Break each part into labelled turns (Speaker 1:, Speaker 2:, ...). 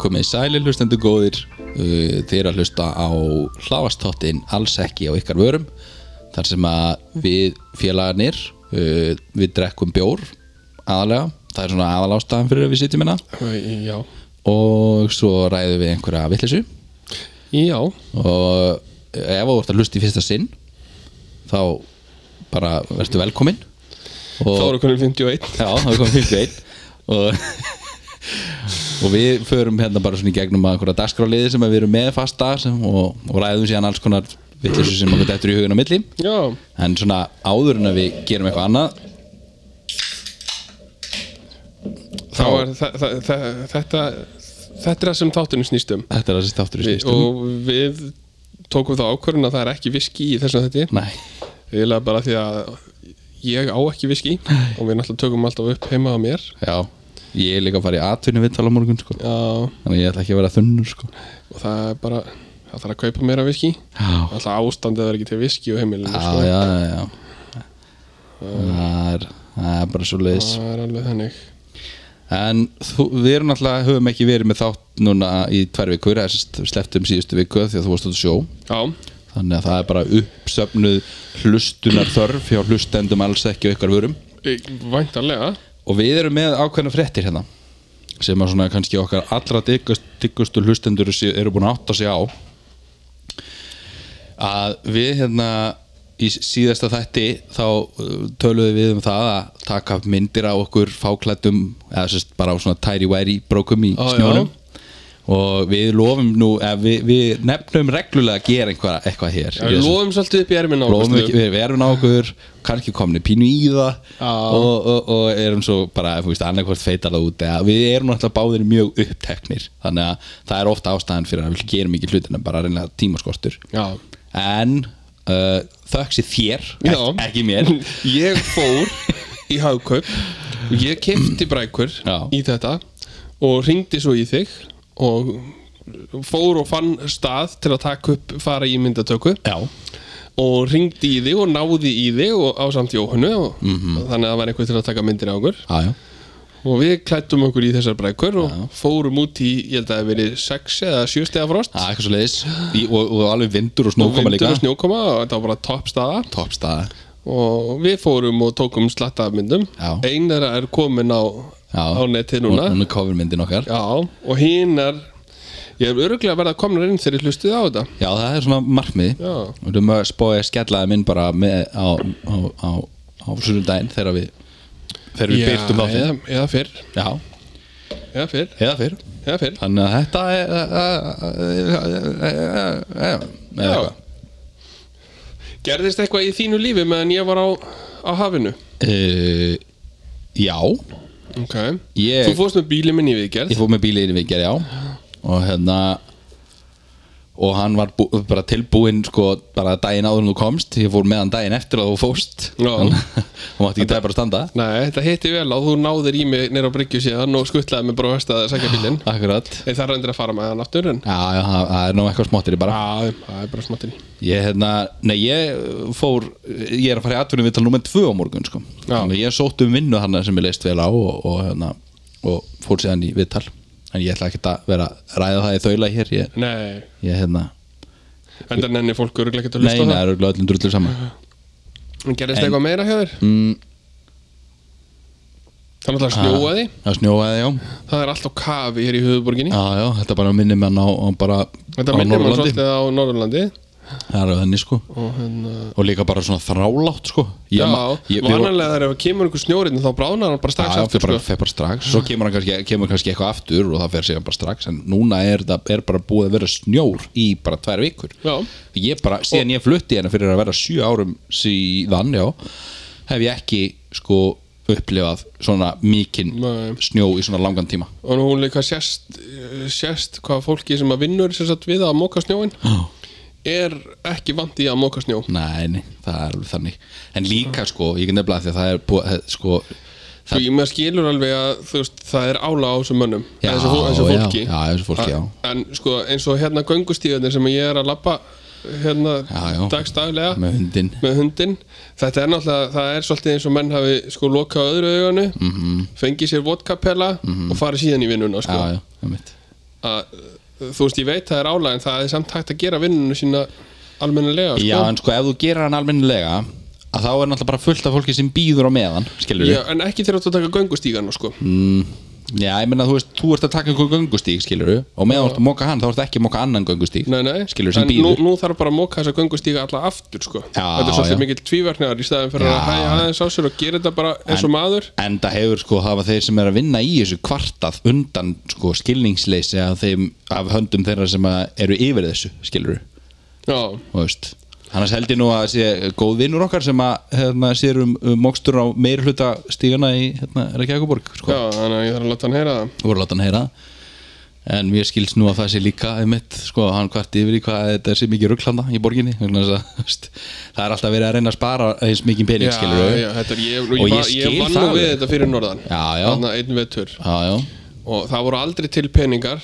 Speaker 1: komið sæli hlustendur góðir uh, þeir að hlusta á hlaðastáttin alls ekki á ykkar vörum þar sem að við félagarnir uh, við drekkum bjór aðalega, það er svona aðal ástæðan fyrir að við sitjum hérna
Speaker 2: Æ, Já,
Speaker 1: og svo ræðum við einhverja vitleysu
Speaker 2: já,
Speaker 1: og ef þú ert að hlusta í fyrsta sinn þá bara verður velkominn
Speaker 2: þá
Speaker 1: og
Speaker 2: eru konum 51
Speaker 1: Já, það kom 51 og, og við förum hérna bara svona í gegnum að einhverja dagskráliði sem að við erum með fasta sem, og, og ræðum síðan alls konar vitlissu sem okkur dættur í hugun á milli
Speaker 2: Já,
Speaker 1: en svona áður en að við gerum eitthvað annað
Speaker 2: þá er þa- þa- þa- þetta þetta er það sem þáttunum snýstum
Speaker 1: þetta er það sem þáttur í
Speaker 2: Vi,
Speaker 1: snýstum
Speaker 2: og við tókum þá ákvörðun að það er ekki viski í þessum þetta
Speaker 1: Nei,
Speaker 2: eiginlega bara því að ég á ekki viski og við náttúrulega tökum alltaf upp heima á mér
Speaker 1: já, ég er líka að fara í atvinni viðtal á morgun sko
Speaker 2: já, og
Speaker 1: þannig að ég ætla ekki að vera þunnur sko
Speaker 2: það er bara það þarf að kaupa meira viski
Speaker 1: Já,
Speaker 2: alltaf ástandið er ekki til viski á heimilinu
Speaker 1: já,
Speaker 2: sko.
Speaker 1: já, já, já. Það, er, það er bara svo leiðis
Speaker 2: það er alveg þannig
Speaker 1: En þú, við erum náttúrulega, höfum ekki verið með þátt núna í tvær vikur, eða sem sagt, slepptum síðustu viku því að þú varst út að sjó.
Speaker 2: já,
Speaker 1: Þannig að það er bara uppsöfnuð hlustunar þörf hjá hlustendum alls ekki og ykkar vörum.
Speaker 2: væntarlega
Speaker 1: Og við erum með ákveðna fréttir hérna sem að svona kannski okkar allra diggust, diggustu hlustendur séu- eru búin að átta sig á að við hérna í síðasta þætti þá uh, töluðum við um það að taka myndir á okkur fáklættum eða sérst bara á svona tæri-væri brókum í
Speaker 2: Já,
Speaker 1: snjónum
Speaker 2: já.
Speaker 1: og við lofum nú eða við, við nefnum reglulega að gera einhver, eitthvað hér í
Speaker 2: Já, við
Speaker 1: þessu.
Speaker 2: lofum svolítið upp í ermina á
Speaker 1: Blóðum
Speaker 2: Ágústu.
Speaker 1: ekki, við við erum nákvæður kannski komni pínu í það
Speaker 2: Já.
Speaker 1: og, og, og erum svo bara annarkvort feitar það út eða við erum náttúrulega báðir mjög uppteknir þannig að það er ofta ástæðan fyrir að við gerum ekki hlutin en bara reynilega tímaskortur
Speaker 2: Já.
Speaker 1: en uh, þöksi þér
Speaker 2: Já.
Speaker 1: ekki, ekki mér
Speaker 2: ég fór í hagkaup og ég kefti brækur
Speaker 1: Já.
Speaker 2: í þetta og ringdi svo í þig og fór og fann stað til að taka upp fara í myndatöku
Speaker 1: Já,
Speaker 2: og ringdi í þig og náði í þig og á samt Jóhannu og
Speaker 1: Mhm.
Speaker 2: þannig að það var einhver til að taka myndir á okkur
Speaker 1: já, já,
Speaker 2: og við klættum okkur í þessar brækur og fórum út í, ég held að það hafi verið 6 eða 7 stega frost
Speaker 1: það er eitthvað svo leiðis og, og alveg vindur og snókoma
Speaker 2: vindur
Speaker 1: líka
Speaker 2: og snjókoma og þetta var bara topp staða
Speaker 1: toppstaða
Speaker 2: og við fórum og tókum slatta af myndum
Speaker 1: Já.
Speaker 2: einara er komin á,
Speaker 1: Já.
Speaker 2: á netið núna
Speaker 1: Hún er covermyndin okkar
Speaker 2: Já, og hinar ég er öruglega verið að komna inn þegar ég hlustið á þetta
Speaker 1: Já, það er svona markmið
Speaker 2: Já.
Speaker 1: og þú maður spóið að skella þeim inn bara með, á, á, á, á sunnudaginn þegar við þegar við byrtum á þeim
Speaker 2: eða, eða fyrr
Speaker 1: Já,
Speaker 2: eða fyrr,
Speaker 1: eða fyrr
Speaker 2: eða fyrr
Speaker 1: Þannig að þetta er eh, eða
Speaker 2: Já.
Speaker 1: eitthvað
Speaker 2: gerðist eitthvað í þínu lífi meðan ég var á, á hafinu
Speaker 1: Eh, Já,
Speaker 2: ok,
Speaker 1: Ég-
Speaker 2: þú fórst með bílið minn í viðgerð
Speaker 1: ég fór með bílið inn við gerði á og hérna og hann var bú, bara tilbúinn sko bara daginn áður en þú komst ég fór með hann daginn eftir að þú fórst
Speaker 2: Já.
Speaker 1: hann mátti ekki það bara standa
Speaker 2: Nei, þetta hitti vel á, þú náðir í mig nýra á bryggju síðan og skuttlaði mig bara á vest að sækja bílinn
Speaker 1: Akkurat
Speaker 2: Ég þarf reyndir að fara með hann aftur en
Speaker 1: Já, já, það það er nú eitthvað smottir bara
Speaker 2: Já, það er bara smáttir
Speaker 1: Ég, hérna, nei, ég fór Ég er að fara í atvinnum viðtal númer tvö á morgun sko.
Speaker 2: Já.
Speaker 1: Þannig að ég sótt um vinnu hana sem ég leist vel á og, og, hérna, og fór síðan í viðtal En ég ætla ekki að vera að ræða það í þaula hér Ég,
Speaker 2: Nei,
Speaker 1: ég hérna
Speaker 2: en það nenni fólk öruglega ekki að
Speaker 1: Nei,
Speaker 2: hlusta á
Speaker 1: það
Speaker 2: það
Speaker 1: eru öllum drullu saman
Speaker 2: En gerðist eitthvað meira hjá þér?
Speaker 1: mm,
Speaker 2: Það er náttúrulega snjóaði
Speaker 1: Það snjóaði, já
Speaker 2: Það er alltaf kafi hér í höfuborginni
Speaker 1: Já, já, þetta bara minnir mann á, á bara á
Speaker 2: Þetta minnir mann
Speaker 1: Norðurlandi.
Speaker 2: svolítið á Norðurlandi
Speaker 1: Það eru þenni, sko
Speaker 2: Og hérna
Speaker 1: Og líka bara svona þrálátt, sko
Speaker 2: Já,
Speaker 1: ma- ég- við vorum-
Speaker 2: vanalega þegar ef kemur einhver snjórinn þá bráðnar hann
Speaker 1: Já,
Speaker 2: bara strax
Speaker 1: já, fer
Speaker 2: aftur
Speaker 1: bara,
Speaker 2: sko.
Speaker 1: fer bara strax Svo kemur, hann kannski, kemur kannski eitthvað aftur og það fer sig bara strax En núna er, það, er bara búið að vera snjór í bara tvær vikur
Speaker 2: Já,
Speaker 1: Ég bara, síðan ég flutti hérna fyrir að vera sjö árum síðan, já Hef ég ekki, sko, upplifað svona mikinn
Speaker 2: Nei.
Speaker 1: snjó í svona langan tíma
Speaker 2: og nú hún líka sérst eh, sérst hvað fólki sem að vinnur sem sagt við að móka snjóin er ekki vant í að móka snjó
Speaker 1: Nei, nei, það er alveg þannig En líka, sko, ég get nefnilega því að það er búið, sko
Speaker 2: Svo ég með skilur alveg að þú veist, það er ála á þessum mönnum
Speaker 1: Já,
Speaker 2: þessu, fó- þessu
Speaker 1: já,
Speaker 2: fólki,
Speaker 1: já, þessu fólki, já.
Speaker 2: En sko eins og hérna göngustíðunir sem ég er að labba hérna
Speaker 1: Já, já.
Speaker 2: dagstaglega
Speaker 1: Með hundinn.
Speaker 2: með hundinn. þetta er náttúrulega, það er svolítið eins og menn hafi sko
Speaker 1: Mhm.
Speaker 2: lokað öðru auganu mm -hmm. fengið sér vodkapella og farið síðan í vinnuna sko.
Speaker 1: Já, já, það mitt
Speaker 2: að þú veist, ég veit það er álæg en það er samt hægt að gera vinnunum sína almennilega sko.
Speaker 1: Já, en sko ef þú gerir hann almennilega að þá er náttúrulega bara fullt af fólki sem býður á meðan skilur
Speaker 2: Já, en ekki þegar þú ert að taka göngustígan sko.
Speaker 1: Já, ég meina þú veist, þú ert að taka einhver göngustík skilur og meðan þú ert að moka hann þá ert ekki að moka annan göngustík
Speaker 2: nei, nei.
Speaker 1: skilur sem
Speaker 2: en nú,
Speaker 1: býður
Speaker 2: nú þarf bara að móka þessa göngustíga alla aftur sko. þetta er svolítið
Speaker 1: já.
Speaker 2: mikill tvíverknar í staðin fyrir að
Speaker 1: Já.
Speaker 2: hæja aðeins á sér og gera þetta bara eins og maður
Speaker 1: En það hefur sko hafa þeir sem er að vinna í þessu kvartað undan sko skilningsleysi af, þeim, af höndum þeirra sem að eru yfir þessu skilur
Speaker 2: já,
Speaker 1: þú veist Annars held ég nú að sé góð vinnur okkar sem að hérna, sér um, um mokstur á meir hluta stígana í hérna, Reykjavíkuborg sko.
Speaker 2: já, þannig að ég þarf að láta hann heyra það
Speaker 1: voru að láta hann heyra það en mér skilst nú að það sé líka einmitt, sko, hann kvart yfir í hvað þetta er sér mikið rugglanda í borginni vegna þess að, þú veist, það er alltaf verið að reyna að spara eins mikið pening skilur
Speaker 2: já, já, þetta er, ég,
Speaker 1: Og ég
Speaker 2: ég, ég,
Speaker 1: skil
Speaker 2: ég vann
Speaker 1: það
Speaker 2: nú við
Speaker 1: alveg.
Speaker 2: þetta fyrir norðan
Speaker 1: Já, já.
Speaker 2: Þarna einn vettur
Speaker 1: já, já,
Speaker 2: og það voru aldrei til peningar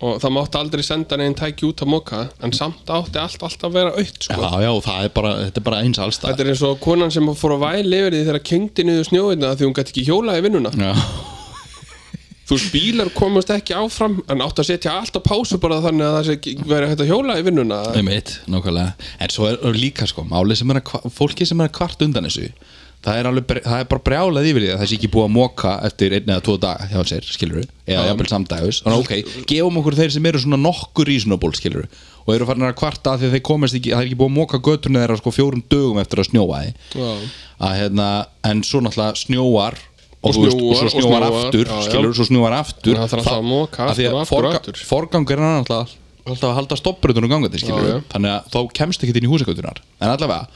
Speaker 2: og það mátti aldrei senda neginn tæki út að moka en samt átti allt alltaf að vera aukt sko.
Speaker 1: já, já, það er bara, þetta er bara eins allstað
Speaker 2: þetta er eins og konan sem fór að væli yfir því þegar kyngdi niður snjóðina því hún gæti ekki hjólaði vinnuna
Speaker 1: já,
Speaker 2: þú veist, bílar komast ekki áfram en átti að setja allt á pásu bara þannig að það sé ekki- væri hægt að hjóla í vinnuna
Speaker 1: einmitt, nákvæmlega en svo er er líka, sko, málið sem er að kva- fólki sem er að kvart undan þessu það er, alveg, bre- það er bara brjálað yfir því að það sé ekki búið að moka eftir einn eða tvo dag hjá sér, skilur eða jafnvel samdægus, þannig ok, gefum okkur þeir sem eru svona nokkur reasonable, skilur og eru farin að kvarta af því að þeir komast ekki það er ekki búið að moka götuna þeirra sko fjórum dögum eftir að snjóa því
Speaker 2: Já.
Speaker 1: að hérna, en svo náttúrulega snjóar og,
Speaker 2: Og
Speaker 1: þú veist,
Speaker 2: snjóar,
Speaker 1: og svo
Speaker 2: og
Speaker 1: snjóar,
Speaker 2: snjóar,
Speaker 1: aftur,
Speaker 2: já, já.
Speaker 1: skilur, svo snjóar aftur
Speaker 2: Þannig að það þarf alltaf að moka
Speaker 1: af því að
Speaker 2: aftur og aftur og
Speaker 1: forga-
Speaker 2: aftur.
Speaker 1: forgangur er alltaf, alltaf að halda stoppbrutunum gangandi skilur
Speaker 2: Já, já.
Speaker 1: þannig að þá kemst ekki inn í húsakötunar en allavega,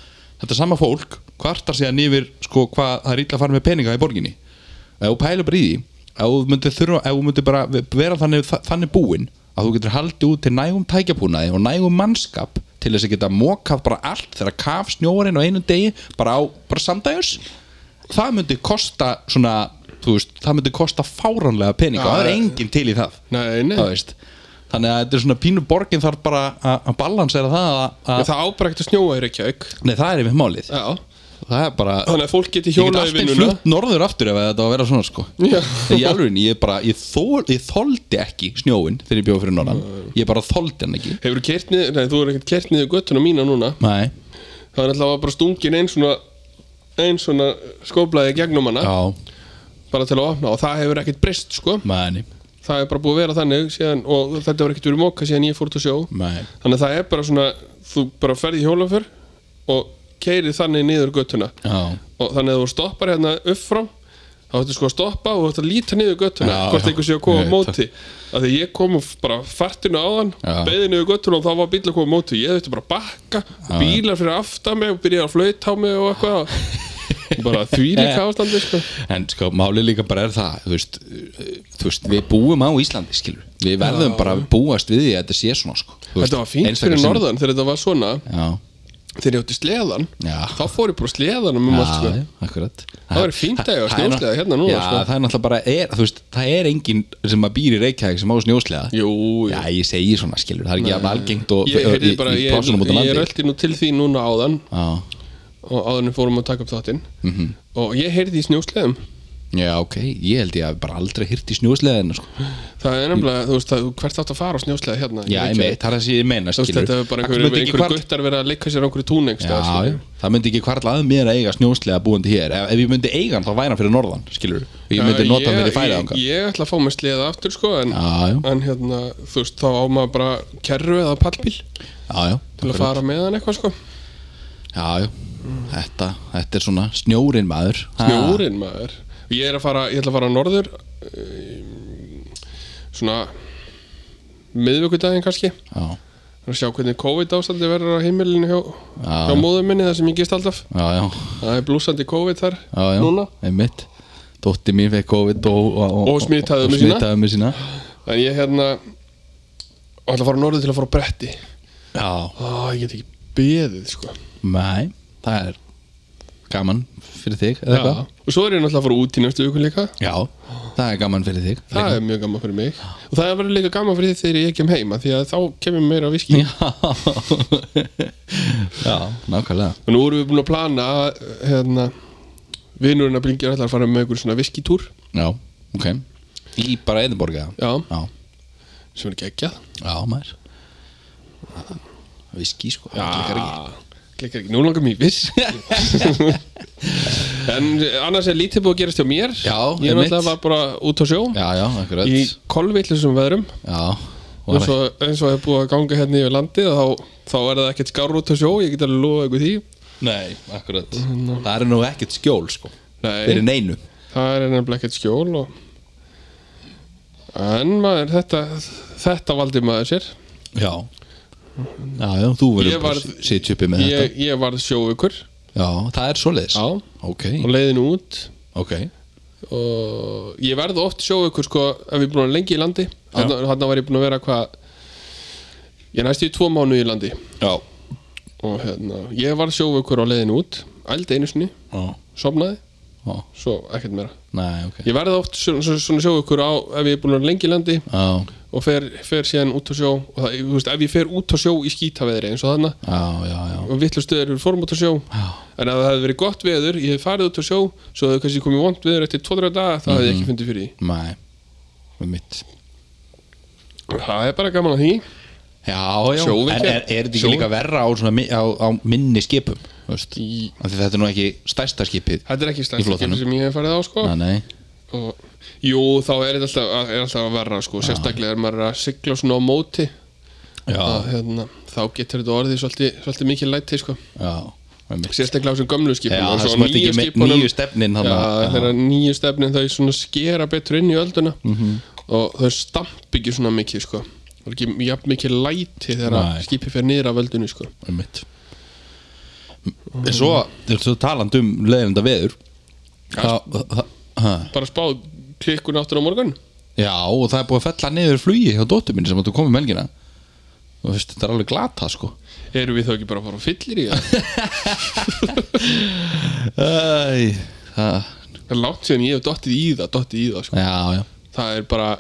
Speaker 1: þetta sama fólk kvartar síðan yfir sko, hvað það er illa að fara með peninga í borginni ef þú pælu bara í því ef þú myndir, þurfa, ef þú myndir bara vera þannig, þannig búin að þú getur haldið út til nægum tækjabúnaði og nægum mannskap til þess að geta mokað bara allt þegar kaf snjóarinn á einu degi bara á bara samdægjus það myndi kosta svona þú veist, það myndi kosta fáránlega peninga
Speaker 2: Já,
Speaker 1: það er
Speaker 2: ja.
Speaker 1: enginn til í það
Speaker 2: Nei, nei.
Speaker 1: Það veist. þannig að þetta er svona pínu borgin þarf bara að að balansera það að, að,
Speaker 2: það ábrekti að snjóa í Reykjavík
Speaker 1: nei það er yfir málið
Speaker 2: Já.
Speaker 1: það er bara
Speaker 2: þannig að fólk geti
Speaker 1: Ég get
Speaker 2: hjóla í
Speaker 1: alltaf einn
Speaker 2: vinnuna
Speaker 1: flutt norður aftur ef þetta var að vera svona sko
Speaker 2: Já.
Speaker 1: Í alveg, ég bara, ég, þol, ég þoldi ekki snjóin þegar ég bjóð fyrir norðan
Speaker 2: Mm.
Speaker 1: Ég bara þoldi hann ekki
Speaker 2: Hefur þú kert niður, nei þú er ekkert kert niður göttuna mína núna
Speaker 1: Nei,
Speaker 2: Það er alltaf bara stungin einn svona einn svona skóblaði gegnum hana
Speaker 1: já,
Speaker 2: bara til að opna og það hefur ekkert breyst sko
Speaker 1: mæni,
Speaker 2: það hefur bara búið að vera þannig síðan, og þetta hefur ekkert verið móka síðan ég fór til sjó
Speaker 1: mæni
Speaker 2: þannig að það er bara svona þú bara ferði hjólaför og keiri þannig niður göttuna
Speaker 1: Já,
Speaker 2: og þannig að þú stoppar hérna upp frá þá ættu sko að stoppa og þú ættu að líta niður göttuna
Speaker 1: Já,
Speaker 2: hvort
Speaker 1: já.
Speaker 2: einhver sé að koma á
Speaker 1: Ég veit
Speaker 2: móti að því ég kom og f- bara fartinu á hann
Speaker 1: Já.
Speaker 2: beði niður göttuna og þá var bíl að koma á móti ég þurfti bara að bakka, bílar fyrir aftan mig og byrja að flauta á mig og eitthvað bara
Speaker 1: Eh.
Speaker 2: þvílík ástandi sko.
Speaker 1: en sko, málið líka bara er það Þú veist, uh, þú veist við búum á Íslandi, skilur Við verðum bara að búast við því að þetta sé svona sko Þú veist,
Speaker 2: þetta var fínt
Speaker 1: einstakar
Speaker 2: fyrir
Speaker 1: sinnum.
Speaker 2: norðan þegar þetta var svona
Speaker 1: Já,
Speaker 2: þegar ég átti sleðan
Speaker 1: Já.
Speaker 2: þá fór ég bara á sleðanum um allt sko.
Speaker 1: já, akkurat
Speaker 2: Það væri fínt að eiga
Speaker 1: Það- það er
Speaker 2: snjósleða
Speaker 1: ná-
Speaker 2: hérna núna,
Speaker 1: Já,
Speaker 2: sko.
Speaker 1: það er náttúrulega bara, er, þú veist, það er enginn sem að býr í Reykjavík sem á snjósleða
Speaker 2: jú, jú.
Speaker 1: Já, ég segi svona, skilur, það er ekki jafn algengt og
Speaker 2: ég,
Speaker 1: í,
Speaker 2: heyrði bara,
Speaker 1: í
Speaker 2: ég,
Speaker 1: plásunum út á
Speaker 2: ég,
Speaker 1: landi
Speaker 2: ég röldi nú til því núna áðan
Speaker 1: Já,
Speaker 2: og áður en við fórum að taka upp þáttinn
Speaker 1: Mhm.
Speaker 2: og ég heyrði í snjósleðum
Speaker 1: já, ok, ég held ég að bara aldrei hýrt í snjósleðinu, sko
Speaker 2: það er nefnilega, þú veist, að, þú- hvert átt að fara á snjósleða hérna í
Speaker 1: Já, ég
Speaker 2: Reykjavík?
Speaker 1: meitt, það er það sem ég meina,
Speaker 2: þú veist,
Speaker 1: skilur
Speaker 2: þetta er bara
Speaker 1: Akkur myndi
Speaker 2: einhverjum sko,
Speaker 1: ekki
Speaker 2: einhver
Speaker 1: hvarfla-
Speaker 2: guttar verið að leika sér á einhverju tún einhvers
Speaker 1: Já,
Speaker 2: staðar, skilur.
Speaker 1: já, það myndi ekki hvarla að mér að eiga snjósleða búandi hér ef, ef ég myndi eiga hann, þá væri hann fyrir norðan, skilur og ég myndi
Speaker 2: Já,
Speaker 1: nota hann fyrir færið
Speaker 2: ég,
Speaker 1: ánga
Speaker 2: ég ætla að fá mér sleða aftur sko en,
Speaker 1: Já, já.
Speaker 2: en hérna, þú veist, þá á maður bara kerru eða pallbíl til
Speaker 1: Já, já,
Speaker 2: að fara með hann eitthvað sko
Speaker 1: já, já Þetta, þetta er svona snjórin maður Ha.
Speaker 2: Snjórinn maður Ég er að fara, ég ætla að fara norður eh, Svona miðvikudaginn kannski
Speaker 1: Já,
Speaker 2: að sjá hvernig COVID ástandi verður á heimilinu hjá,
Speaker 1: Já.
Speaker 2: hjá móður minni þar sem ég gist alltaf
Speaker 1: já, já,
Speaker 2: það er blúsandi COVID þar
Speaker 1: já, já
Speaker 2: núna
Speaker 1: Einmitt, dótti mín fekk COVID og, og,
Speaker 2: Og smitaði
Speaker 1: og
Speaker 2: með sína.
Speaker 1: smitaði með sína
Speaker 2: en ég hérna ætla að fara norður til að fara á bretti
Speaker 1: Já,
Speaker 2: Ó, ég get ekki beðið sko
Speaker 1: Nei, það er gaman fyrir þig eða
Speaker 2: Já.
Speaker 1: eitthvað
Speaker 2: og svo er ég náttúrulega að fara út í næstu viku líka
Speaker 1: Já, það er gaman fyrir þig
Speaker 2: það er mjög gaman fyrir mig og það verður líka gaman fyrir þig þegar ég kem heima því að þá kemur meira viski
Speaker 1: Já, já nákvæmlega
Speaker 2: og nú erum við búin að plana að, hérna, vinurinn að blingja ætlar að fara með einhver svona viskitúr
Speaker 1: Já, ok Í bara Edinborga
Speaker 2: já,
Speaker 1: já,
Speaker 2: sem er geggjað
Speaker 1: Já, maður Viski, sko klikkar ekki.
Speaker 2: Já, klikkar ekki, nú langar mér viss En annars er lítið búið að gerast hjá mér
Speaker 1: Já,
Speaker 2: Ég
Speaker 1: einmitt.
Speaker 2: náttúrulega var bara út á sjó
Speaker 1: Já, já, akkurat
Speaker 2: Í kolvillisum veðrum
Speaker 1: Já
Speaker 2: eins og, eins og er búið að ganga hérna yfir landið þá, þá er það ekkert skár út á sjó Ég get alveg lofa ykkur því
Speaker 1: Nei, akkurat Það er nú ekkert skjól, sko
Speaker 2: Nei.
Speaker 1: Fyrir neinu
Speaker 2: Það er nefnilega ekkert skjól og... En maður, þetta, þetta valdi maður sér
Speaker 1: Já Já, já, þú
Speaker 2: Ég
Speaker 1: verður
Speaker 2: varð-
Speaker 1: bara að sitja uppi með
Speaker 2: Ég, ég varð sjóukur
Speaker 1: þetta Já, það er svoleiðis
Speaker 2: Já.
Speaker 1: Ok,
Speaker 2: og leiðin út
Speaker 1: ok
Speaker 2: og ég verð oft sjóukur sko ef ég er búin að vera lengi í landi hann var ég búin að vera hvað ég næstu í tvo mánu í landi
Speaker 1: Já
Speaker 2: og hérna, ég var sjóukur á leiðin út ældi einu sinni,
Speaker 1: Já,
Speaker 2: sofnaði
Speaker 1: já
Speaker 2: svo ekkert meira
Speaker 1: Nei, ok
Speaker 2: ég verð oft svo- svo- svona sjóukur á ef ég er búin að vera lengi í landi
Speaker 1: Já,
Speaker 2: og fer, fer síðan út á sjó og það, þú veist, ef ég fer út á sjó í skítaveðri eins og þarna
Speaker 1: já, já, já
Speaker 2: og vitlu stöður við fórum út á sjó
Speaker 1: Já,
Speaker 2: en ef það hefði verið gott veður, ég hefði farið út á sjó svo hefði kannski komið vond veður eftir 2-3 daga það hefði ég ekki fundið fyrir því
Speaker 1: nei Með mitt
Speaker 2: Það er bara gaman að því
Speaker 1: Já, já,
Speaker 2: Sjóveiki.
Speaker 1: en er, er þetta ekki
Speaker 2: Sjóveiki.
Speaker 1: líka verra á, svona, mi- á, á minni skipum þú veist?
Speaker 2: Í...
Speaker 1: Af því Þetta er nú ekki stærsta skipið
Speaker 2: Þetta er ekki
Speaker 1: Í
Speaker 2: stærsta
Speaker 1: flotanum.
Speaker 2: skipið sem ég hef farið á sko.
Speaker 1: Nei, nei,
Speaker 2: og, Jú, þá er þetta alltaf, er alltaf að verra sko. Sérstaklega er maður að sigla svona á móti að,
Speaker 1: já,
Speaker 2: hérna, Þá getur þetta orðið svolítið, svolítið mikið læti sko.
Speaker 1: já með mitt.
Speaker 2: Sérstaklega á þessum gömlu skipum
Speaker 1: Já,
Speaker 2: og
Speaker 1: það
Speaker 2: svo
Speaker 1: sem ert
Speaker 2: nýju
Speaker 1: ekki með
Speaker 2: skipunum-
Speaker 1: nýju stefnin
Speaker 2: Já,
Speaker 1: þarna. Já.
Speaker 2: þegar nýju stefnin þau svona skera betur inn í ölduna
Speaker 1: Mhm.
Speaker 2: -hmm. og þau stamp ekki svona mikið sko. Það er ekki jafn mikið læti þegar
Speaker 1: Nei.
Speaker 2: skipið fer niður af öldunni sko.
Speaker 1: um mitt En svo, svo taland um leðinda veður þá, það, það,
Speaker 2: Bara spáð klikkun áttur á morgun
Speaker 1: Já, og það er búið að fella niður flugi hjá dóttur mín sem áttu að koma um helgina og veist, þetta er alveg glata sko
Speaker 2: Erum við þá ekki bara að fara á fyllir í það?
Speaker 1: Æ, það,
Speaker 2: Það er langt síðan ég hef dottið í það, dottið í það sko.
Speaker 1: Já, já,
Speaker 2: Það er bara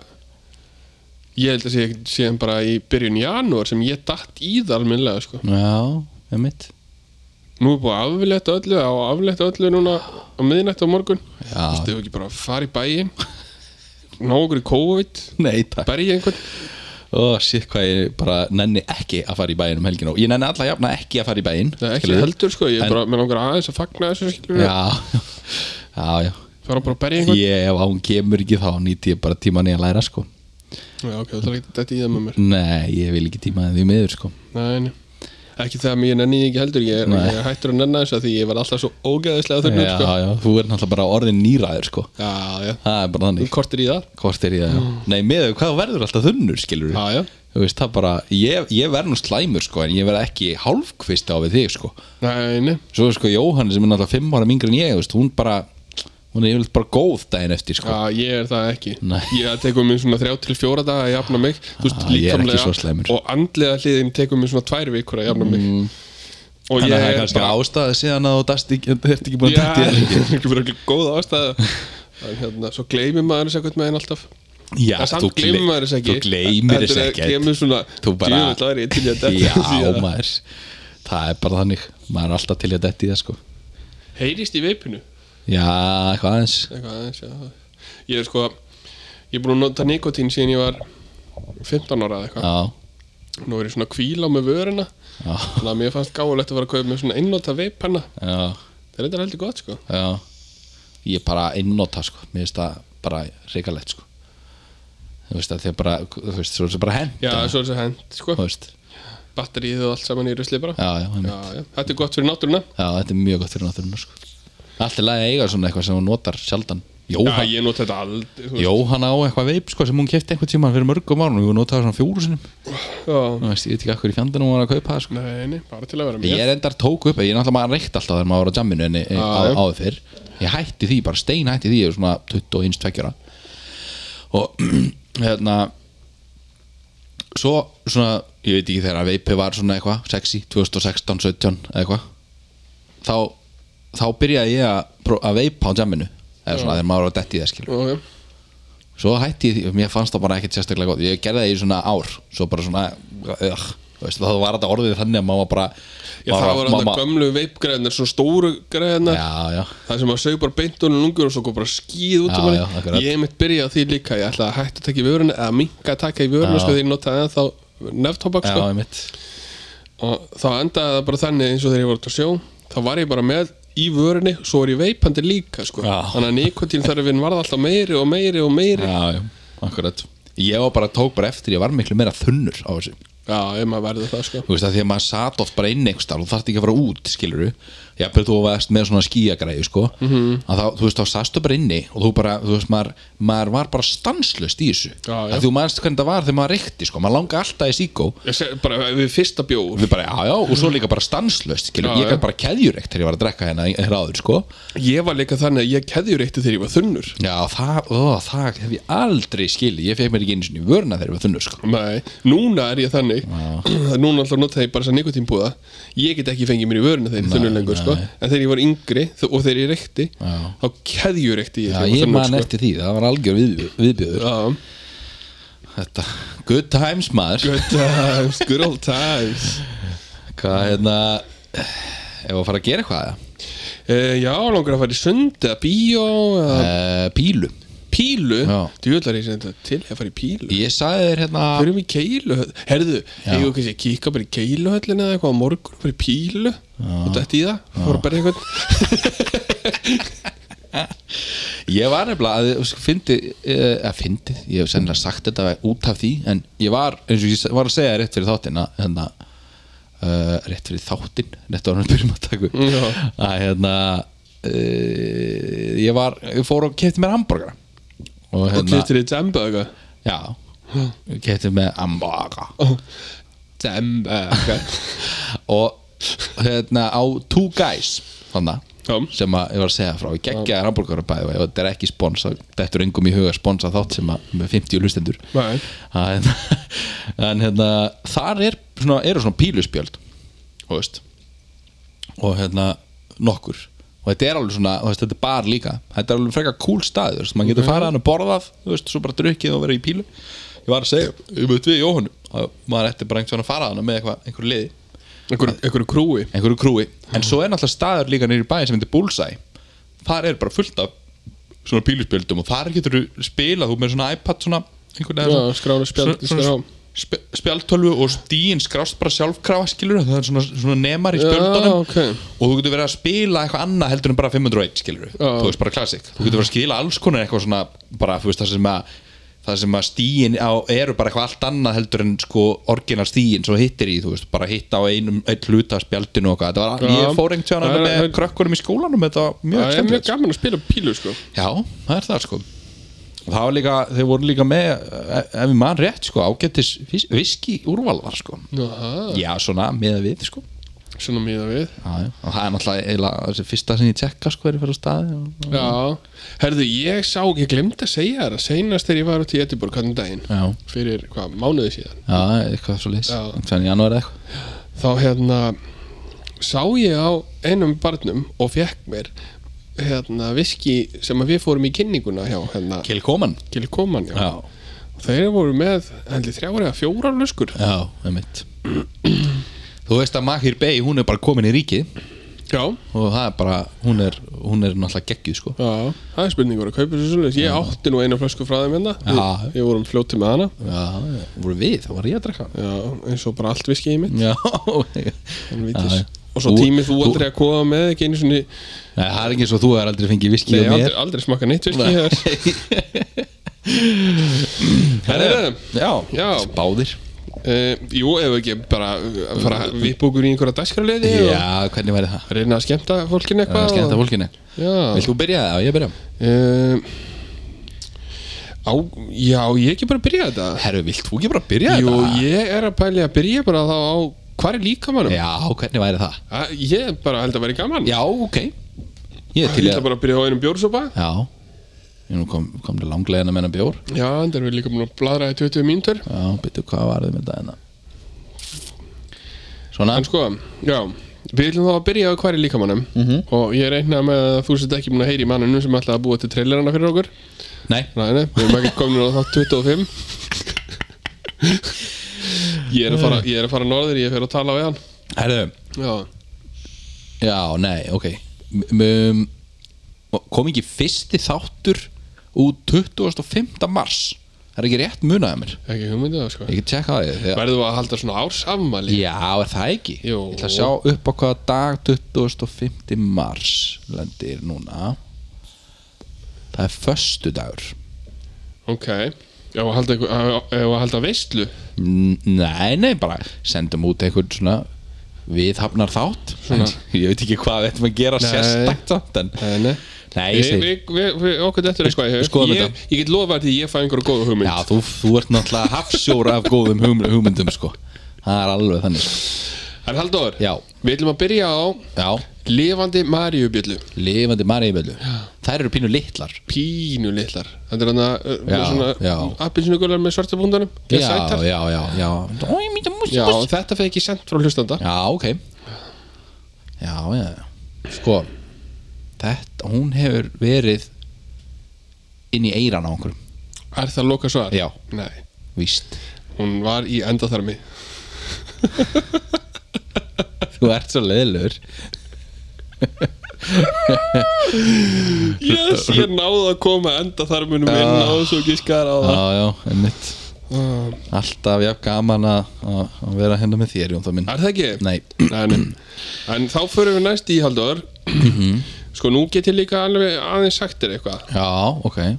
Speaker 2: Ég held að sé ekkert síðan bara í byrjun janúar sem ég datt í það almennilega sko.
Speaker 1: já, um mitt
Speaker 2: Nú er búið að aflétta öllu á aflétta öllu núna á miðnætt á morgun
Speaker 1: Já.
Speaker 2: Þú ekki bara að fara í bæinn Ná okkur í COVID
Speaker 1: Nei, takk
Speaker 2: Berja einhvern
Speaker 1: Ó, sítt hvað ég bara nenni ekki að fara í bæinn um helgina og ég nenni alla jafna ekki að fara í bæinn
Speaker 2: Það er ekki
Speaker 1: skilurðu?
Speaker 2: heldur sko Ég
Speaker 1: En-
Speaker 2: er bara með langar aðeins að fagna þessu skilur
Speaker 1: Já, já, já
Speaker 2: Fara bara að berja einhvern
Speaker 1: Ég, ef hún kemur ekki þá nýti ég bara tíman í að læra sko
Speaker 2: Já ok, þú þarf ekki að þetta í það með mér
Speaker 1: Nei, ég vil ekki tíma því miður sko
Speaker 2: Nei, nei Ekki það að ég nenni því ekki heldur Ég er,
Speaker 1: Nei.
Speaker 2: ég er hættur að nenni þessu af því ég var alltaf svo ógeðislega
Speaker 1: Já,
Speaker 2: þurrnur sko
Speaker 1: já, þú er náttúrulega bara orðin nýræður sko
Speaker 2: Já, já
Speaker 1: Það er bara
Speaker 2: Þú
Speaker 1: þannig
Speaker 2: kortir í það
Speaker 1: Hvort er ég það?
Speaker 2: Mm.
Speaker 1: Nei, með þau, hvað þú verður alltaf þunnur, skilur
Speaker 2: Já, já.
Speaker 1: Þú veist, það bara, ég, ég verð nú slæmur sko en ég verð ekki hálfkvist á við þig sko
Speaker 2: Nei, nei
Speaker 1: Svo er sko Jóhann sem er náttúrulega fimm ára mingri en ég, þú veist, hún bara hún er yfirleitt bara góð daginn eftir sko
Speaker 2: Já, ég er það ekki
Speaker 1: Nei.
Speaker 2: Ég tekur mér svona þrjá til fjóra daga að jafna mig Þú veist,
Speaker 1: Ah, ég er ekki
Speaker 2: líkamlega
Speaker 1: svo slæmur. Mm.
Speaker 2: Og andlega hliðin tekur mér svona tvær vikur að jafna mig Og
Speaker 1: Þannig
Speaker 2: ég
Speaker 1: að það er
Speaker 2: er
Speaker 1: kannski
Speaker 2: bara
Speaker 1: ástæða síðan að þú dast ekki, þú ert ekki búin að
Speaker 2: Já,
Speaker 1: dætti þér lengi
Speaker 2: ekki bara ekki góð ástæða En hérna, svo gleymir maður þess ekkert með henn alltaf
Speaker 1: Já,
Speaker 2: En samt gleymir maður þess ekki
Speaker 1: Þú gleymir þess
Speaker 2: Þetta er-
Speaker 1: ekki
Speaker 2: Gleymir svona
Speaker 1: Þú bara
Speaker 2: Djúvill var ég til í að
Speaker 1: Já,
Speaker 2: detta síðan.
Speaker 1: maður Það er bara þannig Maður er alltaf til í að detti það sko
Speaker 2: Heyrist í veipinu
Speaker 1: Já, eitthvað aðeins
Speaker 2: Eitthvað aðeins, já Ég er sko Ég er búin að nota nikotín síðan ég var 15 ára eða eitthvað
Speaker 1: Já,
Speaker 2: Nú er ég svona að kvíla á með vörina
Speaker 1: já,
Speaker 2: Þannig að mér fannst gáðulegt að vera að kaupa með svona einnota veipanna
Speaker 1: já,
Speaker 2: Það er eitthvað heldur gott sko
Speaker 1: já. Ég er bara einnota sko Mér finnst það bara reikalegt sko Þú veist að því að bara Þú veist, svo er það bara hend
Speaker 2: Já, svo er þessi hend sko
Speaker 1: Þú veist,
Speaker 2: Batteríð og allt saman í rusli bara
Speaker 1: já, já, já.
Speaker 2: já, já. Þetta er gott fyrir náttúruna
Speaker 1: já, þetta er mjög gott fyrir náttúruna sko Allt er lagi að eiga svona eitthvað sem hún notar sjaldan
Speaker 2: Já,
Speaker 1: Jóhann,
Speaker 2: ég nota þetta aldrei þú veist.
Speaker 1: Jóhann á eitthvað veip sko sem hún kefti einhvern tíma fyrir mörgum árum og hún notaði svona fjóru sinum
Speaker 2: Já,
Speaker 1: Þú veist, ég veit ekki hvað í fjandunum hún var að kaupa það sko.
Speaker 2: nei, nei, bara til að vera
Speaker 1: Ég
Speaker 2: með
Speaker 1: er endar tók upp, ég er náttúrulega maður reykt alltaf þegar maður var á jamminu en eh,
Speaker 2: Já,
Speaker 1: á,
Speaker 2: já.
Speaker 1: áður fyrr Ég hætti því, bara stein hætti því, ég er svona 21 tveggjara Og hérna Svo svona, ég veit ekki þegar að veipi var svona eitthvað, sexy, 2016, 17 eða eitthvað Þá, þá byrjaði ég að, pró- að veipa á jamminu Eða svona þegar maður var að detti það skilur
Speaker 2: Ok,
Speaker 1: Svo hætti ég því, mér fannst það bara ekkert sérstaklega gott Ég gerði það í svona ár, svo bara svona, uh, Þú veist, þá var þetta orðið þannig að maður bara
Speaker 2: Já, það var alltaf gömlu veipgreðnar, svona stóru greðnar
Speaker 1: já, já,
Speaker 2: Það sem að sög bara beint honum lungur og svo kom bara skýð út
Speaker 1: Já,
Speaker 2: um
Speaker 1: já,
Speaker 2: hann
Speaker 1: akkurat.
Speaker 2: Ég mitt byrjaði á því líka, ég ætlaði að hætta að taka í vöruna eða minka að taka í vöruna
Speaker 1: Já.
Speaker 2: sko því ég notaði ennþá nefntobak
Speaker 1: já,
Speaker 2: sko
Speaker 1: einmitt
Speaker 2: og þá endaði það bara þannig eins og þegar ég var út að sjó þá var ég bara með í vörunni svo var ég veipandi líka sko
Speaker 1: Já.
Speaker 2: þannig að nikotín þarfinn varð alltaf meiri og meiri og meiri
Speaker 1: já, já, akkurat Ég var bara tók bara eftir, ég var miklu meira þunnur á þessu
Speaker 2: Já, ef maður verður það sko
Speaker 1: Þú veist að því að maður sat oft bara inn einhvers staðar og þarfti ekki að fara út, skilur Já, bara þú varst með svona skíagræði, sko
Speaker 2: Mhm.
Speaker 1: -hmm. að þá, þú veist, þá sastu bara inni og þú bara, þú veist, maður, maður var bara stanslust í þessu
Speaker 2: Já, já.
Speaker 1: Að þú manst hvernig það var þegar maður reykti, sko maður langa alltaf í síkó
Speaker 2: Ég seg, bara við fyrsta bjór
Speaker 1: Við bara, já, já, og svo líka bara stanslust, skilur
Speaker 2: Já,
Speaker 1: Ég
Speaker 2: já.
Speaker 1: gæti bara keðjureykt þegar ég var að drekka hérna hér áður, sko
Speaker 2: Ég var líka þannig að ég keðjur eitt þegar ég var þunnur
Speaker 1: Já, það, ó, það hef ég aldrei skilið Ég fekk mér ekki einu sinni í vörna þegar ég var þunnur, sko
Speaker 2: Nei, núna er ég þannig að núna alltaf notaði ég bara þess að nikotínbúða Ég get ekki fengið mér í vöruna þegar ég er þunnur lengur sko
Speaker 1: nei.
Speaker 2: En þegar ég var yngri þ- og þegar ég reykti
Speaker 1: Já.
Speaker 2: þá keðjur eitt ég
Speaker 1: Já,
Speaker 2: þegar
Speaker 1: ég
Speaker 2: var
Speaker 1: man
Speaker 2: þunnur sko
Speaker 1: eftir því, það var algjör við, viðbjöður
Speaker 2: Já,
Speaker 1: Þetta, good times maður
Speaker 2: good times, good old times
Speaker 1: Hvað hérna Ef að fara að gera eitthvað
Speaker 2: Uh, já, langar að fara í sund eða bíó eða
Speaker 1: uh, Pílu
Speaker 2: pílu
Speaker 1: Já.
Speaker 2: Djúlar ég sem þetta til að fara í pílu yeah.
Speaker 1: Ég sagði þér hérna
Speaker 2: Fyrir mig í keilu Herðu, eigum við kannski að kíka bara í keiluhöllina eða eitthvað á morgun og fara í pílu og dætt í það Fór að berja eitthvað
Speaker 1: Ég var nefnilega að fyndi eh, að fyndi, ég hef sennilega sagt þetta út af því, en ég var eins og ég var að segja rétt fyrir þáttina hérna, uh, rétt fyrir þáttin rétt ára hann byrjum að taka upp,
Speaker 2: Já.
Speaker 1: að hérna uh, ég var, ég fór og kefti mér hamburgara og
Speaker 2: og
Speaker 1: hérna
Speaker 2: kýttir í djembaga
Speaker 1: já, kefti mér hamburgara
Speaker 2: Djembaga
Speaker 1: eh, og hérna á Two Guys þannig
Speaker 2: Já.
Speaker 1: sem að ég var að segja frá ég geggjaði rambúlgara bæði og þetta er ekki spons þá dettur engum í huga spons að þátt sem að með 50 hlustendur
Speaker 2: Nei.
Speaker 1: en, en hérna þar er svona, eru svona píluspjöld þú veist og hérna nokkur og þetta er alveg svona, þú veist, þetta er bar líka þetta er alveg frekar cool staður, þú veist, maður getur farað hann og borðað, þú veist, svo bara drukkið og verið í pílu ég var að segja, ég veit við Jóhann að maður ætti bara einhvern veginn að fara hann með eitthvað, einhverju liði,
Speaker 2: Einhverju einhverju krúi
Speaker 1: einhverju krúi en svo er náttúrulega staður líka nýri bæin sem heitir Bullseye þar er bara fullt af svona píluspjöldum og þar getur þú spilað þú með svona iPad svona, einhvern
Speaker 2: Já,
Speaker 1: veginn svona-
Speaker 2: skrána spjald
Speaker 1: svona- svona-
Speaker 2: skrá.
Speaker 1: spe- spjaldtölvu og stíin skrást bara sjálfkrafa skilur það er svona, svona nemar í
Speaker 2: Já,
Speaker 1: spjöldunum
Speaker 2: ok.
Speaker 1: og þú getur verið að spila eitthvað annað heldur en bara 501 skilur
Speaker 2: Já.
Speaker 1: þú veist bara klassik þú getur verið að skila alls konar eitthvað svona bara þú veist það sem að það sem að stíin á, eru bara eitthvað allt annað heldur en sko orginal stíin svo hittir í þú veist bara hitta á einum einn hluta af spjaldinu og eitthvað þetta var
Speaker 2: Já.
Speaker 1: ég fór einhvern
Speaker 2: Það er-
Speaker 1: tjóðan með
Speaker 2: það-
Speaker 1: krökkunum í skólanum þetta var mjög
Speaker 2: Það er
Speaker 1: skemmtilegt,
Speaker 2: mjög gaman að spila pílu sko
Speaker 1: Já, það er það sko Og Það var líka, þeir voru líka með eh, ef við mann rétt sko, ágættis viski úrvalvar sko
Speaker 2: Jaha,
Speaker 1: Já, svona með við sko
Speaker 2: svona miða við
Speaker 1: já, já. Og það er náttúrulega eiginlega þessi fyrsta sem ég tekka sko er að fara á staði og...
Speaker 2: Já, herðu, ég sá, ég glemdi að segja þér að seinast þegar ég var út í Ediborg hann um daginn
Speaker 1: Já,
Speaker 2: fyrir, hvað, mánuði síðan
Speaker 1: já, eitthvað svo leys
Speaker 2: Já.
Speaker 1: Þannig að janúar eða eitthvað
Speaker 2: þá hérna sá ég á einum barnum og fekk mér hérna viski sem að við fórum í kynninguna hjá hérna
Speaker 1: Kilkoman
Speaker 2: Kilkoman já.
Speaker 1: Já,
Speaker 2: þeir voru með heldur þrjára eða fjórar löskur
Speaker 1: já, einmitt Þú veist að Mahir Bey, hún er bara komin í ríkið
Speaker 2: já,
Speaker 1: og það er bara, hún er, hún er náttúrulega geggjuð sko
Speaker 2: já, það er spurningur að kaupa þessu svoleiðis, ég átti nú eina flösku frá þeim hérna,
Speaker 1: Já.
Speaker 2: við, við vorum fljóti með hana
Speaker 1: Já, já, voru við, það var ég að drekka
Speaker 2: já, eins og bara allt viski í mitt
Speaker 1: Já,
Speaker 2: en
Speaker 1: Já,
Speaker 2: vitis
Speaker 1: já.
Speaker 2: og svo
Speaker 1: Þú-
Speaker 2: tímið þú
Speaker 1: þú-
Speaker 2: aldrei að koma með ekki einu svona,
Speaker 1: Nei, það er ekki eins og þú er aldrei fengið viski
Speaker 2: nei,
Speaker 1: hjá mér
Speaker 2: aldrei, aldrei smaka neitt viski
Speaker 1: Nei.
Speaker 2: hér Herðu,
Speaker 1: Já,
Speaker 2: Já.
Speaker 1: báðir
Speaker 2: Uh, jú, ef ekki bara uh, fara að vipa okkur í einhverja dagskráliði og
Speaker 1: Já, hvernig væri það?
Speaker 2: reyna að skemmta fólkinu
Speaker 1: Það
Speaker 2: eitthvað
Speaker 1: er skemmt að fólkinu Vilt
Speaker 2: Já
Speaker 1: þú byrja það? Já, ég byrja
Speaker 2: uh, á, Já, ég ekki bara að byrja þetta
Speaker 1: Herru, vilt þú ekki bara byrja
Speaker 2: Jú,
Speaker 1: þetta?
Speaker 2: ég er að pæli að byrja bara þá á Hvar er líkamannum?
Speaker 1: Já, hvernig væri það?
Speaker 2: Ja. Ég bara held að vera gaman
Speaker 1: Já, ok Ég er
Speaker 2: Ég
Speaker 1: til í
Speaker 2: ætla
Speaker 1: að
Speaker 2: bara að byrja á einum bjórsopa
Speaker 1: Já Ég nú kom, kom til langlegin að menna bjór
Speaker 2: Já, það er við líka búin að bladra í 20 mínútur
Speaker 1: Já, byrju, hvað var þið með þetta hérna? Svona
Speaker 2: En sko, já Við ætlum þá að byrja á hvar er líkamannum
Speaker 1: Mhm.
Speaker 2: Og ég reikna með að þú sett ekki búin að heyri manninu sem ætlaði að búa til trailerana fyrir okkur
Speaker 1: Nei,
Speaker 2: Nei, nei, við erum ekki komin á þátt 25 Ég er að fara, ég er að fara norður, ég fer að tala við hann
Speaker 1: Herðu,
Speaker 2: Já,
Speaker 1: já, nei, ok M- um, Kom ekki fyrsti þáttur út 25. mars Það er ekki rétt munaðið mér
Speaker 2: ekki hugmyndið það sko
Speaker 1: Ég get tjekka það því að-
Speaker 2: Verðum við að halda svona ársafmæli
Speaker 1: Já, er það ekki?
Speaker 2: Jú.
Speaker 1: Ég ætla að sjá upp á hvaða dag 25. mars lendir núna Það er föstu dagur
Speaker 2: Ok, ef að halda, einhver- ef að halda veistlu
Speaker 1: Nei, nei, bara sendum út einhvern svona viðhafnar þátt svona. Ég veit ekki hvað þetta maður gera
Speaker 2: Nei.
Speaker 1: sérstakt samt en
Speaker 2: Nei, nei
Speaker 1: Nei, ég
Speaker 2: Við,
Speaker 1: segi
Speaker 2: við, við, við, okkur dettur eitthvað í hug.
Speaker 1: skoðum
Speaker 2: ég,
Speaker 1: þetta.
Speaker 2: ég get lofað því að ég fæ einhverju góða hugmynd
Speaker 1: Já, þú, þú ert náttúrulega hafsjóra af góðum hugm- hugmyndum sko Það er alveg þannig sko.
Speaker 2: En Halldór,
Speaker 1: Já.
Speaker 2: við ætlum að byrja á
Speaker 1: Já,
Speaker 2: lifandi maríubjöllu
Speaker 1: lifandi mariðbjöldu Þær eru pínu litlar
Speaker 2: Pínu litlar Þetta er hann að
Speaker 1: Já, já.
Speaker 2: svona appinsinugular með svarta búndunum
Speaker 1: Já, já, já, já Ói, mýta músi,
Speaker 2: já,
Speaker 1: músi
Speaker 2: þetta fekk ég sendt frá hlustanda
Speaker 1: Já, ok Já, já, sko Þetta, hún hefur verið inn í eiran á okkur
Speaker 2: Er það loka svar?
Speaker 1: Já.
Speaker 2: Nei,
Speaker 1: Víst
Speaker 2: hún var í endaþarmi
Speaker 1: Þú ert svo leðlur
Speaker 2: Yes, ég náði að koma endaþarminum inn
Speaker 1: Ah.
Speaker 2: á þessu gískar á
Speaker 1: Já,
Speaker 2: það
Speaker 1: já, einmitt
Speaker 2: Ah.
Speaker 1: Alltaf jafn gaman að- að að vera hérna með þér, Jón það minn
Speaker 2: Er það ekki?
Speaker 1: Nei,
Speaker 2: Nei, nei. En þá förum við næst í Halldór
Speaker 1: Mhm.
Speaker 2: Sko, nú get ég líka alveg aðeins sagt þér eitthvað
Speaker 1: já, ok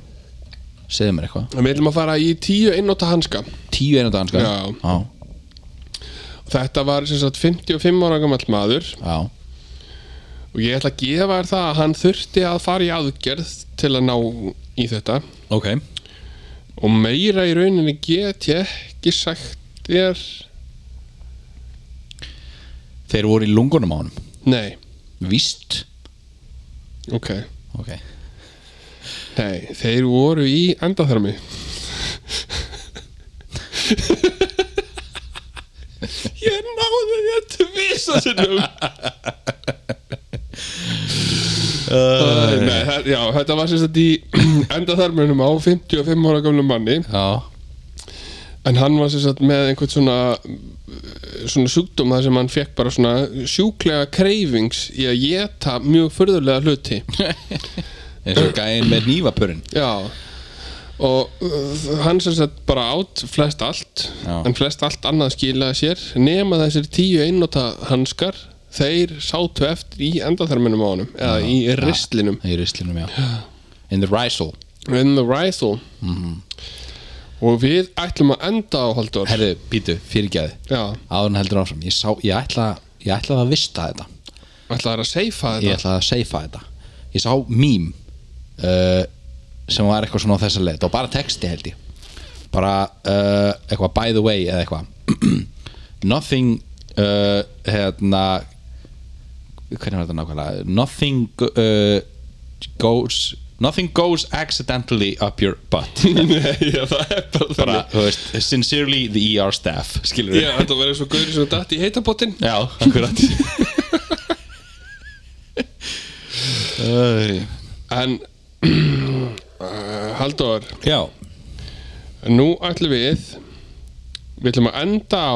Speaker 1: Segðu mér eitthvað
Speaker 2: Við ætlum að fara í tíu einnóta hanska
Speaker 1: Tíu einu danska
Speaker 2: Já.
Speaker 1: já,
Speaker 2: Þetta var sem sagt 55 ára gamall maður
Speaker 1: já.
Speaker 2: og ég ætla að gefa þér það að hann þurfti að fara í aðgerð til að ná í þetta
Speaker 1: Ok
Speaker 2: og meira í rauninni get ég ekki sagt þér
Speaker 1: Þeir voru í lungunum á honum
Speaker 2: Nei,
Speaker 1: Víst
Speaker 2: ok
Speaker 1: Ok
Speaker 2: Nei, þeir voru í endaþarmi Ég náði þér tvisa sinnum Nei, það, já, þetta var sem sagt í endaþarminum á 55 ára gamlu manni
Speaker 1: Já
Speaker 2: En hann var sem sagt með einhvern svona svona sjúkdóm þar sem hann fekk bara svona sjúklega kreyfings í að geta mjög furðulega hluti
Speaker 1: eins og gæinn með nývapurinn
Speaker 2: Já og uh, hann sem sagt bara átt flest allt
Speaker 1: Já.
Speaker 2: en flest allt annað skilaði sér nema þessir tíu einnota hanskar þeir sátu eftir í endaþarminum á honum eða í ristlinum
Speaker 1: í rislinum, já in the risal
Speaker 2: in the rifle
Speaker 1: Mhm.
Speaker 2: og við ætlum að enda á Halldór
Speaker 1: herðu, býtu, fyrirgæði
Speaker 2: Já,
Speaker 1: áðurinn heldur áfram, ég sá, ég ætla ég ætla að vista þetta,
Speaker 2: ætlaði að seifa
Speaker 1: ég
Speaker 2: þetta
Speaker 1: ætla að seifa þetta ég sá mím uh, sem var eitthvað svona á þessa leið og bara texti held ég bara uh, eitthvað by the way eða eitthvað nothing uh, hérna hvernig var þetta nákvæmlega nothing uh, goes nothing goes accidentally up your butt
Speaker 2: Nei, já, það er bara
Speaker 1: bara,
Speaker 2: þannig.
Speaker 1: þú veist, sincerely the ER staff, skilur við
Speaker 2: Já, þetta verður svo gaurið sem datt í heitabotinn
Speaker 1: já akkurat
Speaker 2: En uh, Halldór,
Speaker 1: já,
Speaker 2: nú ætlum við Við ætlum að enda á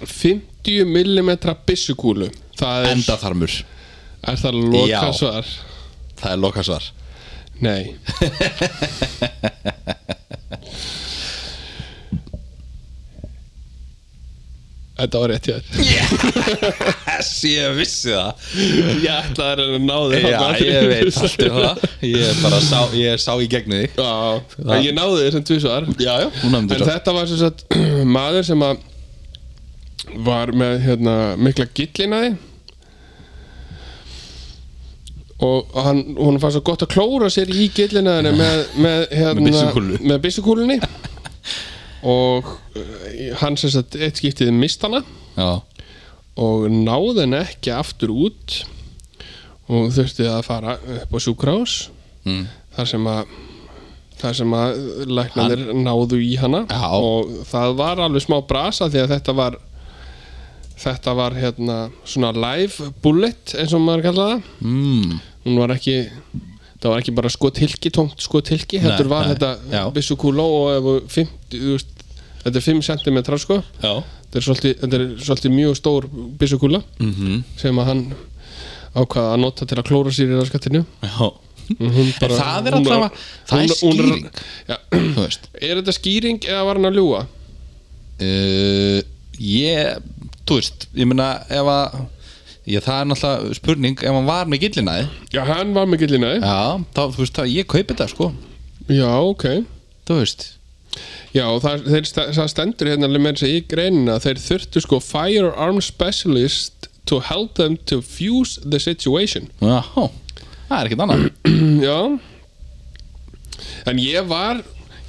Speaker 2: 50 mm byssukúlu Það er,
Speaker 1: endaþarmur
Speaker 2: er það loka
Speaker 1: Já.
Speaker 2: svar
Speaker 1: það er lokasvar
Speaker 2: Nei Þetta var rétt hjá þér
Speaker 1: yes, ég vissi það
Speaker 2: Ég ætlaði að reyna að ná þér
Speaker 1: já,
Speaker 2: þarna.
Speaker 1: ég veit allt um það ég bara sá, ég sá í gegnu því
Speaker 2: Já, en ég náði þér sem tvisvar
Speaker 1: Já, já, hún
Speaker 2: En
Speaker 1: nefndi það
Speaker 2: þetta var sem sagt maður sem að var með hérna, mikla gillinaði og hann, hún fannst svo gott að klóra sér í gillinaðinu með, með, hérna,
Speaker 1: Með byssukúlu.
Speaker 2: með byssukúlunni og eh, hann sem sagt eitt skiptið mist hana
Speaker 1: Já,
Speaker 2: og náði henni ekki aftur út og þurfti að fara upp á sjúkrás
Speaker 1: Mm.
Speaker 2: þar sem að þar sem að læknanir náðu í hana
Speaker 1: Já.
Speaker 2: og það var alveg smá brasa því að þetta var þetta var hérna svona live bullet eins og maður kallaði það
Speaker 1: mm,
Speaker 2: hún var ekki það var ekki bara skotilki, tómt skotilki
Speaker 1: Nei,
Speaker 2: heldur var
Speaker 1: nei,
Speaker 2: þetta
Speaker 1: já.
Speaker 2: byssukúló og ef þú 50, þú veist þetta er 5 cm sko
Speaker 1: Já
Speaker 2: þetta er svolítið, þetta er svolítið mjög stór byssukúla
Speaker 1: Mhm.
Speaker 2: sem að hann ákvaða að nota til að klóra sér í raskattinu
Speaker 1: Já
Speaker 2: hún
Speaker 1: En það er allavega, það er
Speaker 2: hún- hún-
Speaker 1: skýring
Speaker 2: ja,
Speaker 1: Þú veist
Speaker 2: er þetta skýring eða var hann að ljúa?
Speaker 1: uh, Ég, þú veist, ég meina ef að Já, það er náttúrulega spurning ef hann var með gillinaði
Speaker 2: já, hann var með gillinaði
Speaker 1: Já, þá, þú veist, það, ég kaupi þetta sko
Speaker 2: já, ok
Speaker 1: Þú veist
Speaker 2: já, og það, þeir, sta- það stendur hérna alveg með þess að í greinina þeir þurftu sko firearm specialist to help them to fuse the situation
Speaker 1: Já, það er ekkert annað
Speaker 2: já en ég var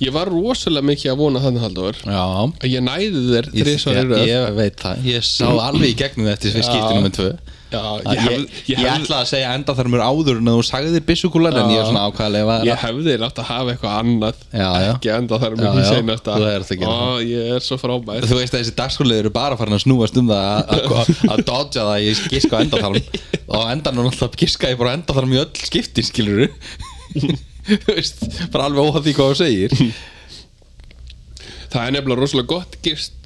Speaker 2: ég var rosalega mikið að vona þannig haldur
Speaker 1: Já
Speaker 2: að ég næði þér
Speaker 1: Ég,
Speaker 2: þrísvar í
Speaker 1: ég,
Speaker 2: röð Mm.
Speaker 1: ég veit það, ég sá alveg í gegnum þetta fyrir skipti nummer tvö
Speaker 2: Já,
Speaker 1: Ég,
Speaker 2: ég,
Speaker 1: ég,
Speaker 2: hef, ég, hef,
Speaker 1: ætla að segja enda þar mér áður en þú sagðir byssukúlar en ég er svona ákvæðlega
Speaker 2: ég hefði látt að hafa eitthvað annað
Speaker 1: Já, já.
Speaker 2: ekki enda þar
Speaker 1: Já,
Speaker 2: með því
Speaker 1: já,
Speaker 2: seinast
Speaker 1: þú ert að gera
Speaker 2: Ó, ég er svo frábær
Speaker 1: Þú veist að þessi dagskólið eru bara farin að snúast um það að- að að dodja það að ég giska á endatharm og á endanum alltaf giska ég bara á endatharm í öll skipti skilur þú veist, bara alveg óhald því hvað þú segir
Speaker 2: það er nefnilega rosalega gott gist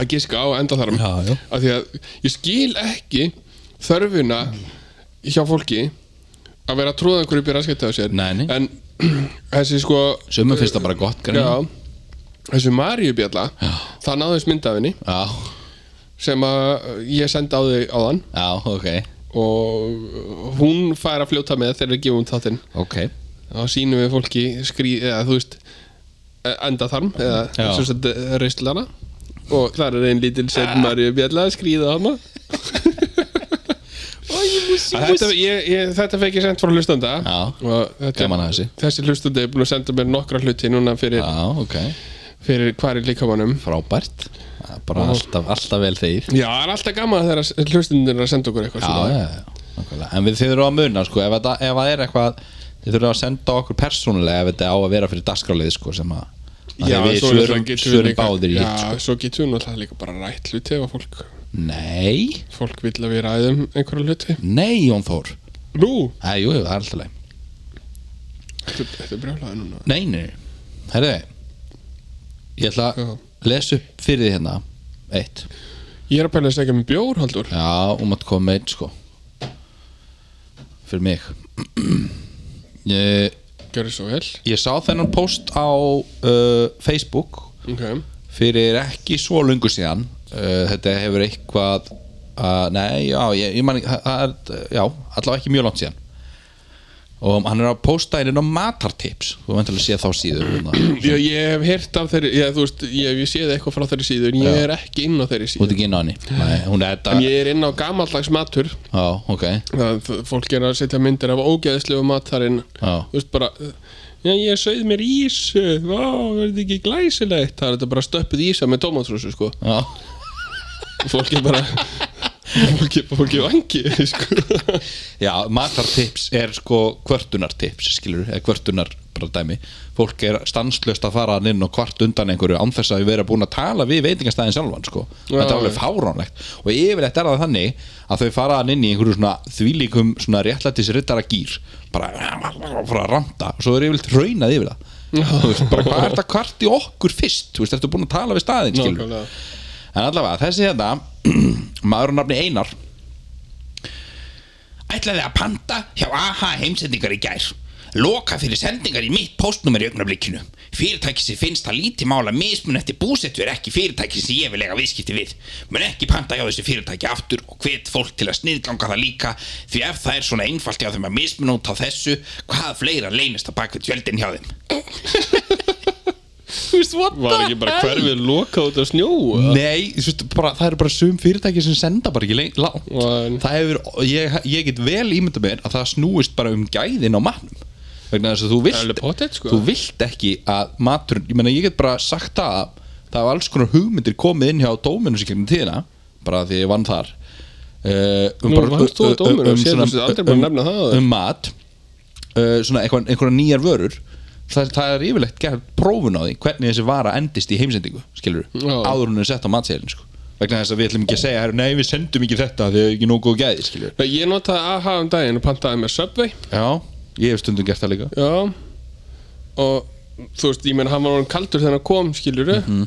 Speaker 2: að giska á enda þar
Speaker 1: Já, já.
Speaker 2: af því að ég skil ekki þörfuna hjá fólki að vera að tróða einhverju byrja að skæta á sér
Speaker 1: Nei, nei.
Speaker 2: en þessi sko
Speaker 1: Sumum finnst það bara gott greinilega.
Speaker 2: já, þessi Maríubjalla það náðist mynd af henni
Speaker 1: Já,
Speaker 2: sem að ég sendi á þig á þann
Speaker 1: já, ok
Speaker 2: og hún fær að fljóta með þegar við gefum þáttinn
Speaker 1: Ok,
Speaker 2: þá sýnum við fólki skrí, eða þú veist endatharm eða
Speaker 1: Já.
Speaker 2: sem sagt reislana og þar er ein lítil sem Maríu Bjalla að skrýða hana þetta, ég, ég, þetta fekk ég sendt frá hlustanda
Speaker 1: Já.
Speaker 2: og þetta,
Speaker 1: Gaman að þessu.
Speaker 2: þessi hlustandi er búin að senda mér nokkra hluti núna fyrir,
Speaker 1: já, ok
Speaker 2: fyrir hvar í líkamannum
Speaker 1: Frábært Það er Bara alltaf, alltaf vel þegið
Speaker 2: Já, það er alltaf gaman þegar hlustundir er að senda okkur eitthvað
Speaker 1: Já,
Speaker 2: svona.
Speaker 1: já, já, nákvæmlega. En við þið þurfum að muna sko, ef, þetta, ef það er eitthvað þið þurfum að senda okkur persónulega ef þetta á að vera fyrir dagskráliði sko, sem að, að
Speaker 2: Já,
Speaker 1: því við
Speaker 2: svo er
Speaker 1: svörum,
Speaker 2: það getum við
Speaker 1: svörum
Speaker 2: líka-
Speaker 1: báðir í
Speaker 2: Já,
Speaker 1: hitt sko.
Speaker 2: svo getum við náttúrulega líka bara rætt hluti ef að fólk,
Speaker 1: Nei,
Speaker 2: fólk vil að við ræðum einhverja hluti
Speaker 1: nei Jón Þór
Speaker 2: Nú,
Speaker 1: Æ, jú, jú, það er alltaf leið
Speaker 2: þetta þetta er brjálæði núna
Speaker 1: Nei, nei, herðu Ég ætla að
Speaker 2: Já.
Speaker 1: lesa upp fyrir þið hérna Eitt
Speaker 2: Ég er að pæla að segja með bjór, Haldur
Speaker 1: Já, og maður koma með eitt sko Fyrir mig Ég
Speaker 2: Gjörðu svo vel
Speaker 1: ég sá þennan post á uh, Facebook
Speaker 2: Ok
Speaker 1: fyrir ekki svo lungu síðan uh, þetta hefur eitthvað uh, nei, já, ég, ég man ekki- það- það er, já, allavega ekki mjög langt síðan og hann er að posta einu á matartips, þú veit alveg að sé þá síður hérna.
Speaker 2: Ég, ég hef heyrt af þeirri, ég, þú veist, ég hef ég séð eitthvað frá þeirri síðu En ég er ekki inn á þeirri
Speaker 1: þú
Speaker 2: síðu
Speaker 1: ert ekki inn á henni nei, hún er þetta,
Speaker 2: En ég er inn á gamaldags matur
Speaker 1: já, ok
Speaker 2: Það það- fólk er að setja myndir af ógeðslegu mat þar inn
Speaker 1: Já.
Speaker 2: Þú veist bara Já, ég sauð mér ís Vá, verði ekki glæsilegt Það er þetta bara stöppuð ísa með tómatrúsu, sko
Speaker 1: já,
Speaker 2: Fólk er bara Fólk er, fólk er vangi, sko
Speaker 1: já matartips er sko kvörtunartips, skilur, eða kvörtunar bara dæmi, fólk er stanslöst að fara þarna inn og kvart undan einhverju ánþess að við vera búin að tala við veitingastæðin sjálfan sko.
Speaker 2: Já,
Speaker 1: þetta er alveg
Speaker 2: já.
Speaker 1: fáránlegt og yfirleitt er það þannig að þau fara hann inn í einhverju svona þvílíkum svona réttlætisrittara gýr bara, bara að ranta og svo er yfirleitt raunað yfir það Þú veist, bara hvað er þetta kvart í okkur fyrst þú veist, ertu búin að tala við staðin skilur
Speaker 2: Nákvæmlega.
Speaker 1: en allavega, þessi þetta maður á nafni Einar ætlaði að panta hjá AHA heimsendingar í gær loka fyrir sendingar í mitt postnúmer í augnablikinu fyrirtæki sem finnst það lítið mála mismun eftir búsettu er ekki fyrirtæki sem ég vil lega viðskipti við mun ekki panta hjá þessu fyrirtæki aftur og hvet fólk til að sniðganga það líka því ef það er svona einfalt hjá þeim að mismun út á þessu hvað fleira leynist að baka tjöldin hjá þeim Þú veist, what
Speaker 2: Var ekki bara hverfið lokað út að snjóa
Speaker 1: Nei, þú veist, bara, það eru bara sum fyrirtæki sem senda bara ekki leið- langt
Speaker 2: Nei.
Speaker 1: Það hefur, ég, ég get vel ímynda mér að það snúist bara um gæðin á matnum vegna þess að þú
Speaker 2: Alveg
Speaker 1: vilt
Speaker 2: pottet, sko.
Speaker 1: þú vilt ekki að matur ég meina, ég get bara sagt það að það hafa alls konar hugmyndir komið inn hjá dóminus í gegnum tíðina, bara því ég vann þar uh, um
Speaker 2: Nú, vannst þú á Dóminus? Ég held að þú sért aldrei búin að nefna það áður.
Speaker 1: um mat uh, svona einhver, einhverja nýjar vörur það, það er yfirlegt gerð prófun á því hvernig þessi vara endist í heimsendingu skilur
Speaker 2: Já.
Speaker 1: áður en hún er sett á matseðlin sko. vegna þess að við ætlum ekki að segja "Herru, nei við sendum ekki þetta því það er ekki nógu góð gæði skilur
Speaker 2: Nei, Ég notaði AHA um daginn og pantaði með Subway
Speaker 1: já ég hef stundum gert það líka Mhm.
Speaker 2: Já Og þú veist, ég menn, hann var orðin kaldur þegar hann kom, skilur mm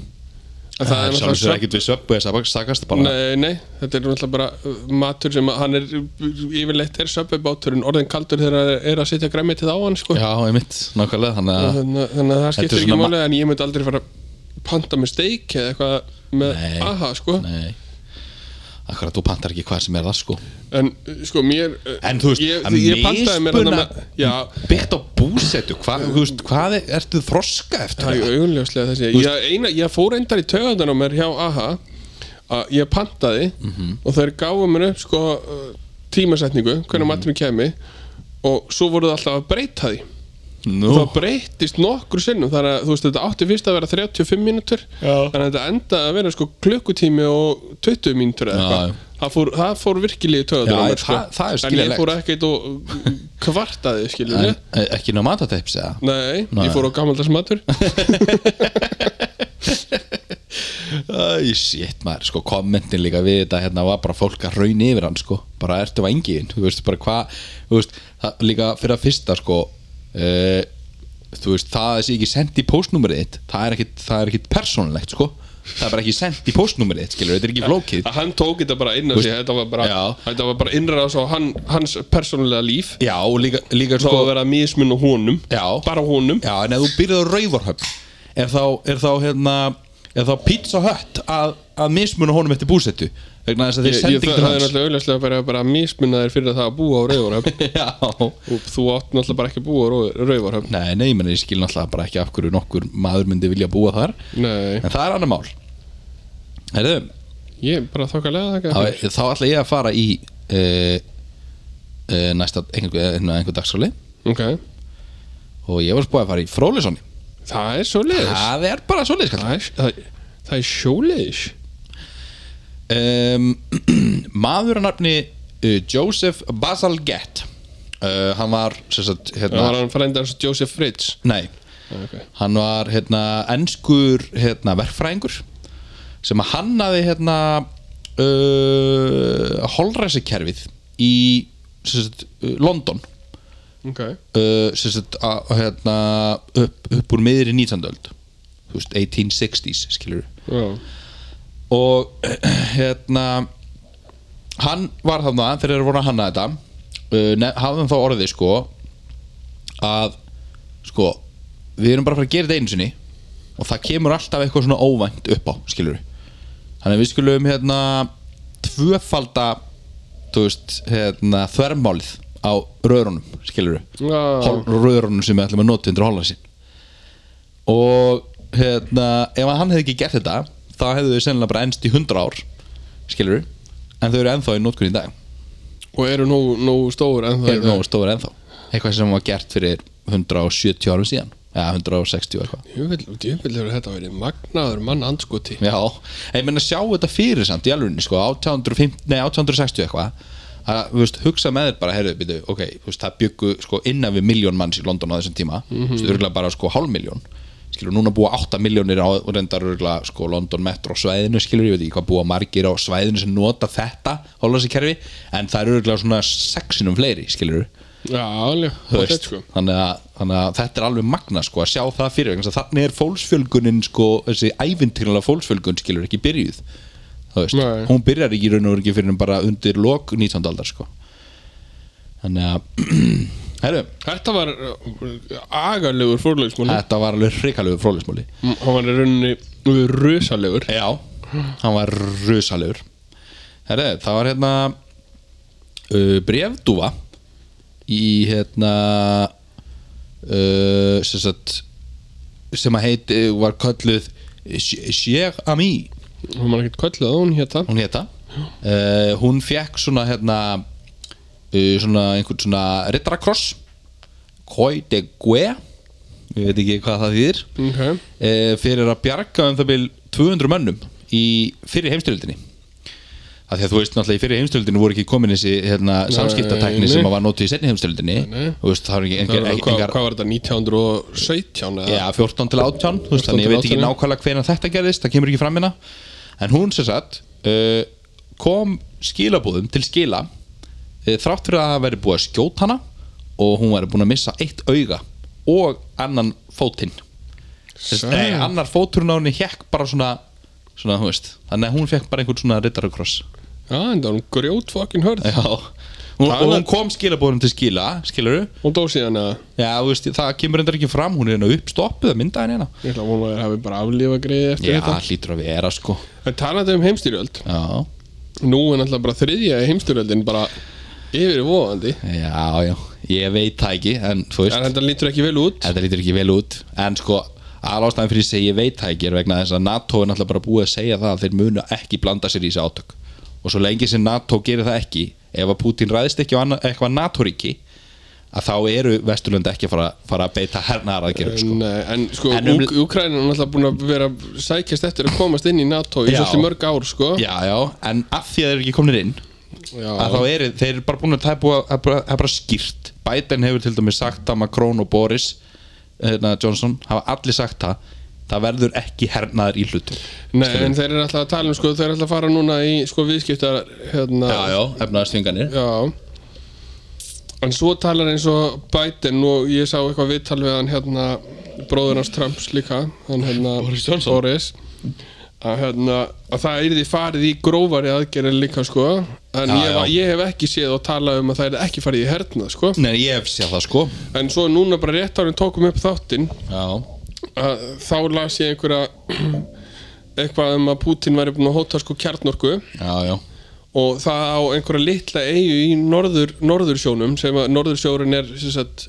Speaker 2: En það er náttúrulega
Speaker 1: sjálfsög
Speaker 2: svefn-
Speaker 1: ekkert við söpbu þess að sakast bara
Speaker 2: Nei, nei, þetta er náttúrulega bara uh, matur sem að hann er yfirleitt er söpvebáturinn orðin kaldur þegar það er að setja græmitið á hann sko.
Speaker 1: Já, einmitt, nákvæmlega þannig að
Speaker 2: þannig, að- þannig að það
Speaker 1: Þetta er
Speaker 2: skiptir
Speaker 1: svona
Speaker 2: ekki
Speaker 1: ma-
Speaker 2: máli en ég myndi aldrei fara að panta með steik eða eitthvað með
Speaker 1: Nei.
Speaker 2: aha sko.
Speaker 1: Nei Akkurat, þú pantar ekki hvað sem er það sko
Speaker 2: en uh, sko mér uh,
Speaker 1: En þú veist,
Speaker 2: ég,
Speaker 1: að
Speaker 2: ég pantaði mér þarna
Speaker 1: mismuna-
Speaker 2: með, já,
Speaker 1: Byggt á búsetu, hvað, þú veist, hvað er, ertu þroska eftir
Speaker 2: það
Speaker 1: það?
Speaker 2: er augunljóslega þessi ég, eina, ég fór endar í töðan á mér hjá aha að ég pantaði
Speaker 1: Mhm.
Speaker 2: og þeir gáfu mér upp sko uh, tímasetningu, hvernig
Speaker 1: Mhm.
Speaker 2: mm -hmm. matur mér kemi og svo voru það alltaf að breyta því
Speaker 1: Nú,
Speaker 2: það breyttist nokkru sinnum þannig að þú veist þetta átti fyrst að vera 35 mínútur
Speaker 1: Já.
Speaker 2: þannig að þetta endaði að vera sko klukkutími og 20 mínútur eða
Speaker 1: Já, já.
Speaker 2: eitthvað það fór, það fór virkilega í töður
Speaker 1: Já,
Speaker 2: á
Speaker 1: það-
Speaker 2: mér sko
Speaker 1: það er
Speaker 2: en ég
Speaker 1: skiljanlegt.
Speaker 2: fór ekkert og uh, kvartaði skiljaði
Speaker 1: en, e- ekki ná matateips eða?
Speaker 2: Nei,
Speaker 1: Nei.
Speaker 2: ég fór á gamaldags matur
Speaker 1: Æ, shit maður, sko, kommentin líka við þetta hérna var bara fólk að raun yfir hann, sko bara ertu vangiðin, þú veist, bara hvað þú veist, það, líka fyrir að fyrsta, sko uh, þú veist, það að sé ekki sendt í postnúmerið þitt, það er ekkit, það er ekkit persónulegt, sko það er bara ekki sendt í postnúmerið þitt, skilur, þetta er ekki flókið
Speaker 2: að hann tók þetta bara inn á sig þetta var bara,
Speaker 1: Já.
Speaker 2: þetta var bara innræðs á hann, hans persónulega líf
Speaker 1: Já, og líka, líka
Speaker 2: þá
Speaker 1: sko
Speaker 2: að vera að mismunna honum
Speaker 1: Já.
Speaker 2: bara honum
Speaker 1: Já, en ef þú byrðið á rauvarhöfn er þá, er þá hérna er þá pizza hött að, að mismuna honum eftir búsettu vegna þess að þeir
Speaker 2: Ég, ég,
Speaker 1: sendi
Speaker 2: það
Speaker 1: ekki
Speaker 2: það er
Speaker 1: hans
Speaker 2: náttúrulega auðvitað bara, bara mismunnaðir fyrir það að búa á Rauvarhöfn
Speaker 1: Já,
Speaker 2: og þú átt náttúrulega bara ekki að búa á Rau- Rauvarhöfn
Speaker 1: nei, nei, menn ég skil náttúrulega bara ekki af hverju nokkur maður myndi vilja búa þar
Speaker 2: Nei,
Speaker 1: en það er annar mál Herðu,
Speaker 2: ég er bara þokkalega þakka
Speaker 1: þá,
Speaker 2: fyrir.
Speaker 1: þá ætla ég að fara í uh, uh, næsta einhver, einhver, einhver dagsfráli
Speaker 2: Ok,
Speaker 1: og ég var spúið að fara í Frólisoni
Speaker 2: það er svo leiðis
Speaker 1: Það er bara svoleiðis kallar
Speaker 2: það, er- það, það er sjóleiðis
Speaker 1: um, maður að nafni uh, Joseph Bazalgett uh, hann var sem sagt,
Speaker 2: Það
Speaker 1: hérna,
Speaker 2: var hann frændar hans Joseph Fritz
Speaker 1: nei,
Speaker 2: okay.
Speaker 1: hann var hérna, enskur hérna, verkfræðingur sem að hannaði hérna, uh, holræsikerfið í sem sagt, uh, London
Speaker 2: ok
Speaker 1: uh, sem sagt, a, hérna, upp, upp úr miðri 19. öld Þú veist, 1860s skilur
Speaker 2: Já,
Speaker 1: og hérna hann var þarna þegar þeir voru að hanna þetta uh, nef- hafði þá orðið sko að sko við erum bara að fara að gera þetta einu sinni og það kemur alltaf eitthvað svona óvænt upp á skilur þannig að við skulum hérna tvöfalda þú veist hérna þvermálið á rörunum skilur
Speaker 2: Já.
Speaker 1: rörunum sem við ætlum að nota undir holansin og hérna, ef hann hefði ekki gert þetta þá hefðu þau sennilega bara ennst í 100 ár skilur en þau eru ennþá í nótkunni í dag
Speaker 2: og eru nógu, nógu stór en það
Speaker 1: eru nógu stóður ennþá eitthvað sem var gert fyrir 170 árum síðan eða 160 eitthvað
Speaker 2: Djúvill hefur þetta verið magnaður mann andskoti
Speaker 1: já, en ég meina sjá þetta fyrir samt í alvegni sko, 1850, nei 1860 eitthvað að, þú veist, hugsa með þér bara, heyrðu, byrju, ok þú veist, það byggu sko innan við miljón manns í London á þessum tíma, þú veist, örgulega bara sko hálfmiljón, skilur, núna búa 8 miljónir á, og reyndar örgulega sko London metro svæðinu, skilur, ég veit ekki hvað búa margir á svæðinu sem nota þetta hólasikerfi, en það eru örgulega svona sexinum fleiri, skilur
Speaker 2: Já, alveg,
Speaker 1: Þú
Speaker 2: þetta
Speaker 1: veist,
Speaker 2: sko
Speaker 1: þannig, að, þannig að þetta er alveg magna sko, að sjá það fyrir vegna þess að þannig er fólksfjölgunin sko, þessi ævintýrlega fólksfjölgun skilur ekki byrjuð Þú veist,
Speaker 2: Nei.
Speaker 1: hún byrjar ekki í raun og veru ekki fyrir en bara undir lok 19. aldar sko. þannig að herru,
Speaker 2: Þetta var uh, agarlegur fórlegsmóli
Speaker 1: þetta var alveg hrikalegu frólismóli
Speaker 2: Hann var í rauninni uh, rusalegur
Speaker 1: já, hann var rusalegur herru, það var hérna uh, brefdúfa í hérna uh, sem sagt sem að heiti var kölluð Sér Ami
Speaker 2: Hún var ekkert kölluð hérna. að hún hétta
Speaker 1: hún hétta uh, hún fekk svona hérna uh, svona einhvern svona rittarakross Koi de Gue ég veit ekki hvað það þýðir
Speaker 2: Ok,
Speaker 1: uh, fyrir að bjarga um það byrjum 200 mönnum í fyrir heimstöldinni að því að þú veist náttúrulega í fyrir heimstöldinni voru ekki komin þessi hérna, samskiptatækni
Speaker 2: nei.
Speaker 1: sem að var nótið í senni heimstöldinni
Speaker 2: Nei, nei.
Speaker 1: þú veist það var ekki
Speaker 2: það
Speaker 1: engar,
Speaker 2: var, hvað,
Speaker 1: engar,
Speaker 2: hvað var þetta, 1917 eða?
Speaker 1: Já, 14 til 18 þú veist,
Speaker 2: 14
Speaker 1: Þannig ég
Speaker 2: til
Speaker 1: veit ekki
Speaker 2: 18, já.
Speaker 1: nákvæmlega hvena þetta gerðist Það kemur ekki fram hérna En hún sem sagt uh, kom skilabúðum til skila uh, þrátt fyrir að það væri búið að skjóta hana og hún væri búin að missa eitt auga og annan fótinn Þessi-
Speaker 2: Sæl.
Speaker 1: Nei, annar fóturinn á henni hekk bara svona svona, þú veist þannig að hún fekk bara einhvern svona rittarakross
Speaker 2: Já, en það var hún grjót fokkin hörð
Speaker 1: já hún, og
Speaker 2: Það var-
Speaker 1: hún kom skilabóðum til skila skilur
Speaker 2: Hún dó síðan að
Speaker 1: já, þú veist, það kemur reyndar ekki fram hún er hérna uppstoppuð að mynda henni hérna
Speaker 2: Ég ætla að hún að hafi bara aflífa greiði eftir
Speaker 1: já,
Speaker 2: þetta
Speaker 1: hlýtur að vera sko
Speaker 2: En talandi um heimstyrjöld
Speaker 1: já,
Speaker 2: Nú er náttúrulega bara þriðja heimstyrjöldin bara yfirvofandi
Speaker 1: já, já ég veit það ekki, en þú veist
Speaker 2: En þetta lítur ekki vel út
Speaker 1: þetta lítur ekki vel út en sko aðlástaðan fyrir því að ég veit það ekki er vegna þess að NATO er náttúrulega bara búið að segja það að þeir munu ekki blanda sér í þessi átök og svo lengi sem NATO gerir það ekki ef að Putin ræðist ekki á anna, eitthvað NATO-ríki að þá eru Vesturlönd ekki að fara, fara að beita hernaðar aðgerðum sko.
Speaker 2: Nei, en sko,
Speaker 1: En
Speaker 2: en
Speaker 1: um-
Speaker 2: um, Úkrænin er náttúrulega búin að vera að sækjast eftir að komast inn í NATO í
Speaker 1: Já.
Speaker 2: svolítið mörg ár, sko
Speaker 1: já, já, en af því að þeir eru ekki komnir inn
Speaker 2: Já.
Speaker 1: að þá eru, þeir eru bara búin að það er búið að- það er bara- það er bara skýrt Biden hefur til dæmis sagt að Macron og Boris hérna, Johnson hafa allir sagt það það verður ekki hernaðar í hlutum
Speaker 2: Nei, en þeir eru alltaf að tala um, sko, þeir eru alltaf að fara núna í, sko, viðskiptar, hérna
Speaker 1: já, já, efnaðarstvinganir
Speaker 2: Já En svo talar eins og Biden og ég sá eitthvað viðtal við hann hérna bróður hans Trumps líka hann, hérna,
Speaker 1: Boris Johnson.
Speaker 2: Boris, að, hérna, að það er því farið í grófari aðgerðin líka sko en
Speaker 1: Já,
Speaker 2: ég,
Speaker 1: já.
Speaker 2: ég hef ekki séð og talað um að það er ekki farið í hernað sko
Speaker 1: Nei, ég hef séð það sko
Speaker 2: en svo núna bara rétt árið tókum upp þáttinn
Speaker 1: Já,
Speaker 2: að þá las ég einhverja eitthvað um að Putin væri búin að hóta sko kjarnorku
Speaker 1: já, já
Speaker 2: og það á einhverja litla eigu í norður, norðursjónum sem að norðursjórun er sem sagt,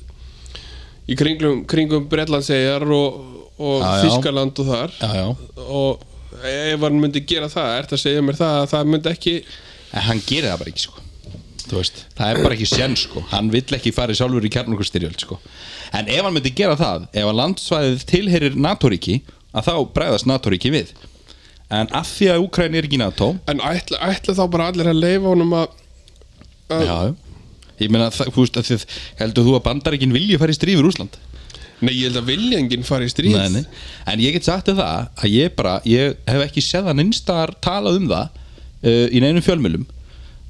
Speaker 2: í kringum, kringum Bretlandseyjar og, og
Speaker 1: Já, já.
Speaker 2: Þískaland og þar
Speaker 1: Já, já
Speaker 2: og ef hann myndi gera það ert að segja mér það að það myndi ekki
Speaker 1: En hann gerir það bara ekki sko Þú veist Það er bara ekki sén sko Hann vill ekki fara í sjálfur í kjarnokustyrjöld sko En ef hann myndi gera það Ef að landsvæðið tilherir NATO-ríki Að þá bregðast NATO-ríki við En af því að Úkræn er ekki í NATO
Speaker 2: en ætla, ætla þá bara allir að leifa honum að
Speaker 1: Já, já Ég meina, það- þú veist, að þið, heldur þú að bandaríkin vilji fara í strífur Úsland?
Speaker 2: nei ég held að vilja enginn fara í stríð
Speaker 1: Nei, nei. En ég get sagt þér það að ég bara, ég hef ekki séð hann einstar talað um það uh, í neinum fjölmjölum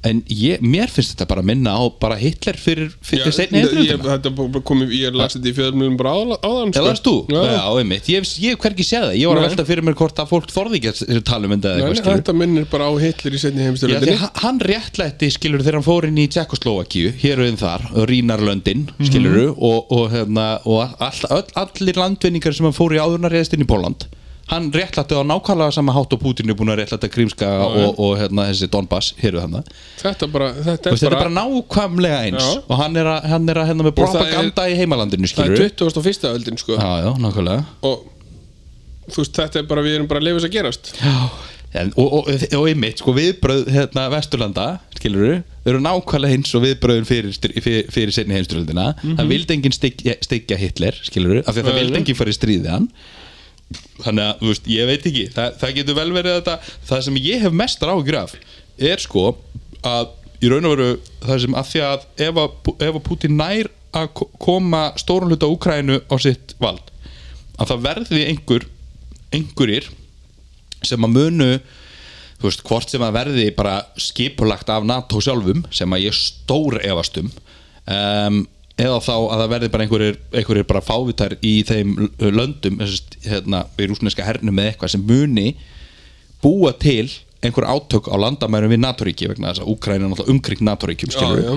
Speaker 1: en ég, mér finnst þetta bara minna á bara Hitler fyrir,
Speaker 2: Já,
Speaker 1: fyrir ja, seinni
Speaker 2: ég, ég,
Speaker 1: heimsturöldina
Speaker 2: þetta bara komið, ég las þetta í fjöðumlunum bara áðan- áðan sko.
Speaker 1: Eða varst þú?
Speaker 2: Já,
Speaker 1: Já, einmitt, ég hef, ég hef hvergi séð það Ég var að
Speaker 2: Nei.
Speaker 1: velta fyrir mér hvort að fólk þorði ekki að tala um þetta eða
Speaker 2: nei,
Speaker 1: eitthvað
Speaker 2: nei,
Speaker 1: skilur
Speaker 2: þetta minnir bara á Hitler í setni
Speaker 1: Já, því
Speaker 2: heimstyrjöldinni
Speaker 1: hann- hann réttlætti skilur þegar hann fór inn í Tjekkoslovakíu hér auðin þar, Rínarlöndin skilur
Speaker 2: Mhm.
Speaker 1: og, og, hérna, og all, all, allir landvinningar sem hann fór í áðurna reyðist inn í Póland hann réttlætti á nákvæmlega sama hátt og Putin er búin að réttlætta Krímska og, og hérna, þessi Donbass hér auðin það
Speaker 2: þetta bara, þetta er
Speaker 1: þetta er
Speaker 2: bara
Speaker 1: bara nákvæmlega eins
Speaker 2: Já.
Speaker 1: og hann er, að, hann er að, hérna, með
Speaker 2: Og það er-
Speaker 1: propaganda í heimalandinu
Speaker 2: það
Speaker 1: skilur
Speaker 2: er 21. öldin sko
Speaker 1: já, já, nákvæmlega
Speaker 2: og þú veist þetta er bara við erum bara að leifa þess að gerast
Speaker 1: Já, en, og, og, og einmitt sko viðbröð hérna, Vesturlanda skilur eru nákvæmlega eins og viðbröðin fyrir, stri- fyrir, fyrir sinni heimsturöldina það vildi enginn styggja, styggja Hitler skilur af því að það
Speaker 2: Nei,
Speaker 1: vildi
Speaker 2: nei.
Speaker 1: enginn fara í stríði hann þannig að, þú veist, ég veit ekki það, það getur vel verið þetta það sem ég hef mestar áhyggjur af er sko að í raun og veru það sem að því að ef að, ef að Putin nær að ko- koma stórun hluta Úkrænu á sitt vald að það verði einhver einhverjir sem að munu þú veist, hvort sem að verði bara skipulagt af NATO sjálfum sem að ég stór efast um um, eða þá að það verði bara einhverjir, einhverjir bara fávitar í þeim l- löndum þessast, hérna, við rúsneska hernum eða eitthvað sem muni búa til einhver átök á landamærum við NATO-ríki vegna þess að Úkræna er náttúrulega umkring NATO-ríkjum skilur
Speaker 2: Já, já.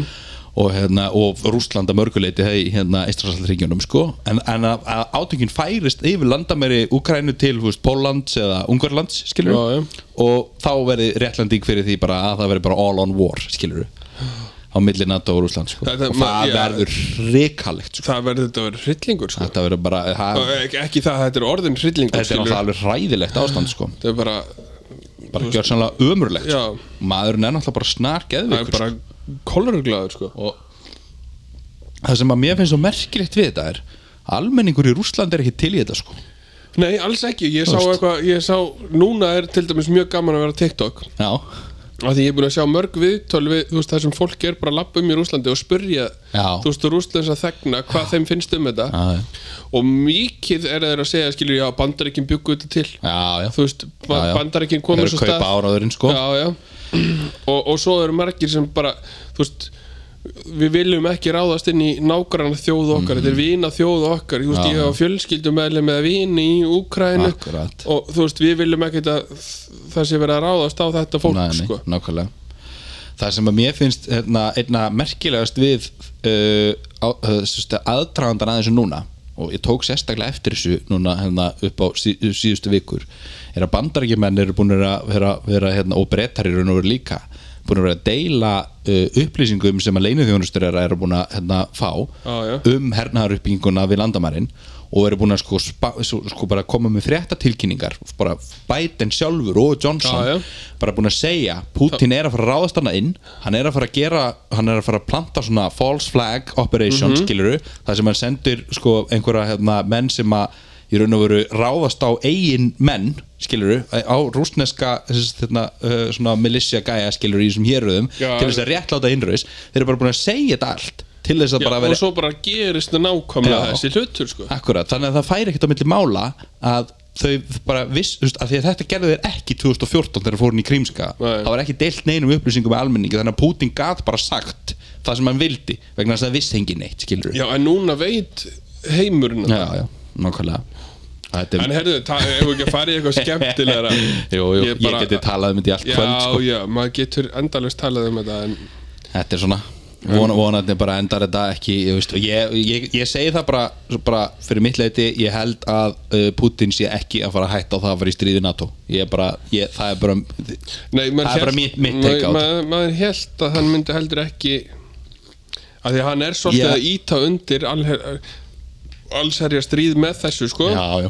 Speaker 1: og, hérna, og Rússlanda mörguleiti hei, hérna, Íslandsallríkjunum sko en, en að, að átökin færist yfir landamæri Úkrænu til þú veist, Póllands eða Ungarlands skilur
Speaker 2: Já, já.
Speaker 1: og þá verði réttlanding fyrir því bara að það verði bara all on war skilur á milli NATO og Rússland sko.
Speaker 2: Þetta-
Speaker 1: og það
Speaker 2: já.
Speaker 1: verður reikalegt sko.
Speaker 2: það verður þetta að vera hryllingur sko
Speaker 1: þetta verður bara það,
Speaker 2: Og ekki, ekki það að þetta er orðin hryllingur
Speaker 1: þetta er
Speaker 2: skilur.
Speaker 1: náttúrulega alveg hræðilegt ástand sko.
Speaker 2: þetta er bara,
Speaker 1: bara gjör sannlega ömurlegt sko.
Speaker 2: Já.
Speaker 1: maðurinn er náttúrulega bara
Speaker 2: það er
Speaker 1: snargeðvikur
Speaker 2: bara koloruglaður sko
Speaker 1: sko. og það sem að mér finnst svo merkilegt við þetta er almenningur í Rússlandi er ekki til í þetta sko.
Speaker 2: nei alls ekki, ég sá
Speaker 1: Þú veist.
Speaker 2: eitthvað ég sá, núna er til dæmis mjög gaman að vera á TikTok
Speaker 1: já,
Speaker 2: af því ég er búin að sjá mörg viðtöl við, þú veist, það sem fólk er bara að lappa um í Rúslandi og spyrja,
Speaker 1: Já.
Speaker 2: þú veist, Rúslands að þegna hvað þeim finnst um þetta
Speaker 1: já,
Speaker 2: og mikið er þeir að segja, skilur, já, bandaríkin byggu þetta til
Speaker 1: já, já.
Speaker 2: þú veist, ba
Speaker 1: Já, já.
Speaker 2: bandaríkin
Speaker 1: það
Speaker 2: komur
Speaker 1: eru
Speaker 2: svo
Speaker 1: að kaupa sko.
Speaker 2: stað
Speaker 1: áraðurinn sko.
Speaker 2: já, já. Og, og svo eru margir sem bara þú veist, við viljum ekki ráðast inn í nágrann þjóð okkar, þetta er vina þjóð okkar Þú veist,
Speaker 1: Mhm. Já.
Speaker 2: ég hafa fjölskyldum meðlum eða vini í Úkrænu
Speaker 1: Akkurat.
Speaker 2: og þú veist, við viljum ekki að það sé verið að ráðast á þetta fólk
Speaker 1: Nei, nei,
Speaker 2: sko.
Speaker 1: nákvæmlega það sem að mér finnst hérna, einna merkilegast við uh, á, uh, sérst, aðdragandan að þessu núna og ég tók sérstaklega eftir þessu núna hérna, upp á sí, síðustu vikur er að bandarækjumenn eru búin að vera, vera hérna, og brettar eru nú líka búin að vera að deila uh, upplýsingum sem að leinuþjónustur eru er búin að hérna, fá
Speaker 2: Já, já.
Speaker 1: um hernaðaruppbygginguna við landamærin og eru búin að sko, spa, svo- sko bara koma með fréttatilkynningar bara Biden sjálfur og Johnson
Speaker 2: Já, já.
Speaker 1: bara búin að segja Putin er að fara að ráðast hana inn hann er að fara að gera hann er að fara að planta svona false flag operation
Speaker 2: Mhm.
Speaker 1: mm þar sem hann sendir sko einhverja hérna, menn sem að í raun og veru ráðast á eigin menn skiluru, á rúsneska þessi, hérna, uh, svona militia gæja skiluru í þessum héröðum
Speaker 2: Já.
Speaker 1: til þess að réttláta innröðis þeir eru bara búin að segja þetta allt til þess að
Speaker 2: Já,
Speaker 1: bara
Speaker 2: og
Speaker 1: vera
Speaker 2: svo bara gerist það nákvæmlega
Speaker 1: Já.
Speaker 2: þessi hlutur sko.
Speaker 1: Akkurat, þannig að það færi ekkert á milli mála að þau bara viss, þú veist, að því að þetta gerðu þeir ekki 2014 þegar fórun í Krímska
Speaker 2: Nei.
Speaker 1: það var ekki deilt neinum upplýsingum með almenningi þannig að Putin gat bara sagt það sem hann vildi vegna þess að það viss hengi neitt, skilur
Speaker 2: Já, en núna veit heimurinn um
Speaker 1: já, já, nákvæmlega Þetta
Speaker 2: En
Speaker 1: er,
Speaker 2: herðu, ef ekki að fara í eitthvað skemmtilegra
Speaker 1: jú, jú, ég,
Speaker 2: bara-
Speaker 1: geti talað um þetta í allt
Speaker 2: Já,
Speaker 1: kvöld sko.
Speaker 2: já, maður getur endalist talað um þetta en
Speaker 1: Þetta er svona
Speaker 2: Mm.
Speaker 1: von, vonandi bara endar þetta ekki ég, veist, og ég, ég, ég segi það bara, bara fyrir mitt leiti, ég held að uh, Putin sé ekki að fara að hætta á það að fara í stríði NATO ég er bara, ég, það er bara
Speaker 2: Nei, maður
Speaker 1: það er bara
Speaker 2: hélt-
Speaker 1: mitt, mitt take á
Speaker 2: maður-
Speaker 1: þetta
Speaker 2: maður- Maður held að hann myndi heldur ekki að því að hann er svolítið
Speaker 1: Já.
Speaker 2: að íta undir allher- allsherja stríð með þessu sko
Speaker 1: já, já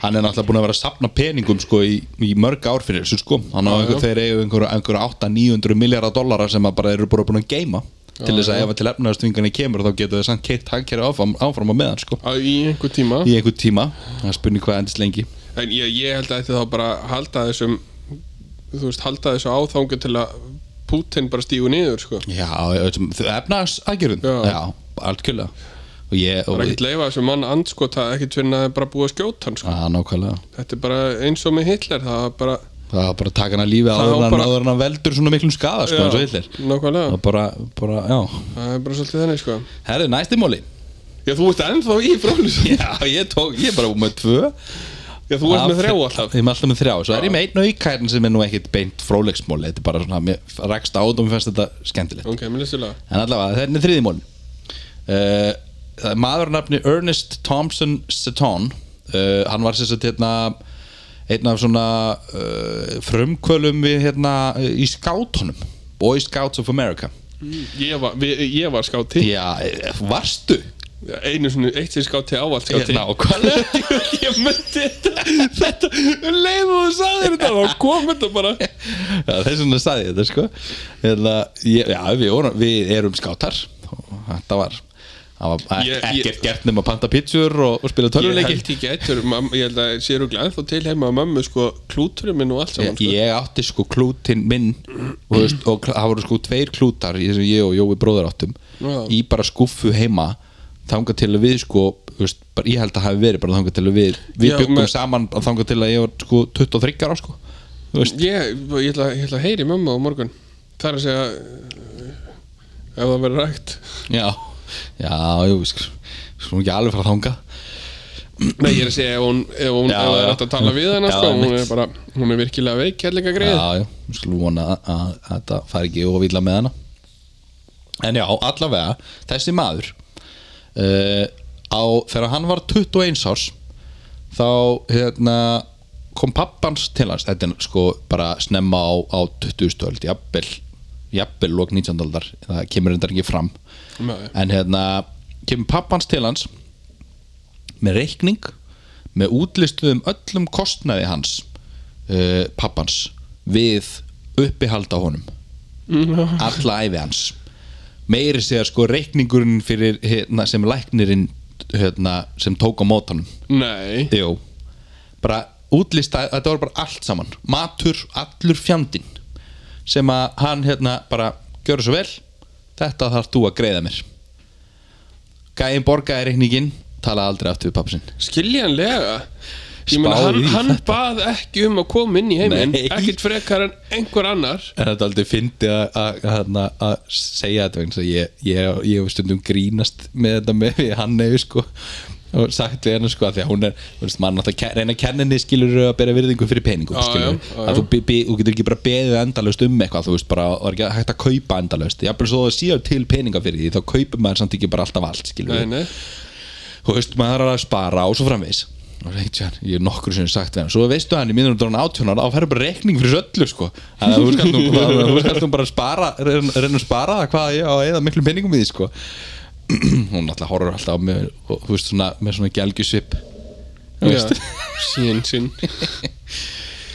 Speaker 1: hann er náttúrulega búin að vera að sapna peningum sko, í, í mörg ár fyrir þessu sko hann á
Speaker 2: Já,
Speaker 1: einhver,
Speaker 2: já.
Speaker 1: þeir eigu einhverja einhver 8-900 miljardar dollara sem að bara eru bara búin að geima til þess að ef að til efnaðastvingarni kemur þá getur þess að hann keitt hagkerfi áfram, áfram á meðan sko,
Speaker 2: Á- í einhver tíma
Speaker 1: í einhver tíma það er spurning hvað endist lengi
Speaker 2: en ég, ég held að þetta þá bara halda þessum þú veist, halda þessu áþanga til að Putin bara stígu niður sko
Speaker 1: Já, efnaðs aðgerðum
Speaker 2: Já.
Speaker 1: Já, algjörlega Og ég, og
Speaker 2: bara ekkert leifa þessum mann andskota ekkert fyrir að bara búið að skjóta hann sko.
Speaker 1: Já, nákvæmlega
Speaker 2: þetta er bara eins og með Hitler það var bara
Speaker 1: Það var bara að taka hann að lífi
Speaker 2: Það
Speaker 1: áður
Speaker 2: var
Speaker 1: en
Speaker 2: bara-
Speaker 1: hann- áður en hann veldur svona miklum skaða sko, eins og hillir
Speaker 2: nákvæmlega,
Speaker 1: Það bara, bara, já
Speaker 2: það er bara svolítið þenni sko
Speaker 1: Herri, næsti móli
Speaker 2: já þú ert ennþá í frólis já
Speaker 1: Já, ég tók, ég er bara með tvö
Speaker 2: þú ert með þrjá alltaf
Speaker 1: Ég er alltaf með þrjá, svo er ég með einn aukærn sem er nú ekkit beint frólegsmóli Þetta er bara svona, mér rakst á þetta og mér fannst þetta skemmtilegt
Speaker 2: Ok, mér listu lag
Speaker 1: En allavega, þetta er þriðimól uh, Maður að nafni Ernest Thompson Seton uh, Hann var sér satt hérna einn af svona uh, frumkvölum við hérna uh, í skátunum Boy Scouts of America
Speaker 2: Mm. Ég var, við, ég var skáti
Speaker 1: Já, eh, varstu?
Speaker 2: Einu sinni, eitt sem skáti ávallt skáti
Speaker 1: Hérna, og hvað
Speaker 2: Ég myndi þetta Þetta, um leið og þú sagðir þetta Þá kom þetta bara
Speaker 1: Já, þess vegna sagði ég þetta sko hérna, ég, Já, við, vorum, við erum skátar og Þetta var, það var
Speaker 2: Ég-
Speaker 1: ekkert
Speaker 2: ég-
Speaker 1: gert nema að panta pítsur og, og spila
Speaker 2: Ég
Speaker 1: tölvuleiki
Speaker 2: held ég getur, mam, ég held að sér og glæð Þá til heima að mammu sko klúturinn minn og allt saman sko.
Speaker 1: ég, ég átti sko klútin minn og, þú veist, og kl- það voru sko tveir klútar í þessum ég og Jói bróður áttum
Speaker 2: Já.
Speaker 1: í bara skuffu heima þangað til að við sko þú veist, bara, ég held að hafi verið bara þangað til að við við
Speaker 2: Já,
Speaker 1: byggum
Speaker 2: með-
Speaker 1: saman þangað til að ég var sko 23 ára sko Þú veist,
Speaker 2: Ég, ég ætla, ég ætla að heyri mamma á morgun Það er að segja eh, Ef það verður rægt
Speaker 1: já, já, jú, við sko, sko ekki alveg fara þangað
Speaker 2: Nei, ég er að segja ef hún, ef hún
Speaker 1: Já,
Speaker 2: ef það er
Speaker 1: já.
Speaker 2: hægt að tala við hana
Speaker 1: Já,
Speaker 2: sko, Hún er
Speaker 1: einmitt.
Speaker 2: bara, hún er virkilega veik Hérleika greið
Speaker 1: Já, já, við skulum vona að, að, að þetta fari ekki og vilja með hana En já, allavega, þessi maður uh, á, Þegar hann var 21 árs Þá hérna, kom pappans til hans Þetta er sko bara snemma á, á 20. öld Jafnvel, jafnvel lók 19. aldar Það kemur þetta ekki fram
Speaker 2: Nei.
Speaker 1: En hérna, kemur pappans til hans með reikning með útlistuðum öllum kostnaði hans uh, pappans við uppihald á honum
Speaker 2: Mm,
Speaker 1: alla æfi hans meiri segja sko reikningurinn fyrir hérna, sem læknirinn hérna, sem tók á mótanum
Speaker 2: Nei
Speaker 1: Jú. bara útlista þetta var bara allt saman matur, allur fjandinn sem að hann hérna bara gjörðu svo vel, þetta þarf þú að greiða mér gæðin borgaði reikningin talaði aldrei aftur við pappasinn
Speaker 2: Skiljanlega Ég meina,
Speaker 1: Spáðu
Speaker 2: hann,
Speaker 1: í
Speaker 2: hann bað ekki um að koma inn í heiminn
Speaker 1: Nei.
Speaker 2: Ekkert frekar en einhver annar
Speaker 1: En þetta er aldrei fyndi að, að, að, að segja þetta vegna þess að ég, ég, ég hef stundum grínast með þetta með við hann hefur sko og sagt við hennar sko að því að hún er þú veist, mann átt að ke- reyna að kenninni skilur að bera virðingu fyrir peningum
Speaker 2: Já,
Speaker 1: skilur
Speaker 2: já, já,
Speaker 1: að þú, be, be, þú getur ekki bara beðið endalaust um eitthvað þú veist bara og er ekki hægt að kaupa endalaust jafnvel svo það séu til peninga fyrir því þá kaupir maður samt ekki bara alltaf allt skilur
Speaker 2: Nei, nei
Speaker 1: þú veist maður er að spara og svo framvegis og reyndi hann, ég er nokkur sem sagt við hann svo veistu hann, í minnum drónu átjónar þá færðu bara reikning fyrir þessu öllu sko að þú skalt nú bara, þú skalt nú bara spara reyna reyna að spara það hvað ég á að eða miklu penningum í því sko hún alltaf horfur alltaf á mig og þú veist svona með svona gælgjusvip
Speaker 2: Já, Sín, sín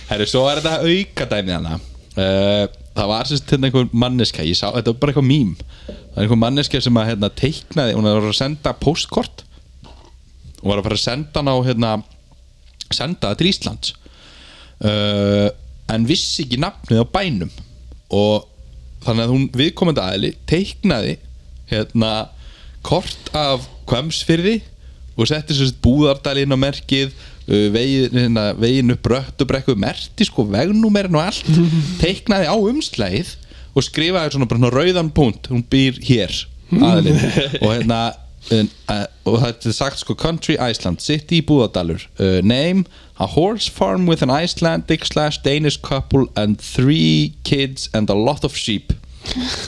Speaker 1: herru, svo er þetta auka dæmið hana uh, það var sérst hérna einhver manneska ég sá, þetta var bara eitthvað mím það er einhver manneska sem að hérna teiknaði hún var að senda postkort og var að fara að senda hann á hérna senda það til Íslands uh, en vissi ekki nafnið á bænum og þannig að hún viðkomandi aðili teiknaði hérna kort af kvemsfyrði og setti svo búðardalinn á merkið uh, vegin, hérna, vegin upp röttubrekku merti sko vegnúmerin og allt teiknaði á umslægið og skrifaði svona bara svona rauðan punkt hún býr hér aðilinn og hérna en, uh, og þetta er sagt sko country Iceland city búðadalur uh, name a horse farm with an Icelandic slash Danish couple and three kids and a lot of sheep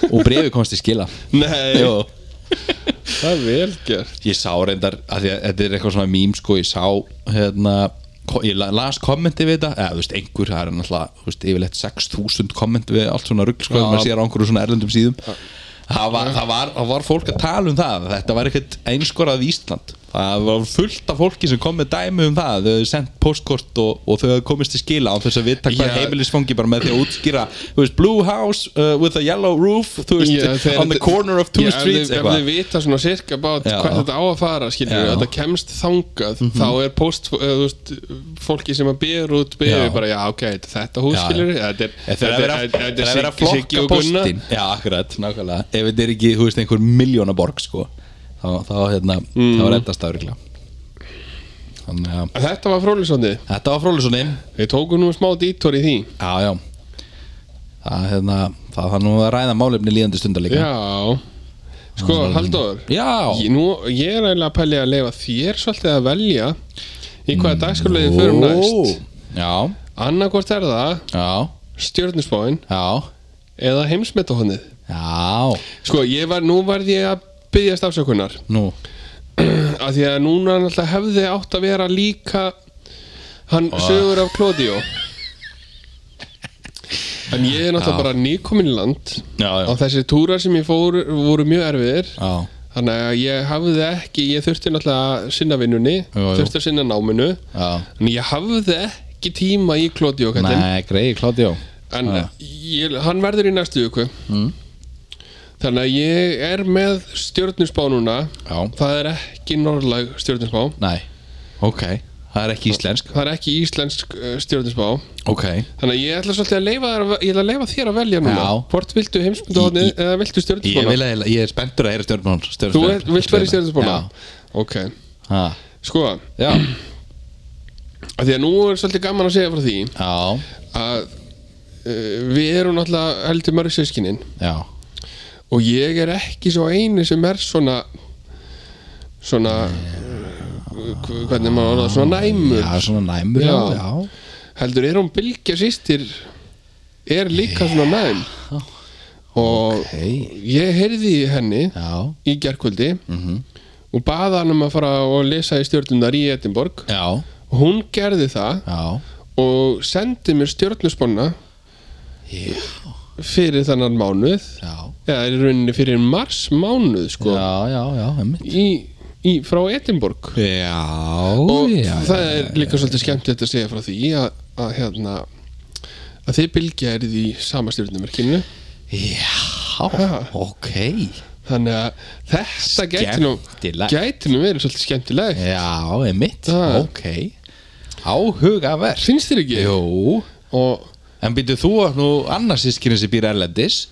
Speaker 1: og brefið komst í skila
Speaker 2: Nei,
Speaker 1: Jó.
Speaker 2: það er vel gert
Speaker 1: ég sá reyndar að því að þetta er eitthvað svona mím sko ég sá hérna ko- ég la- las kommenti við þetta eða þú veist einhver það er náttúrulega þú veist, yfirleitt 6000 kommenti við allt svona rugl sko þegar maður sér á einhverju svona erlendum síðum það var, það, var, það var fólk að tala um það þetta var ekkert einskorað í Ísland það var fullt af fólki sem kom með dæmi um það þau hefðu sendt postkort og, og þau hefðu komist til skila án þess að vita hvað
Speaker 2: Já.
Speaker 1: heimilisfangi bara með því að útskýra þú veist blue house uh, with a yellow roof þú veist
Speaker 2: Já, þegar
Speaker 1: on the
Speaker 2: þetta-
Speaker 1: corner of two
Speaker 2: Já, ef
Speaker 1: streets
Speaker 2: þið- Ef
Speaker 1: eitthvað.
Speaker 2: þið vita svona sirka bát
Speaker 1: Já.
Speaker 2: hvað þetta á að fara skilur
Speaker 1: Já. Mhm.
Speaker 2: við, þetta kemst þangað þá er post, eða, þú veist, fólki sem að býður út býður
Speaker 1: Já.
Speaker 2: bara, já ok, þetta er þetta hús
Speaker 1: Já,
Speaker 2: skilur við,
Speaker 1: já.
Speaker 2: þetta er
Speaker 1: Ef Það er að vera-
Speaker 2: þetta er-
Speaker 1: það er að vera að
Speaker 2: Siggi-
Speaker 1: flokka
Speaker 2: Siggi og Gunna.
Speaker 1: postin Já, akkurat, nákvæmlega Ef þetta er ekki, þú veist, einhver miljónaborg sko, þá, þá, hérna,
Speaker 2: Mm.
Speaker 1: þá er þetta stafrikla Þannig að
Speaker 2: En Þetta var frólisóndi,
Speaker 1: Þetta var frólusonni
Speaker 2: við tókum nú smá dítor í því
Speaker 1: Já, já Það, hérna, það þarf nú að ræða málefni líðandi stundar líka
Speaker 2: Já, sko, Halldóður
Speaker 1: Já,
Speaker 2: ég, nú, ég er eiginlega að pælja að leifa þér svolítið að velja í hvaða dagskurlegið
Speaker 1: Mm. Ó.
Speaker 2: förum næst
Speaker 1: Já,
Speaker 2: Annarkvort er það
Speaker 1: já,
Speaker 2: stjörnusbáin
Speaker 1: já
Speaker 2: eða heimsmetahonnið
Speaker 1: Já,
Speaker 2: Sko, ég var, nú varð ég að byggjast afsökunar
Speaker 1: nú
Speaker 2: af því að núna náttúrulega hefði átt að vera líka hann
Speaker 1: Ah.
Speaker 2: sögur af Klódió En ég er náttúrulega bara nýkomin í land
Speaker 1: Já, já,
Speaker 2: og þessir túrar sem ég fór voru mjög erfiðir
Speaker 1: já,
Speaker 2: þannig að ég hafði ekki ég þurfti náttúrulega að sinna vinnunni
Speaker 1: Jú, jú.
Speaker 2: þurfti að sinna náminu
Speaker 1: já
Speaker 2: en ég hafði ekki tíma í Klódió en
Speaker 1: Nei, greið, Klátjó já. Mm.
Speaker 2: ég, hann verður í næstu viku þannig að ég er með stjörnusbá núna
Speaker 1: Já,
Speaker 2: Það er ekki norðlæg stjórninsbá
Speaker 1: nei, ok Það er ekki íslensk
Speaker 2: Það er ekki íslensk stjórninsbá
Speaker 1: Ok,
Speaker 2: Þannig að ég ætla svolítið að leifa, þér, að- ég ætla að leifa þér að velja núna
Speaker 1: Já.
Speaker 2: Hvort viltu heimsmyndahotnið
Speaker 1: Í-
Speaker 2: eða viltu
Speaker 1: Ég, vil
Speaker 2: stjórninsbána?
Speaker 1: eiginlega- ég er spenntur að heyra stjórnmál stjórn,
Speaker 2: Þú er, vilt vera í stjórninsbána? Ok,
Speaker 1: Já,
Speaker 2: sko
Speaker 1: já,
Speaker 2: að Því að nú er svolítið gaman að segja frá því
Speaker 1: já,
Speaker 2: að uh, við erum náttúrulega heldur mörg sískinin
Speaker 1: já.
Speaker 2: og ég er ekki svo eini sem er svona svona uh, hv- hvernig maður orða svona næmur
Speaker 1: Já, svona næmur
Speaker 2: Já.
Speaker 1: Já, já,
Speaker 2: heldur er hún bylgja sýstir er líka svona næm og
Speaker 1: Ok.
Speaker 2: ég heyrði í henni
Speaker 1: já,
Speaker 2: í gerkvöldi
Speaker 1: Mhm.
Speaker 2: og baða hann um að fara og lesa í stjórnunar í Edinborg
Speaker 1: já,
Speaker 2: og hún gerði það
Speaker 1: já.
Speaker 2: og sendi mér stjórnusponna
Speaker 1: Já.
Speaker 2: fyrir þannan mánuð
Speaker 1: Já,
Speaker 2: eða í rauninni fyrir mars mánuð sko,
Speaker 1: já, já, já, einmitt
Speaker 2: í, í, frá Edinborg
Speaker 1: Já,
Speaker 2: og
Speaker 1: já,
Speaker 2: það er líka svolítið skemmtilegt að segja frá því að, að hérna að þið bylgja er í sama stjórnumerkinu
Speaker 1: Já,
Speaker 2: Ha.
Speaker 1: ok
Speaker 2: þannig að þetta gæti nú
Speaker 1: Skemmtilegt. Eh.
Speaker 2: gæti nú verið svolítið skemmtilegt
Speaker 1: Já, einmitt,
Speaker 2: Ha.
Speaker 1: ok Áhugavert
Speaker 2: finnst þér ekki?
Speaker 1: Jú,
Speaker 2: og
Speaker 1: en býtu þú að nú annarsískinu sem býr erlendis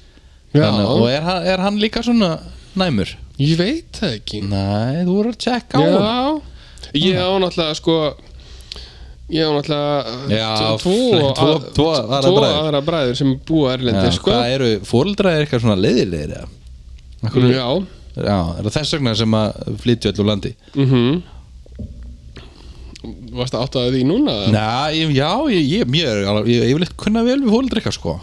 Speaker 2: Já.
Speaker 1: Þannig- Og er, hann- er hann líka svona næmur?
Speaker 2: ég veit það ekki
Speaker 1: Nei, þú voru að tjekka á
Speaker 2: já ég á náttúrulega sko Ég á náttúrulega
Speaker 1: Já,
Speaker 2: uh, tvo,
Speaker 1: fle-
Speaker 2: tvo,
Speaker 1: tvo- tvo aðra
Speaker 2: tvo
Speaker 1: bræður.
Speaker 2: aðra bræður sem
Speaker 1: Já,
Speaker 2: búa erlendi sko.
Speaker 1: Hvað eru, fóreldrar er eitthvað svona leiðilegir eða? Af hverju-
Speaker 2: Já,
Speaker 1: Já, er það þess vegna sem að flytja öll úr landi?
Speaker 2: mhm Varst það áttaði því núna? eða?
Speaker 1: Næ, ég- já, ég, ég, mér, er alveg- ég, ég vil eitthvað kunna vel við fóreldrar eitthvað sko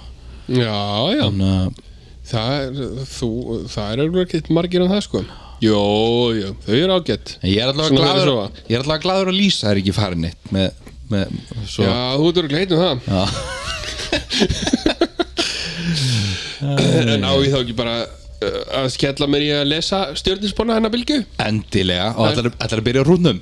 Speaker 2: Já, já
Speaker 1: Þannig að,
Speaker 2: Það er, þú, það er örugglega ekkert margir um það sko Jó, jó, þau eru ágætt
Speaker 1: en ég er allavega
Speaker 2: Svona fyrir
Speaker 1: gladur
Speaker 2: sofa.
Speaker 1: Ég er allavega gladur að lýsa er ekki farin eitt með, með, svo
Speaker 2: Já, þú ert örugglega heitt um það
Speaker 1: Já.
Speaker 2: En á ég þá ekki bara uh, að skella mér í að lesa stjörninsbóna hennar bylgu?
Speaker 1: Endilega, og ætlar, ætlar að byrja á rúnum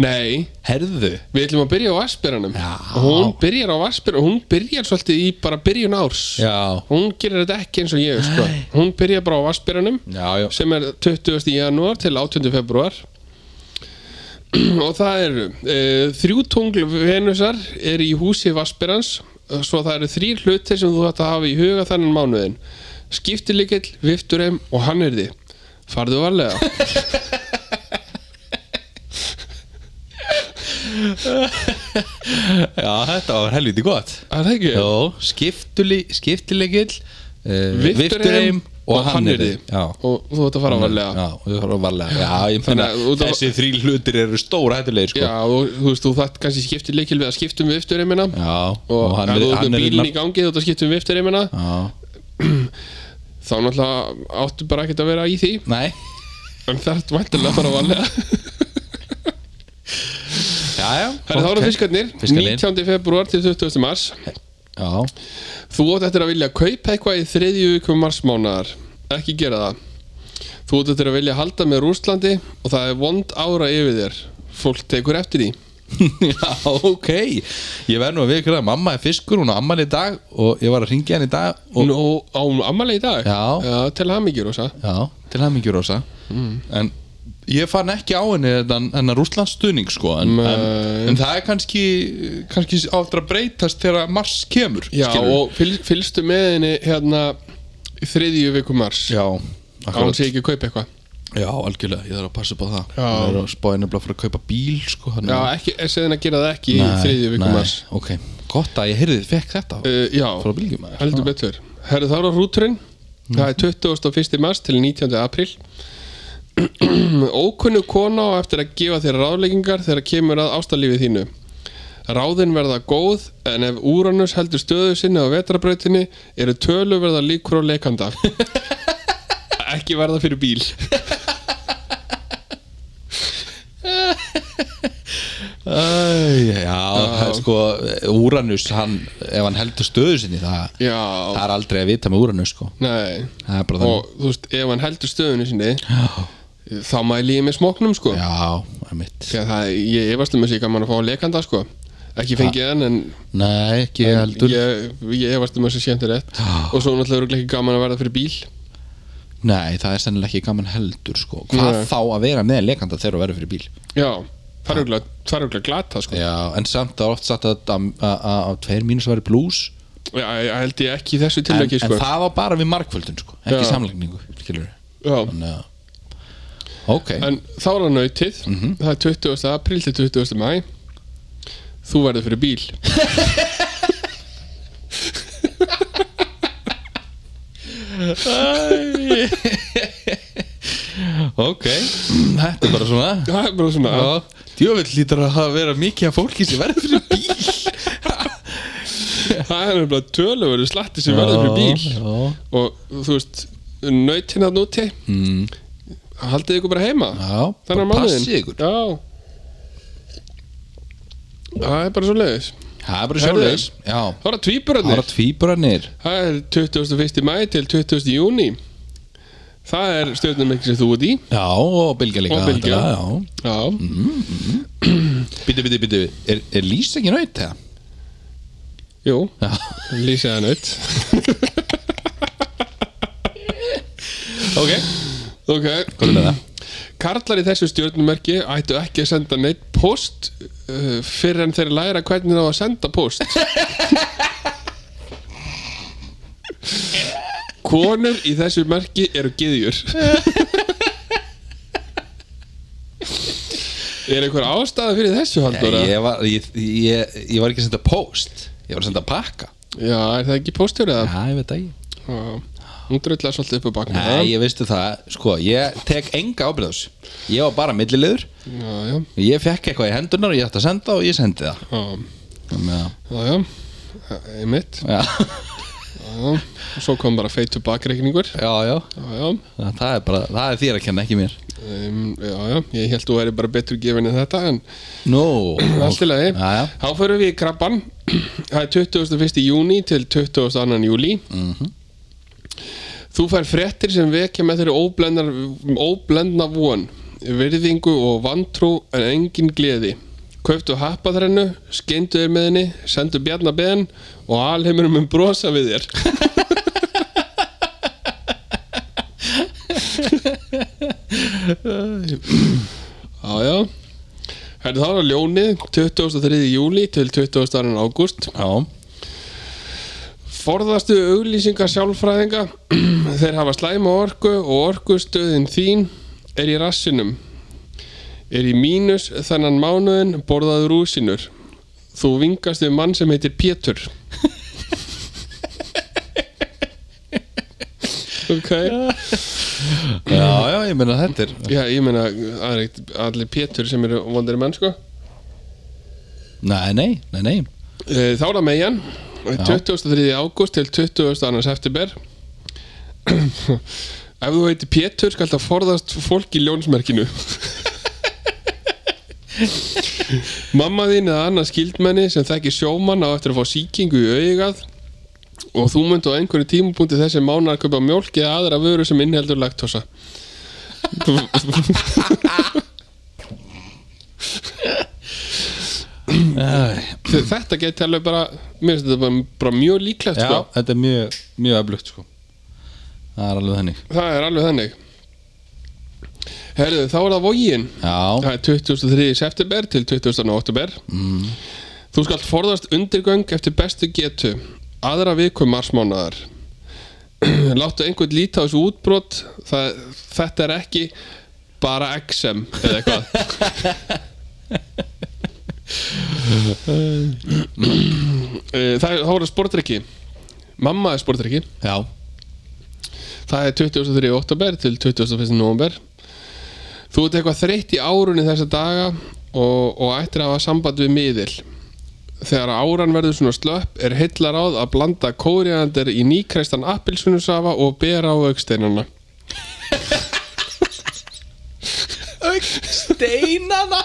Speaker 2: Nei,
Speaker 1: Herðu
Speaker 2: við ætlum að byrja á Vassbyrjanum
Speaker 1: Já.
Speaker 2: Og hún byrjar á Vassbyrjanum, hún byrjar svolítið í bara byrjun árs
Speaker 1: Já,
Speaker 2: Hún gerir þetta ekki eins og ég, sko Hún byrjar bara á Vassbyrjanum
Speaker 1: já, já
Speaker 2: sem er 20. janúar til 18. februar og það eru e, þrjú tungl Venusar er í húsi Vaspirans svo það eru þrýr hlutir sem þú ætti að hafa í huga þannan mánuðin skiptilegill, vifturheim og hannyrði farðu varlega
Speaker 1: Já, þetta var helviti gott
Speaker 2: Er það ekki?
Speaker 1: Jó, skiptuli, skiptilegill uh, Vifturheim og hannirði Já,
Speaker 2: og þú ætti að fara varlega
Speaker 1: Mm, já, við fórum varlega Já, ég
Speaker 2: Þannig
Speaker 1: meina,
Speaker 2: að út af-
Speaker 1: þessi þrý hlutir eru stóra hættulegir sko
Speaker 2: Já, og, þú veist, þú þætt kannski skiptilegill við að skiptum vifturheimina
Speaker 1: já
Speaker 2: og, og hann,
Speaker 1: er,
Speaker 2: ef
Speaker 1: hann
Speaker 2: þú ert
Speaker 1: er
Speaker 2: með bílinn í gangi þú ætti að skiptum vifturheimina
Speaker 1: Já,
Speaker 2: þá náttúrulega áttu bara ekkert að vera í því
Speaker 1: nei
Speaker 2: En það er væntanlega bara vanlega
Speaker 1: Já, já
Speaker 2: Það eru
Speaker 1: ok.
Speaker 2: þára fiskarnir,
Speaker 1: Fiskarnir.
Speaker 2: 19. februar til 20. mars
Speaker 1: Já,
Speaker 2: Þú átt eftir að vilja kaupa eitthvað í þriðju vikum marsmánaðar Ekki gera það Þú átt eftir að vilja halda með Rústlandi og það er vond ára yfir þér Fólk tekur eftir því
Speaker 1: já, ok Ég verð nú að vikra að mamma er fiskur Hún á ammali í dag og ég var að ringja hann í dag og
Speaker 2: Nú, á ammali í dag
Speaker 1: Já.
Speaker 2: Til hamingjur og það
Speaker 1: Já, til hæmingjur Rósa
Speaker 2: Mm.
Speaker 1: En ég fann ekki á henni þennan, þennan Rússlands stuðning sko en, en,
Speaker 2: Nei.
Speaker 1: en það er kannski kannski áttur að breytast þegar mars kemur
Speaker 2: Já,
Speaker 1: skilurðu.
Speaker 2: og fyl, fylgstu með henni hérna í þriðju vikum mars
Speaker 1: Já,
Speaker 2: Án
Speaker 1: akkurat
Speaker 2: sé ekki að kaupa eitthvað
Speaker 1: Já, algjörlega, ég þarf að passa upp á það
Speaker 2: Já.
Speaker 1: Ég er að spáði nefnilega að fara að kaupa bíl sko þannig
Speaker 2: Já,
Speaker 1: að-
Speaker 2: ekki, segðin að gera það ekki
Speaker 1: Nei,
Speaker 2: í þriðju
Speaker 1: nei,
Speaker 2: vikum mars
Speaker 1: Ok, gott að ég heyrði þið fekk þetta
Speaker 2: uh, Já,
Speaker 1: frá bylgjum maður.
Speaker 2: heldur betur Herðu þá er á rúturinn Það er 21. mars til 19. apríl Ókunnu kona á eftir að gefa þér ráðleggingar þegar kemur að ástalífi þínu Ráðin verða góð en ef Úranus heldur stöðu sinni á vetrabrautinni eru tölu verða líkur á leikanda Ekki verða fyrir bíl
Speaker 1: Æ, já, það er sko Úranus, hann, ef hann heldur stöðu sinni það,
Speaker 2: Já,
Speaker 1: það er aldrei að vita með Úranus sko
Speaker 2: nei
Speaker 1: Það er bara þannig
Speaker 2: Og þú veist, ef hann heldur stöðunni sinni þá mæli ég með smóknum sko
Speaker 1: Já, það er mitt
Speaker 2: Þegar það, ég efast um að sé gaman að fá lekanda sko ekki fengið hann en
Speaker 1: Nei, ekki heldur
Speaker 2: ég, ég efast um að sé skemmtir rétt
Speaker 1: Já.
Speaker 2: og svo náttúrulega örugglega ekki gaman að verða fyrir bíl
Speaker 1: Nei, það er sennilega ekki gaman heldur sko. Hvað
Speaker 2: Nei.
Speaker 1: þá að vera með leikanda þegar þú verður fyrir bíl
Speaker 2: já, það er örugglega- það er örugglega glata sko já,
Speaker 1: Já, en samt það er oft satt að að- að að tveir mínus væri blús
Speaker 2: ég ég held ég ekki í þessu
Speaker 1: en,
Speaker 2: tilöki
Speaker 1: en
Speaker 2: sko
Speaker 1: það var bara við markvöldun sko. ekki
Speaker 2: Já.
Speaker 1: samlagningu skilur
Speaker 2: já,
Speaker 1: Þannig að Ok,
Speaker 2: en þá er hann nautið
Speaker 1: Mhm.
Speaker 2: það er 20. april til 20. mæ þú verður fyrir bíl
Speaker 1: ok Þetta er bara svona
Speaker 2: það er bara svona
Speaker 1: Djöfell lítur að hafa verið mikið af fólki sem verður fyrir bíl
Speaker 2: það er nefnilega töluveru slatti sem verður fyrir bíl
Speaker 1: Já,
Speaker 2: og þú veist, nautin að núti
Speaker 1: mm,
Speaker 2: haldið ykkur bara heima
Speaker 1: já
Speaker 2: Þannig
Speaker 1: bara
Speaker 2: að mánuðin
Speaker 1: passið ykkur
Speaker 2: Já Það er bara svo leiðis
Speaker 1: Það er bara
Speaker 2: Herðu.
Speaker 1: sjóðleis Já,
Speaker 2: Það er
Speaker 1: það
Speaker 2: tvíburarnir
Speaker 1: var tvíburannir
Speaker 2: Það er 21. mæ til 20. júni Það er stjórnum ekki sem þú ert í
Speaker 1: Já, og Bilgja líka
Speaker 2: Og Bylgja.
Speaker 1: þetta, já.
Speaker 2: Já
Speaker 1: Bítu, bítu, bítu, er, er lýs ekki naut það?
Speaker 2: Jú,
Speaker 1: Já,
Speaker 2: lýsa það nött
Speaker 1: ok
Speaker 2: Ok
Speaker 1: Hvað er það?
Speaker 2: Karlar í þessu stjórnumerki ættu ekki að senda neitt post uh, fyrir en þeir læra hvernig þá að senda post Konur í þessu merki eru gyðjur Er einhver ástæða fyrir þessu haldur?
Speaker 1: ég, var, ég, ég, ég var ekki að senda post ég var að senda pakka
Speaker 2: Já, er það ekki póstjórið það?
Speaker 1: Já, ég veit það ekki
Speaker 2: Já. Hún drullar svolítið upp á bakna
Speaker 1: Nei, ég veistu það, sko, ég tek enga ábyrgð á þessu Ég var bara milliliður
Speaker 2: Já, já,
Speaker 1: Ég fekk eitthvað í hendunar og ég ætti að senda og ég sendi það
Speaker 2: já,
Speaker 1: Þannig að,
Speaker 2: já, já. Það er mitt
Speaker 1: já,
Speaker 2: Og svo kom bara feitur bakreikningur
Speaker 1: já, já
Speaker 2: Já, já,
Speaker 1: Það er bara, það er þér að kenna, ekki mér
Speaker 2: um, já, já Ég held þú væri bara betur gefin en þetta En
Speaker 1: Nú,
Speaker 2: allt í lagi
Speaker 1: Já, já.
Speaker 2: Þá förum við í krabban Það er 21. júni til 22. júli Þú fær fréttir sem vekja með þeirri óblendnar, óblendna von Virðingu og vantrú en engin gleði Kauftu happaþrennu, skeindu þér með henni Sendu bjarnabeðan Og alheimur mun brosa við þér Já, já Herðu þá er það ljónið 23. júli til 22. ágúst
Speaker 1: já,
Speaker 2: Forðastu auglýsingar sjálfræðinga Þeir hafa slæma orku og orkustöðin þín er í rassinum Er í mínus þannan mánuðin borðaður rúsinur Þú vingast við mann sem heitir Pétur Ok
Speaker 1: já, já, ég meina þetta er
Speaker 2: Já, ég meina það er ekkert allir Pétur sem eru vondir menn sko
Speaker 1: Nei, nei, nei, nei
Speaker 2: Eh, Þá er það megin 23. ágúst til 22. september Ef þú heitir Pétur skal það forðast fólk í ljónsmerkinu Mamma þín eða annað skildmenni sem þekki sjómann á eftir að fá sýkingu í augað og þú munt á einhverju tímupunkti þessi mánar kaupa mjólk eða aðra vöru sem innheldur laktosa
Speaker 1: Æ,
Speaker 2: Þetta geti alveg bara mér finnst þetta bara, bara mjög líklegt
Speaker 1: Já,
Speaker 2: sko.
Speaker 1: þetta er mjög, mjög öflugt, sko Það er alveg þannig
Speaker 2: Það er alveg þannig Herðu, þá er það vógin
Speaker 1: Já,
Speaker 2: Það er 23. september til 20. oktober Þú skalt forðast undirgöng eftir bestu getu Aðra viku marsmánaðar Láttu einhvern líta á þessu útbrot það, Þetta er ekki bara XM eða eitthvað Eh, Það er- þá er það sportrykki Mamma er sportrykki
Speaker 1: já,
Speaker 2: Það er 23. oktober til 21. november Þú ert eitthvað þreytt í árunni þessa daga og, og ættir að hafa samband við miðil Þegar áran verður svona slöpp er heillar áð að blanda kóriander í nýkrestan appilsunusafa og bera á auksteinana
Speaker 1: Steinana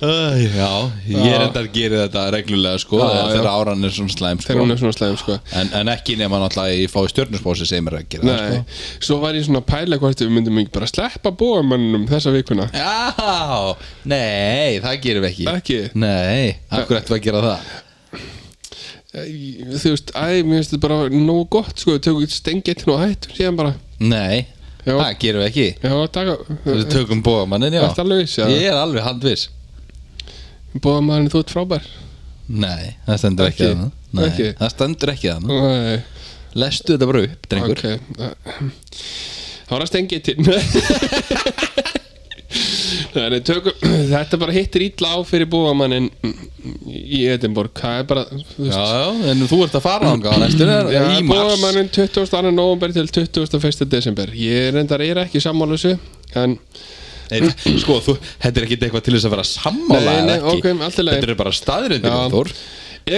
Speaker 1: Já, ég er endar gerir þetta reglulega sko
Speaker 2: Já,
Speaker 1: þegar
Speaker 2: já.
Speaker 1: áran er svona slæm
Speaker 2: þegar
Speaker 1: sko.
Speaker 2: hún er svona slæðum sko
Speaker 1: en, en ekki nema náttúrulega að ég fái stjörnusbósi sem er að gera það, sko.
Speaker 2: Nei, svo var ég svona að pæla hvort við myndum ekki bara sleppa bóamannum þessa vikuna
Speaker 1: sko. Já, nei, það gerum við ekki
Speaker 2: Ekki?
Speaker 1: Nei, akkur eftir að gera það
Speaker 2: Æ, Þú veist, æ, mér finnst þetta bara nógu gott sko, við tökum stengetinn og hættum síðan bara
Speaker 1: Nei,
Speaker 2: Já.
Speaker 1: það gerum við ekki
Speaker 2: Já, taka,
Speaker 1: Við tökum bóðamannin, já
Speaker 2: Ertu alveg viss, já?
Speaker 1: Ég er alveg handviss
Speaker 2: Bóðamaðurinn, þú ert frábær
Speaker 1: Nei, það stendur ekki,
Speaker 2: Ekki?
Speaker 1: ekki Nei,
Speaker 2: Ekki?
Speaker 1: Það stendur ekki þannig
Speaker 2: Nei,
Speaker 1: Lestu þetta bara upp, Mm. drengur
Speaker 2: ok Þá er að stengið til Nei, nei, tökum, Þetta bara hittir illa á fyrir búamannin í Edinborg Það er bara þú
Speaker 1: Já,
Speaker 2: veist,
Speaker 1: já, en þú ert að fara ánga á næstunni
Speaker 2: Já,
Speaker 1: í mars
Speaker 2: búamannin 22. november til 21. desember Ég reyndar er ekki sammála þessu En
Speaker 1: Nei, Sko, þú, þetta er ekki eitthvað til þess að vera sammála
Speaker 2: Nei,
Speaker 1: eða
Speaker 2: nei,
Speaker 1: ekki.
Speaker 2: ok, allt í lagi.
Speaker 1: Þetta er bara staðrindir,
Speaker 2: Já.
Speaker 1: Þór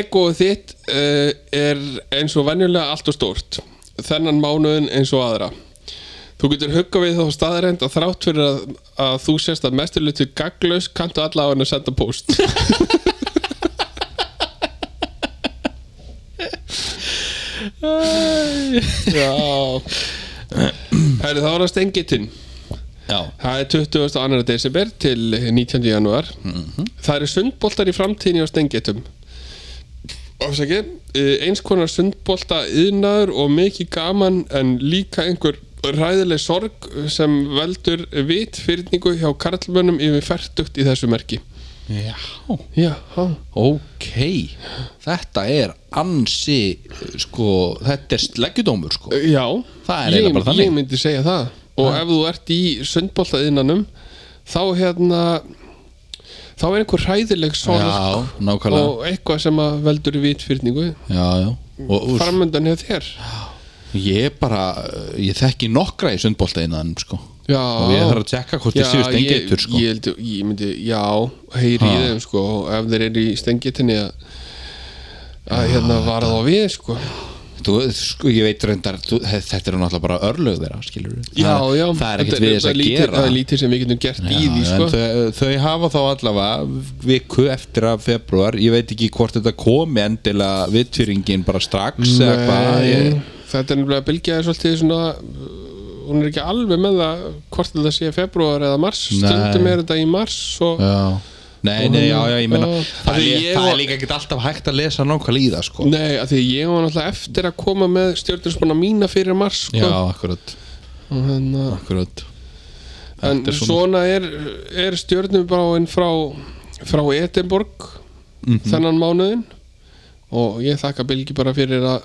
Speaker 2: egoð þitt uh, er eins og venjulega allt og stórt Þennan mánuðin eins og aðra Þú getur huggað við þá staðarend að þrátt fyrir að, að þú sérst að mesturlutu gagglaus kanntu alla á henni að senda post Já Herri, þá er það stengitinn
Speaker 1: Já,
Speaker 2: Það er 22. desember til 19. janúar Það eru sundboltar í framtíðinni á stengitum Ofsæki Eins konar sundbolta yðnaður og mikið gaman en líka einhver ræðileg sorg sem veldur vitfyrningu hjá karlmönnum yfir færtugt í þessu merki
Speaker 1: já,
Speaker 2: Já, já
Speaker 1: ok Þetta er ansi, sko, þetta er sleggjudómur, sko
Speaker 2: Já,
Speaker 1: Það er
Speaker 2: ég,
Speaker 1: eiginlega bara þannig.
Speaker 2: ég myndi segja það og ef þú ert í sundboltaðinanum þá hérna þá er einhver hræðileg sorg
Speaker 1: Já, nákvæmlega
Speaker 2: og eitthvað sem að veldur í vitfyrningu
Speaker 1: Já, já og, og
Speaker 2: framöndan hefur þér
Speaker 1: ég bara, ég þekki nokkra í sundbólta innan, sko
Speaker 2: já,
Speaker 1: og ég þarf að tjekka hvort þið séu stengitur, sko
Speaker 2: ég, held, ég myndi, já, heyri
Speaker 1: Ha.
Speaker 2: í þeim sko, og ef þeir eru í stengitinni að, að hérna vara þá við sko.
Speaker 1: Þú, sko, ég veit reyndar, þú, þetta eru náttúrulega bara örlög þeirra, skilur við
Speaker 2: já, já,
Speaker 1: Það er
Speaker 2: þetta-
Speaker 1: ekkert við þess
Speaker 2: það er
Speaker 1: að
Speaker 2: lítið-
Speaker 1: gera
Speaker 2: það er lítið sem við getum gert í því
Speaker 1: Já, en
Speaker 2: sko.
Speaker 1: þau, þau hafa þá allavega viku eftir að februar ég veit ekki hvort þetta komi endilega vittfyringin bara strax eða hvað ég,
Speaker 2: Nei, þetta er nefnilega bylgjaði svolítið svona uh, hún er ekki alveg með það hvort þetta sé februar eða mars
Speaker 1: Nei.
Speaker 2: stundum er þetta í mars og,
Speaker 1: já. Nei, nei, já, já, ég meina
Speaker 2: Já.
Speaker 1: það,
Speaker 2: Því
Speaker 1: er,
Speaker 2: ég
Speaker 1: það
Speaker 2: var-
Speaker 1: er líka ekkert alltaf hægt að lesa nákvæmlega í það, sko
Speaker 2: nei, af því ég var náttúrulega eftir að koma með stjórnarspona mína fyrir mars sko.
Speaker 1: Já, akkurat,
Speaker 2: og hérna,
Speaker 1: akkurat
Speaker 2: en
Speaker 1: Þetta er
Speaker 2: svona er, er stjórnubráin frá frá Edinborg
Speaker 1: Mhm.
Speaker 2: þennan mánuðin og ég þakka Bilgi bara fyrir að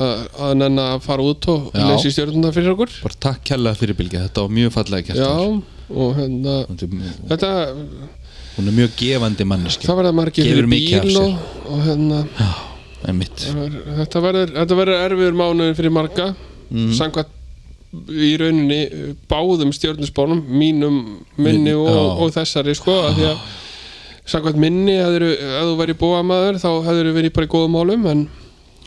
Speaker 2: að að nenn að fara út og
Speaker 1: Já.
Speaker 2: leysi stjórnuna fyrir okkur
Speaker 1: Bara takk kærlega fyrir Bilgja, þetta var mjög fallega gert
Speaker 2: já, og hérna
Speaker 1: Þór.
Speaker 2: þetta
Speaker 1: Hún er mjög gefandi manneski
Speaker 2: Það verða margir
Speaker 1: Gefur
Speaker 2: fyrir
Speaker 1: mikið af
Speaker 2: bíl
Speaker 1: sér.
Speaker 2: og, og hérna,
Speaker 1: Já, einmitt
Speaker 2: þetta verður þetta verður erfiður mánuður fyrir marga
Speaker 1: Mhm.
Speaker 2: samkvæmt í rauninni uh, báðum stjórnusbánum mínum, minni
Speaker 1: Minni,
Speaker 2: og,
Speaker 1: já.
Speaker 2: og þessari sko, af því að samkvæmt minni, hefðiru, ef þú væri bóamaður þá hefur verið bara í góðum málum en,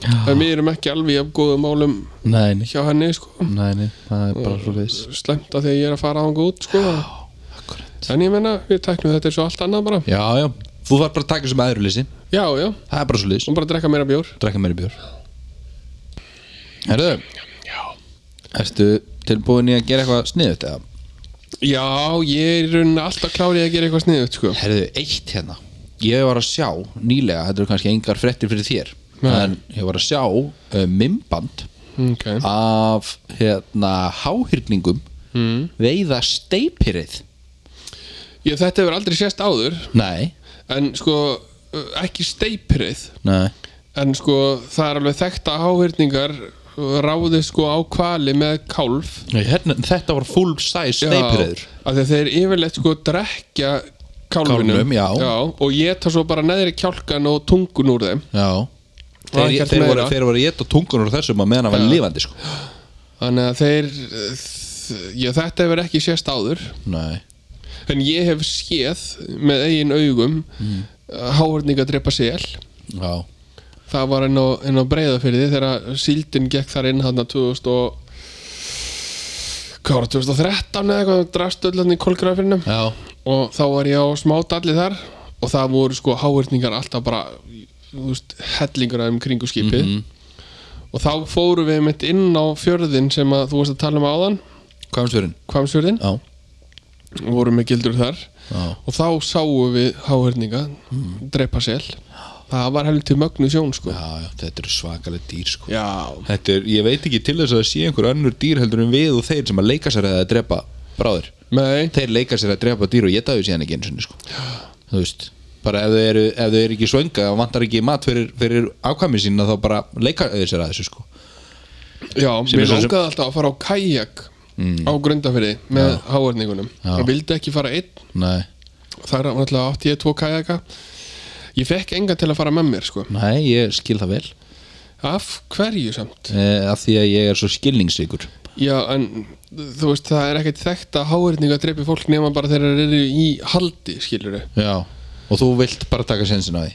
Speaker 1: Ah.
Speaker 2: en við erum ekki alveg af góðum málum
Speaker 1: Nei, nei,
Speaker 2: hjá henni sko
Speaker 1: nei, nei, það er bara svo viðs
Speaker 2: slemt að því að ég er að fara ánga út sko
Speaker 1: Akkurat
Speaker 2: en ég menna, við tæknum þetta eins og allt annað bara
Speaker 1: Já, já, þú var bara að taka sem aðurlýsi
Speaker 2: já, já,
Speaker 1: Það er bara svo
Speaker 2: og bara að drekka meira bjór
Speaker 1: drekka meiri bjór Herðu Ertu tilbúin í að gera eitthvað sniðut eða?
Speaker 2: Já, ég er í rauninni alltaf klárið að gera eitthvað sniðut sko.
Speaker 1: Herðu, eitt hérna Ég var að sjá nýlega, þetta eru kannski engar frettir fyrir þér
Speaker 2: Nei.
Speaker 1: En ég var að sjá uh, mimband
Speaker 2: okay.
Speaker 1: Mm. af hérna háhyrningum mm. veiða steipirið
Speaker 2: ég, Þetta hefur aldrei sést áður
Speaker 1: Nei,
Speaker 2: En sko, uh, ekki steiprið
Speaker 1: nei
Speaker 2: En sko, það er alveg þekkt að háhyrningar uh, Ráði sko á kvali með kálf
Speaker 1: hérna, Þetta var full size steipiriður
Speaker 2: Já, af því að þeir yfirleitt sko drekja kálfinum
Speaker 1: Kálfinum, já.
Speaker 2: Og ég tar svo bara neðri kjálkan og tungun úr þeim
Speaker 1: Já
Speaker 2: Það er
Speaker 1: Þeir,
Speaker 2: ekkert
Speaker 1: þeir, voru,
Speaker 2: meira.
Speaker 1: þeir voru að geta tungunur þessum að meðan að vera
Speaker 2: Já.
Speaker 1: lifandi sko.
Speaker 2: Þannig að þeir uh, þ- Já, þetta hefur ekki sést áður
Speaker 1: Nei,
Speaker 2: En ég hef séð með eigin augum mm. Háhörninga drepa sel
Speaker 1: já,
Speaker 2: Það var inn á, inn á breiðafyrði þegar síldin gekk þar inn hann 2000 og hvað var það, 2013 eða eitthvað drafst öll hann í kolgrafirnum
Speaker 1: já.
Speaker 2: og þá var ég á smádalli þar og það voru sko háhörningar alltaf bara þú veist, hellingur aðeim kringu skipið og þá fórum við mitt inn á fjörðin sem að þú varst að tala um áðan
Speaker 1: Hvað um? er svörin?
Speaker 2: Kvamsfjörðin
Speaker 1: Já,
Speaker 2: og vorum með gildur þar
Speaker 1: já
Speaker 2: og þá sáum við háhörninga drepa sel það var helviti mögnu sjón sko
Speaker 1: Já, já, þetta eru svakalega dýr sko
Speaker 2: já,
Speaker 1: Þetta er, ég veit ekki til þess að það sé einhver önnur dýr heldur en við og þeir sem að leika sér að drepa bráður
Speaker 2: nei
Speaker 1: Þeir leika sér að drepa dýr og geta þau síðan ekki eins og sko Þú veist, bara ef þau eru, ef þau eru ekki svönga og vantar ekki mat fyrir, fyrir afkvæmi sína þá bara leika þau sér að þessu sko
Speaker 2: Já,
Speaker 1: Sem
Speaker 2: mér
Speaker 1: er svo sem- Mm.
Speaker 2: langaði alltaf að fara á kajak á grundafyrði með ja. háverningunum
Speaker 1: Já.
Speaker 2: ég vildi ekki fara einn
Speaker 1: Nei,
Speaker 2: þar náttúrulega átti ég tvo kajaka ég fekk enga til að fara með mér sko.
Speaker 1: nei, ég skil það vel
Speaker 2: af hverju samt
Speaker 1: e, af því að ég er svo skilningsríkur
Speaker 2: já en þú veist það er ekkert þekkt að háverninga dreipi fólk nema bara þegar þeir eru í haldi skilur þau
Speaker 1: Já Og þú vilt bara taka sensin á því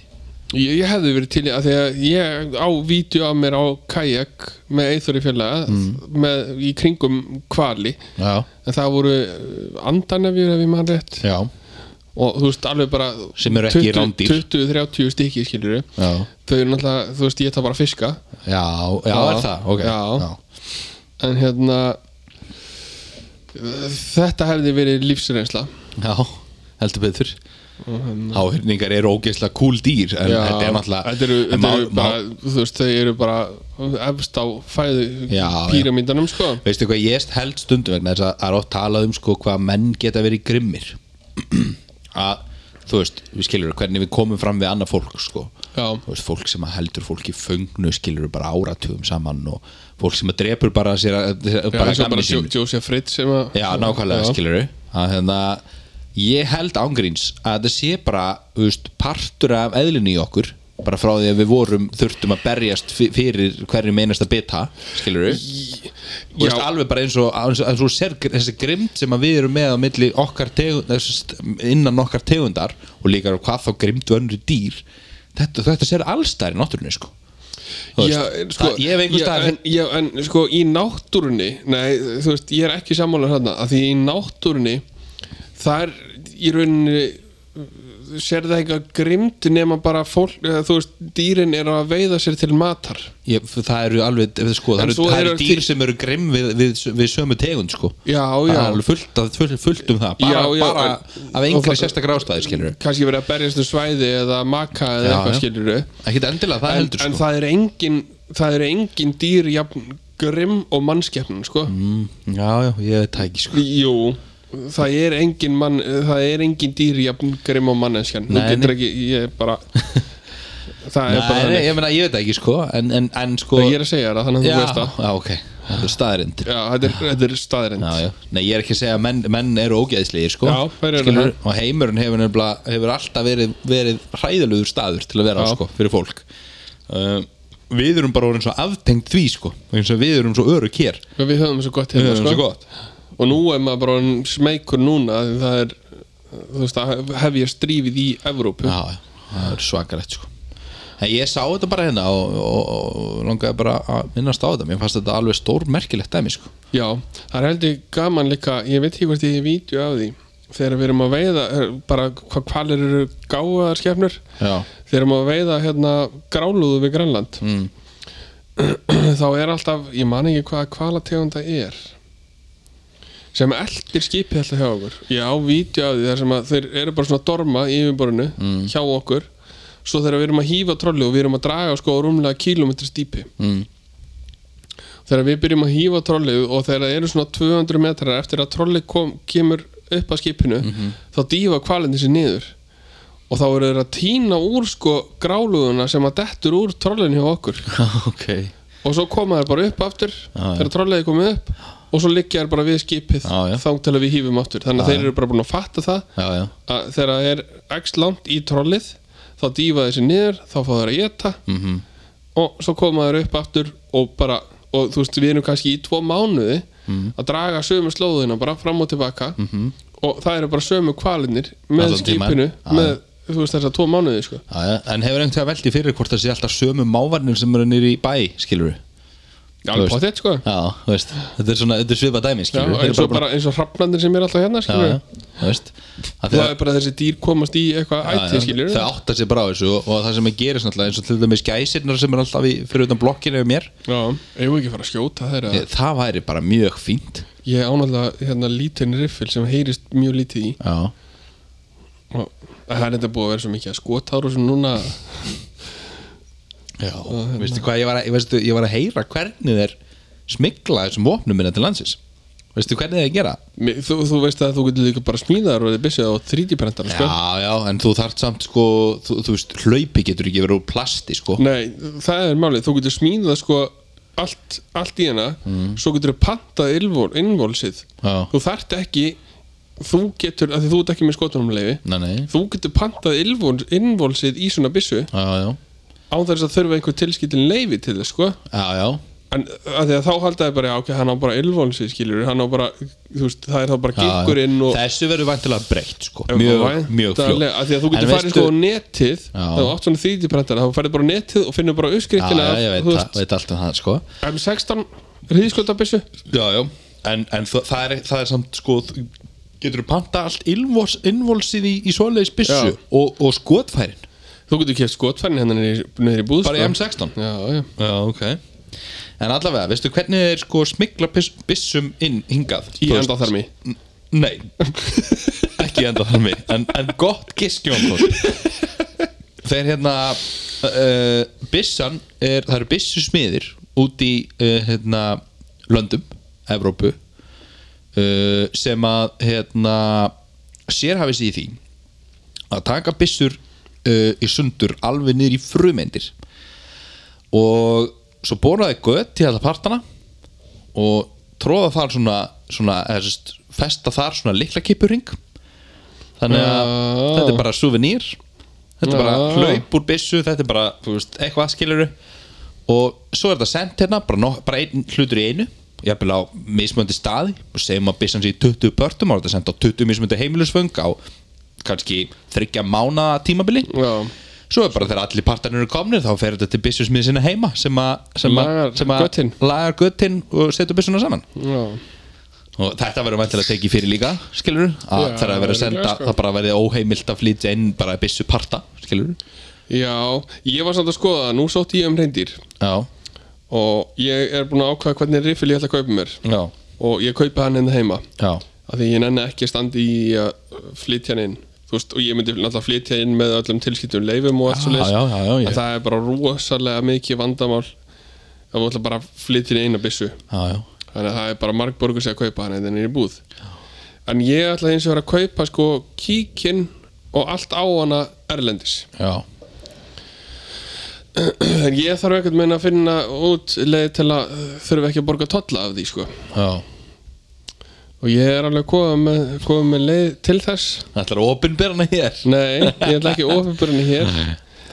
Speaker 2: ég, ég hefði verið til í að því að ég á vídeo af mér á kajak með eithverju fjölega
Speaker 1: Mm.
Speaker 2: með, í kringum kvali
Speaker 1: Já,
Speaker 2: en það voru andanefjur ef ég mann rétt
Speaker 1: já,
Speaker 2: og þú veist alveg bara
Speaker 1: Sem eru ekki
Speaker 2: 20
Speaker 1: rándýr.
Speaker 2: 20-30 stykki skilur
Speaker 1: já
Speaker 2: þau eru náttúrulega, þú veist ég það bara fiska
Speaker 1: Já, já,
Speaker 2: Já.
Speaker 1: er það, ok
Speaker 2: Já. en hérna þetta hefði verið lífsreynsla
Speaker 1: Já, heldur betur Háhyrningar eru ógeðslega kúl dýr En
Speaker 2: hérna- Já,
Speaker 1: þetta er náttúrulega
Speaker 2: þetta eru,
Speaker 1: en
Speaker 2: þetta
Speaker 1: mál-
Speaker 2: eru bara, þú veist, þau eru bara efst á fæðu
Speaker 1: Já, já.
Speaker 2: píramídanum sko
Speaker 1: mál- Veistu hvað ég held stundum vegna þess að það er oft talað um sko hvað menn geta verið grimmir Að þú veist, við skilur hvernig við komum fram við annað fólk sko.
Speaker 2: Já.
Speaker 1: þú veist, fólk sem að heldur fólki föngnu skilur bara áratugum saman og fólk sem að drepur bara sér að, bara
Speaker 2: bara,
Speaker 1: að gamni
Speaker 2: bara
Speaker 1: sín
Speaker 2: Jo- Josiah Fritz sem að
Speaker 1: Já, nákvæmlega,
Speaker 2: Já.
Speaker 1: skilur að hérna, ég held ángríns að þetta sé bara þú veist, partur af eðlinu í okkur bara frá því að við vorum, þurftum að berjast fi- fyrir hverjum einasta bita skilur við veist, alveg bara eins og, eins og, eins og ser, þessi grimd sem að við erum með á milli okkar tegund, þess- innan okkar tegundar og líka hvað þá grimd vönru dýr þetta, þetta sér allstæri náttúrunni sko. Þú veist,
Speaker 2: Já, en sko,
Speaker 1: það, ég hef einhvers
Speaker 2: já,
Speaker 1: staðar
Speaker 2: en, já, en sko í náttúrunni Nei, þú veist, ég er ekki sammála þarna að Því í náttúrunni Þar í rauninni uh, Sér það eitthvað grimd Nema bara fólk, eða, þú veist Dýrin eru að veiða sér til matar
Speaker 1: Ég, það eru alveg, ef þið sko, það
Speaker 2: En
Speaker 1: eru,
Speaker 2: svo
Speaker 1: það eru
Speaker 2: eru
Speaker 1: dýr
Speaker 2: til-
Speaker 1: sem eru grimm við, við, við sömu tegund sko.
Speaker 2: Já,
Speaker 1: það er
Speaker 2: já.
Speaker 1: alveg fullt, að- fullt, fullt um það bara,
Speaker 2: Já, já,
Speaker 1: bara
Speaker 2: en-
Speaker 1: af
Speaker 2: og
Speaker 1: einhverju
Speaker 2: það-
Speaker 1: sérstakar ástæði skilur
Speaker 2: kannski verið að berjast um svæði Eða maka eða
Speaker 1: Já,
Speaker 2: eitthvað
Speaker 1: já.
Speaker 2: skilur
Speaker 1: ekkert endilega það
Speaker 2: en,
Speaker 1: heldur
Speaker 2: en
Speaker 1: sko.
Speaker 2: það er engin Það eru engin dýr jafn grimm og mannskeppnum sko.
Speaker 1: mm, já, já, ég veit það ekki sko.
Speaker 2: Jú Það er engin mann Það er engin dýr jafn grimm og manneskjan Þú
Speaker 1: Nei,
Speaker 2: getur
Speaker 1: nei.
Speaker 2: ekki Ég er bara Það er bara
Speaker 1: Nei, nei,
Speaker 2: þannig
Speaker 1: ég, meina, ég veit það ekki sko, en, en, en sko
Speaker 2: Ég er að segja þér það þannig að
Speaker 1: já,
Speaker 2: þú veist það
Speaker 1: já, ok, þetta er staðrind
Speaker 2: Já, þetta er, þetta er staðrind
Speaker 1: Já, já. Nei, ég er ekki að segja að menn, menn eru ógæðislegir sko.
Speaker 2: Já, þeir eru
Speaker 1: Skilurðu? og heimurinn hefur, nefnilega- hefur alltaf verið, verið hræðalugur staður til að vera á,
Speaker 2: Já.
Speaker 1: sko, fyrir fólk uh, Við erum bara orðin svo aftengt því sko, eins og við erum svo örug hér
Speaker 2: Við höfum svo gott
Speaker 1: Við
Speaker 2: hérna
Speaker 1: höfum
Speaker 2: sko.
Speaker 1: svo gott.
Speaker 2: Og nú er maður bara orðinn smeykur núna því Það er Þú veist að hef ég strífið í Evrópu
Speaker 1: Já, já, það er svakalegt sko En ég sá þetta bara hérna og, og, og langaði bara að minnast á þetta Mér fannst þetta alveg stór merkilegt dæmi sko
Speaker 2: Já, það er heldur gaman líka Ég veit ekki hvort ég hef vídeo af því Þegar við erum að veiða er- Bara hvað hvalir eru gáðar skepnur
Speaker 1: Já,
Speaker 2: Þegar við erum að veiða hérna grálúðu við Grænland
Speaker 1: mm.
Speaker 2: þá er alltaf, ég man ekki hvaða kvalategunda er sem eldir skipið alltaf hjá okkur ég á vídeo af því þar sem að þeir eru bara svona að dorma í yfirborinu hjá okkur svo þegar við erum að hýfa trolli og við erum að draga sko á rúmlega kílómetri stípi
Speaker 1: Mm.
Speaker 2: þegar við byrjum að hýfa trollið og þegar það eru svona 200 metrar eftir að trollið kom, kemur upp að skipinu
Speaker 1: Mhm.
Speaker 2: þá dýfa kvalindi sér niður og þá eru þeir að týna úr sko gráluðuna sem að dettur úr trollinu hjá okkur
Speaker 1: ok
Speaker 2: og svo koma þær bara upp aftur
Speaker 1: já.
Speaker 2: þegar trolliði komið upp og svo liggja þær bara við skipið
Speaker 1: Já, já.
Speaker 2: þá til að við hýfum aftur þannig að þeir eru bara búin að fatta það
Speaker 1: Já, já,
Speaker 2: að þegar það er x langt í trollið þá dýfa þessi niður, þá fá þær að geta
Speaker 1: mm
Speaker 2: og svo koma þær upp aftur og bara, og þú veist, við erum kannski í tvo mánuði
Speaker 1: Mhm.
Speaker 2: að draga sömu slóðina bara fram og tilbaka -hmm. og það eru bara sömu kvalinnir með
Speaker 1: Allan tímann.
Speaker 2: skipinu
Speaker 1: Já.
Speaker 2: með, þú veist, þessar tvo mánuði sko.
Speaker 1: já, já En hefur einhvern veginn veldi fyrir hvort það sé alltaf sömu mávarnir sem eru nýri í bæ, skilur við
Speaker 2: alveg
Speaker 1: veist.
Speaker 2: potið, sko
Speaker 1: Já, þú veist, þetta er svona, þetta er svipað dæmi,
Speaker 2: Já,
Speaker 1: skilur við
Speaker 2: eins og bara eins og hrafnandir sem er alltaf hérna, skilur
Speaker 1: já, já, þú veist Af því
Speaker 2: það
Speaker 1: að-
Speaker 2: er bara þessi dýr komast í eitthvað
Speaker 1: Já, já,
Speaker 2: ætti skilur
Speaker 1: þau átta sér bara á þessu og, og það sem að gerist náttúrulega eins og til dæmis gæsirnar sem er alltaf í, fyrir utan blokkinu yfir mér,
Speaker 2: já, eigum við ekki að fara að skjóta þeirra
Speaker 1: ég, það væri bara mjög fínt
Speaker 2: ég ánáttúrulega hérna lítinn riffil sem heyrist mjög lítið í
Speaker 1: Já,
Speaker 2: og það er þetta búið að vera svo mikið að skota ára sem núna
Speaker 1: já,
Speaker 2: hérna.
Speaker 1: veistu hvað ég var, að, ég, veistu, ég var að heyra hvernig þeir smikla þessum vopnum minna til landsins veistu hvernig þeir gera?
Speaker 2: Mi- þú, þú veist að þú getur líka bara smíðaður og þið byssið á 3D-prentar sko?
Speaker 1: Já, já, en þú þarft samt sko, þú, þú veist, hlaupi getur ekki verið úr plasti sko
Speaker 2: nei, það er málið, þú getur smíðað sko allt, allt í hana svo getur þau pantað innvól, innvólsið
Speaker 1: Mm. Já.
Speaker 2: þú þarft ekki þú getur, af því þú ert ekki með skotunumleifi
Speaker 1: Nei, nei,
Speaker 2: þú getur pantað innvól, innvólsið í svona byssu
Speaker 1: já, já,
Speaker 2: á þess að þurfa einhver tilskilin leifi til þess sko
Speaker 1: já, já
Speaker 2: en að því að þá haldaði bara já, ok, hann á bara ylvónsi skilur hann á bara, þú veist, það er þá bara
Speaker 1: Já,
Speaker 2: gikkurinn og
Speaker 1: Þessu verður vantilega breytt sko, mjög, mjög fljótt
Speaker 2: að því að þú getur
Speaker 1: En
Speaker 2: farið sko á netið
Speaker 1: Já.
Speaker 2: þá átt svona 3D-prentara, þá farið bara á netið og finnur bara
Speaker 1: Já,
Speaker 2: uppskriftina
Speaker 1: já,
Speaker 2: af,
Speaker 1: ég veit,
Speaker 2: þú
Speaker 1: það- veit allt um það sko
Speaker 2: M16 hríðskotabissu
Speaker 1: Já, já, en, en þa það, er, það er samt sko þú- getur þú panta allt innvols, innvolsið í, í svoleiðis byssu
Speaker 2: Já.
Speaker 1: og, og skotfærin
Speaker 2: þú getur keft skotfærin hennar niður í búð
Speaker 1: bara í M16
Speaker 2: sko. já, já,
Speaker 1: Já, ok En allavega, veistu hvernig þeir sko smikla byss, byssum inn hingað
Speaker 2: í
Speaker 1: Þú veist-
Speaker 2: endaþarmi
Speaker 1: N- Nei, ekki enda þar mig en, en gott gistjón Þeir hérna uh, Bissan er, Það eru byssusmiðir út í uh, hérna, Löndum, Evrópu eh, uh, sem að hérna, sérhafis í því að taka byssur uh, í sundur alveg niður í frumeindir og svo boraði gött til alla partana og tróða þar svona, svona eða, sest, festa þar svona liklakippuring þannig að
Speaker 2: Já.
Speaker 1: þetta er bara souvenir þetta er bara
Speaker 2: Já.
Speaker 1: hlaup úr byssu þetta er bara þú veist, eitthvað skilur og svo er þetta sent hérna bara, no, bara einn hlutur í einu jafnvel á mismöndi staði og segjum að byssan sé í 20 pörtum og þetta er sendt á 20 mismöndi heimilisföng á kannski þryggja mána tímabili
Speaker 2: Já.
Speaker 1: svo er bara þegar allir partarnir eru komnir þá fer þetta til byssusmið sinna heima sem að sem að-
Speaker 2: Lagar
Speaker 1: sem að-
Speaker 2: götin.
Speaker 1: lagar göttin og setur byssuna saman
Speaker 2: Já.
Speaker 1: og þetta verður mæntilega að tekið fyrir líka skilur, að
Speaker 2: Já,
Speaker 1: það er að vera að senda
Speaker 2: örugglega, sko.
Speaker 1: það bara verði óheimilt að flytja inn bara byssu parta, skilur
Speaker 2: Já, ég var samt að skoða það, nú sótti ég um reyndir
Speaker 1: já,
Speaker 2: og ég er búin að ákvaða hvernig riffil ég ætla að kaupa mér
Speaker 1: já,
Speaker 2: og ég kaupa hann hérna heima
Speaker 1: já,
Speaker 2: af því ég nenni ekki að standa í að flytja hann inn þú veist, og ég myndi náttúrulega flytja inn með öllum tilskiptum leifum og allt svo
Speaker 1: já, já, já, já,
Speaker 2: að það er bara rosalega mikið vandamál ef þú ætla bara að flytja inn eina byssu
Speaker 1: já, já.
Speaker 2: þannig að það er bara margborgur sem að kaupa hann en er í búð en ég ætla eins og vera að kaupa sko kíkin og allt á hana erlendis
Speaker 1: já.
Speaker 2: en ég þarf ekkert meina að finna út leið til að uh, þurfa ekki að borga tolla af því sko
Speaker 1: já.
Speaker 2: og ég er alveg komið með, komið með leið til þess
Speaker 1: það ætlar að opinbera hana hér
Speaker 2: nei, ég ætla ekki ofinbörni hér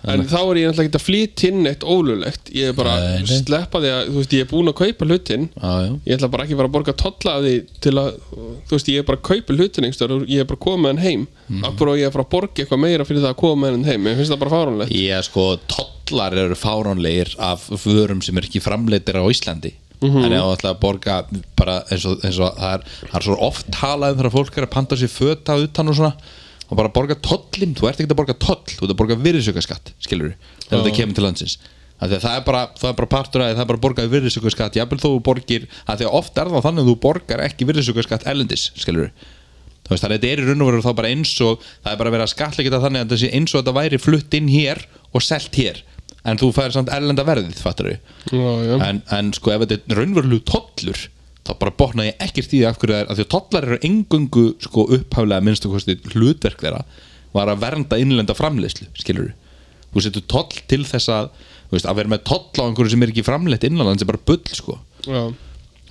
Speaker 2: en þá er ég ætla ekki að flytja inn eitt ólulegt ég er bara
Speaker 1: Nei,
Speaker 2: að
Speaker 1: nei.
Speaker 2: sleppa því að þú veist, ég er búin að kaupa hlutin
Speaker 1: já, já,
Speaker 2: ég ætla bara ekki að fara að borga tolla af því til að, þú veist, ég er bara að kaupa hlutin einhverjum, ég er bara að koma með hann heim
Speaker 1: Mhm.
Speaker 2: mm. af hverju á ég að fara að borga eitthvað meira fyrir það að koma með hann heim, ég finnst það bara fáránlegt
Speaker 1: ég sko, tollar eru fáránlegir af vörum sem er ekki framleitir á Íslandi þannig að það ætla að borga bara eins og, eins og það, er, það er svo oft talað um þegar fólk er að panta sér föta utan og svona og bara borga tollin, þú ert ekki að borga toll þú ert að borga virðisaukaskatt, skilur þegar þetta kemur til landsins Af því að það er bara, það er bara partur að það er bara að borga virðisaukaskatt jafnvel þó þú borgir, að því að oft er það þannig að þú borgar ekki virðisaukaskatt ellendis, skilur þú veist, þannig að þetta er í raun og veru þá bara eins og það er bara verið að skatla geta þannig að þetta sé eins og þetta væri flutt inn hér og selt hér en þú færir samt erlenda verðið, fattar við
Speaker 2: já, já.
Speaker 1: en, en sko ef þetta er raunverulegu tollur þá bara botna ég ekkert í því af hverju það er af því að tollar eru engungu sko upphaflega minnstu kosti hlutverk þeirra var að vernda innlenda framleiðslu skilur þú setur toll til þess að þú veist, að vera með toll á einhverju sem er ekki framleitt innanlands er bara bull sko
Speaker 2: Já.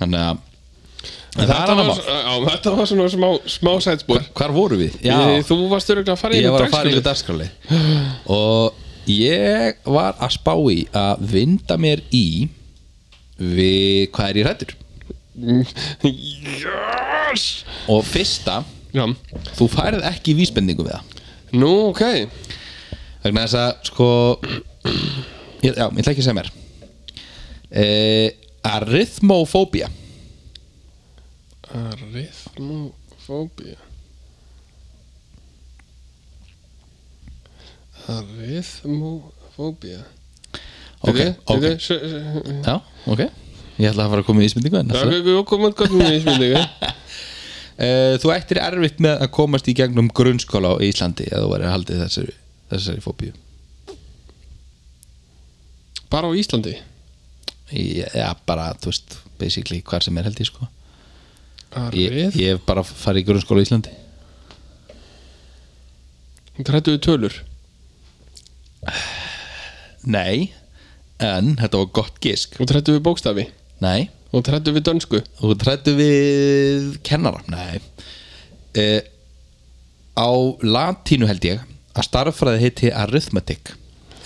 Speaker 1: þannig að en það er
Speaker 2: Þetta,
Speaker 1: annar
Speaker 2: var,
Speaker 1: mál
Speaker 2: já, þetta var svona smá, smá sætspor
Speaker 1: hvar voru við?
Speaker 2: Ég- þú varst öruglega að fara
Speaker 1: ég
Speaker 2: yfir
Speaker 1: var að fara yfir
Speaker 2: dagskrá.
Speaker 1: dagskráli og ég var að spá í að vinda mér í við hvað er ég hrættur
Speaker 2: yes!
Speaker 1: og fyrsta,
Speaker 2: já.
Speaker 1: þú færið ekki vísbendingu við það
Speaker 2: nú, ok
Speaker 1: vegna þess að sko ég, já, ég ætla ekki að segja mér e, arithmofóbía
Speaker 2: arithmofóbía arithmofóbía
Speaker 1: ok, ok,
Speaker 2: ok
Speaker 1: já, ok ég ætla að fara að koma í vísbendingu hérna, en
Speaker 2: Já,
Speaker 1: alltaf
Speaker 2: ok, ok, komum gott með vísbendingu
Speaker 1: Eh, Þú ættir erfitt með að komast í gegnum grunnskóla á Íslandi eða þú væri haldið þessari, þessari fóbíu
Speaker 2: Bara á Íslandi
Speaker 1: Já, bara, þú veist, basically hvar sem er held ég sko Ég,
Speaker 2: Arif
Speaker 1: ég hef bara farið í grunnskóla í Íslandi
Speaker 2: Grættu við tölur
Speaker 1: Nei, en þetta var gott gisk
Speaker 2: Og grættu við bókstafi
Speaker 1: Nei,
Speaker 2: Og grættu við dönsku
Speaker 1: þú trættu við kennara Nei e, Á latínu held ég að starffræði heiti arithmetic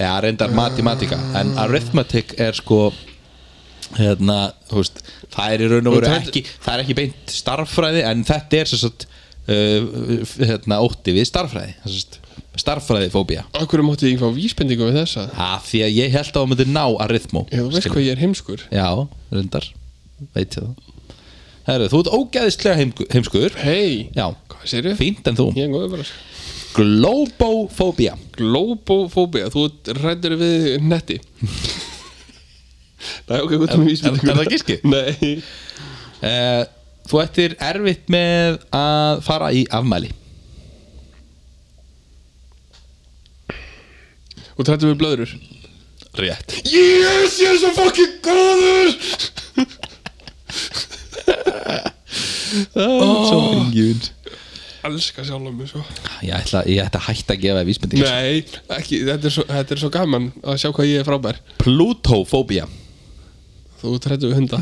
Speaker 1: eða reyndar matematika en arithmetic er sko hérna, þú veist það er í raun og veru
Speaker 2: træddu-
Speaker 1: ekki það er ekki beint starffræði en þetta er sem sagt uh, hérna, ótti við starffræði sem sagt, starffræði fóbía
Speaker 2: Akkur mátti ég ekki fá vísbendingu við þessa
Speaker 1: af því að ég held að hún myndi ná arithmo
Speaker 2: Já, þú veist
Speaker 1: skilur.
Speaker 2: hvað ég er heimskur
Speaker 1: Já, reyndar Veit ég það Herru, þú ert ógæðislega heimgu, heimskuður
Speaker 2: Hei
Speaker 1: Já,
Speaker 2: Hvað sér ég?
Speaker 1: fínt en þú
Speaker 2: Ég er góður bara sko.
Speaker 1: Globofóbía
Speaker 2: Globofóbia Þú rættur við netti Nei, ok, gott með vísbendingu
Speaker 1: er það giski?
Speaker 2: Nei
Speaker 1: uh, Þú ættir erfitt með að fara í afmæli
Speaker 2: Og grættu við blöður
Speaker 1: Rétt
Speaker 2: Yes, ég er svo fucking góður
Speaker 1: oh. Svo engin
Speaker 2: elska sjálf mig svo
Speaker 1: Ég ætla, ég ætla að hætta að gefa þér vísbendingar
Speaker 2: Nei, ekki, þetta er, svo, þetta er svo gaman að sjá hvað ég er frábær
Speaker 1: Plutófóbía
Speaker 2: Þú trættu við hunda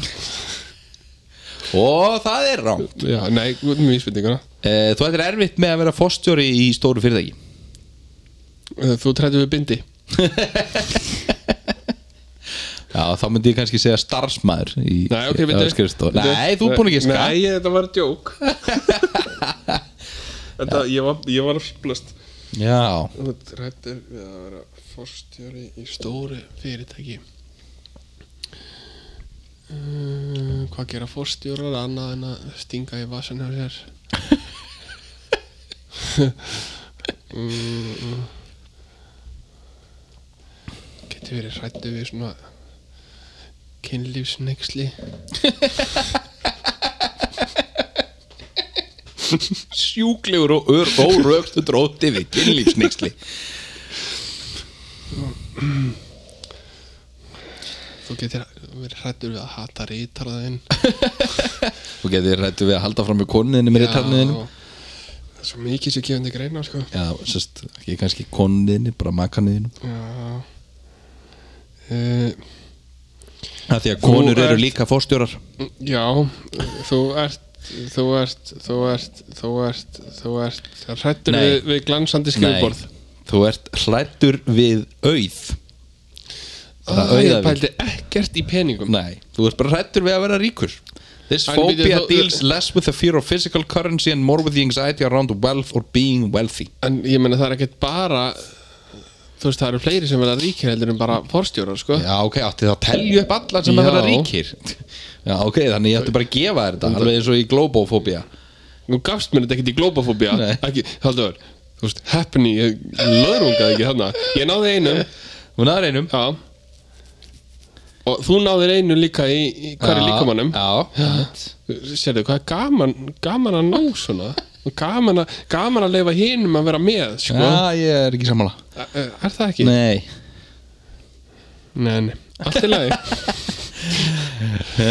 Speaker 1: Og það er rám
Speaker 2: Já, nei, út með vísbendinguna
Speaker 1: Eh, Þú ættir erfitt með að vera fórstjóri í stóru fyrirtæki
Speaker 2: Þú trættu við bindi
Speaker 1: Já, þá myndi ég kannski segja starfsmæður í,
Speaker 2: Nei, ok,
Speaker 1: á
Speaker 2: bindi
Speaker 1: skrifstofu. Nei, þú er búin að giska
Speaker 2: Nei, ég- þetta var djók Þetta, ég var, ég var blöst
Speaker 1: Já,
Speaker 2: Þú trættur við að vera forstjóri í stóru fyrirtæki Uh, hvað gera forstjórar annað en að stinga í vasan hjá sér mm, getur verið hrættu við svona kynlífsneiksli
Speaker 1: sjúklegur og ör, órögstu dróti við kynlífsnýksli
Speaker 2: þú getur verið hrættur við að hata rítaraðinn
Speaker 1: Þú getur rættu við að halda fram með konuðinu með rítarniðinu
Speaker 2: það er svo mikið sem gefandi greina sko
Speaker 1: Já, sérst, ekki kannski konuðinu, bara makanuðinu
Speaker 2: Já uh,
Speaker 1: Það því að konur
Speaker 2: ert-
Speaker 1: eru líka fórstjórar
Speaker 2: Já Þú ert Þú ert, þú ert, þú ert, þú ert Hrættur
Speaker 1: Nei.
Speaker 2: við, við glansandi skrifborð
Speaker 1: þú ert hrættur við auð
Speaker 2: Það
Speaker 1: auða
Speaker 2: ég
Speaker 1: við.
Speaker 2: pældi ekkert í peningum
Speaker 1: Nei, þú ert bara hrættur við að vera ríkur This
Speaker 2: En
Speaker 1: phobia
Speaker 2: býtu, þú-
Speaker 1: deals less with the fear of physical currency and more with the anxiety around wealth or being wealthy
Speaker 2: En ég meina það er ekkert bara Þú veist það eru fleiri sem verða ríkir heldur en bara forstjórar sko
Speaker 1: Já, ok, átti það telju upp allar sem að
Speaker 2: Já.
Speaker 1: vera ríkir Já, ok, þannig ég ætti bara að gefa þér þetta alveg eins og í globofóbia
Speaker 2: Nú gafst mér þetta ekkert í glópafóbía
Speaker 1: Nei.
Speaker 2: Ekki, haldur Þú veist, heppni, ég löðrungaði ekki þarna Ég náði einum,
Speaker 1: Hún aðra einum
Speaker 2: já Og þú náðir einu líka í, í
Speaker 1: Já,
Speaker 2: hverju
Speaker 1: Sko.
Speaker 2: líkamannum
Speaker 1: Já,
Speaker 2: Sérðu hvað er gaman, gaman að ná svona Gaman að, gaman að leifa hinum að vera með sko.
Speaker 1: já ég er ekki sammála
Speaker 2: Er er það ekki?
Speaker 1: Nei
Speaker 2: nei, nei. Allt í lagi
Speaker 1: Æ,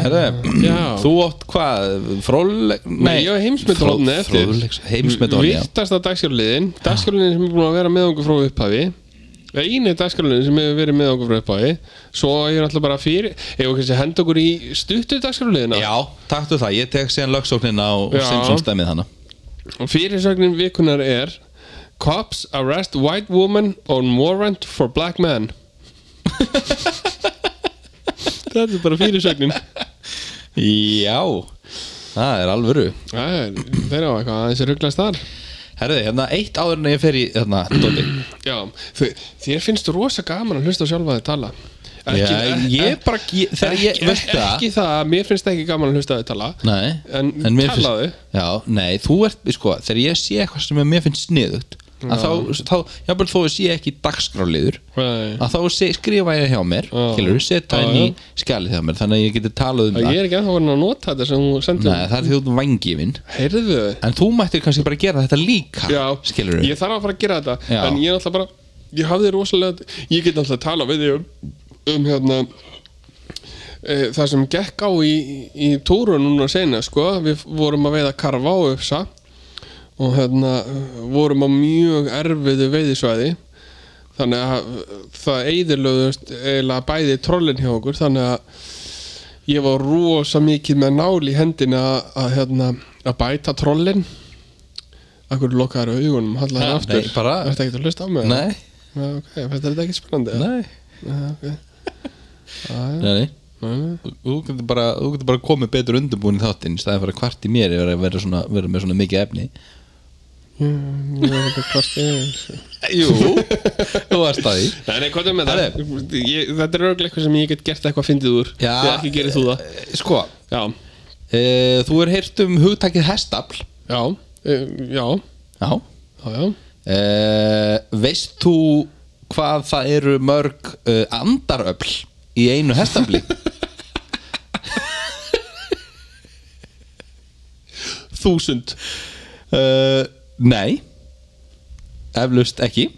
Speaker 1: Herre,
Speaker 2: Já.
Speaker 1: þú átt hvað? Fróðleg
Speaker 2: Nei, ég var heimsmetróðan eftir
Speaker 1: Heimsmetróðan, já
Speaker 2: Virtasta dagskjáliðin Dagskjáliðin sem er búin að vera með okkur frá upphafi Einu dagskjáliðin sem hefur verið með okkur frá upphafi Svo ég er alltaf bara fyrir Ef okkur sem henda okkur í stuttu dagskjáliðina
Speaker 1: Já, taktu það, ég tek síðan lögsóknina og, og
Speaker 2: Já.
Speaker 1: Simpsons dæmið hana
Speaker 2: Og fyrirsögnin vikunar er Cops arrest white woman on warrant for black man Þetta er bara fyrirsögnin
Speaker 1: Já, það er alvöru
Speaker 2: Æ, Þeir á eitthvað aðeins er rugglast þar
Speaker 1: Herði, hérna eitt áður en ég fer í hérna, Dóti
Speaker 2: Já, þe- þér finnst rosa gaman að hlusta á sjálfa þið tala
Speaker 1: Já, ég bara, ég, þegar ég,
Speaker 2: ekki,
Speaker 1: veist
Speaker 2: ekki,
Speaker 1: það
Speaker 2: ekki það, mér finnst ekki gaman að hlusta á þið tala
Speaker 1: Nei,
Speaker 2: En
Speaker 1: mér
Speaker 2: talaðu.
Speaker 1: Já, nei, þú ert, sko, þegar ég sé eitthvað sem mér finnst sniðugt að þá, þá, jáfnvel þó ég sé ekki dagskráliður
Speaker 2: Nei.
Speaker 1: að þá sé, skrifa ég hjá mér
Speaker 2: Já.
Speaker 1: skilur, setja
Speaker 2: Já,
Speaker 1: inn í skjalið hjá mér þannig að ég geti talað um
Speaker 2: Ég
Speaker 1: það
Speaker 2: er ekki ennþá farin að nota þetta sem hún sendur
Speaker 1: Nei, það er því þú vangifinn
Speaker 2: Heyrðu
Speaker 1: en þú mættir kannski bara gera þetta líka
Speaker 2: Já,
Speaker 1: skilur
Speaker 2: ég þarf að fara að gera þetta
Speaker 1: Já.
Speaker 2: En ég er alltaf bara Ég hafði rosalega Ég get alltaf að tala við þig um, um hérna e, Það sem gekk á í, í túru núna sena sko. Við vorum að veiða karfa og uppsa Og hérna Vorum á mjög erfiðu veiðisvæði Þannig að það eðilöðust eiginlega bæði trollin hjá okkur Þannig að ég var rosa mikið með nál í hendina að, að, hérna, að bæta trollin Akkur lokaður augunum, hallar
Speaker 1: Ha,
Speaker 2: það aftur
Speaker 1: nei, bara-
Speaker 2: Ertu ekkert að hlusta á mig?
Speaker 1: Nei,
Speaker 2: Já, ok, finnst þetta ekki spennandi?
Speaker 1: nei,
Speaker 2: Já, okay.
Speaker 1: nei, nei.
Speaker 2: Nei,
Speaker 1: Þú- Þú getur bara, þú getur bara komið betur undirbúin í þáttinn í staðið fyrir að kvart í mér yfir að vera, svona, vera með svona mikið efni
Speaker 2: nei, ég er ekki hvort yfir
Speaker 1: Jú, þú varst að því
Speaker 2: Nei, nei, hvað er með það? Ég, þetta er örglega eitthvað sem ég get gert eitthvað fyndið úr
Speaker 1: Já.
Speaker 2: Þegar ekki gerir þú það
Speaker 1: Sko,
Speaker 2: Já,
Speaker 1: e, þú er heyrt um hugtakið hestafl
Speaker 2: já, e, já,
Speaker 1: Já
Speaker 2: já, já
Speaker 1: e, Veist þú hvað það eru mörg e, andaröfl í einu hestafli?
Speaker 2: Þúsund
Speaker 1: e, nei Eflust ekki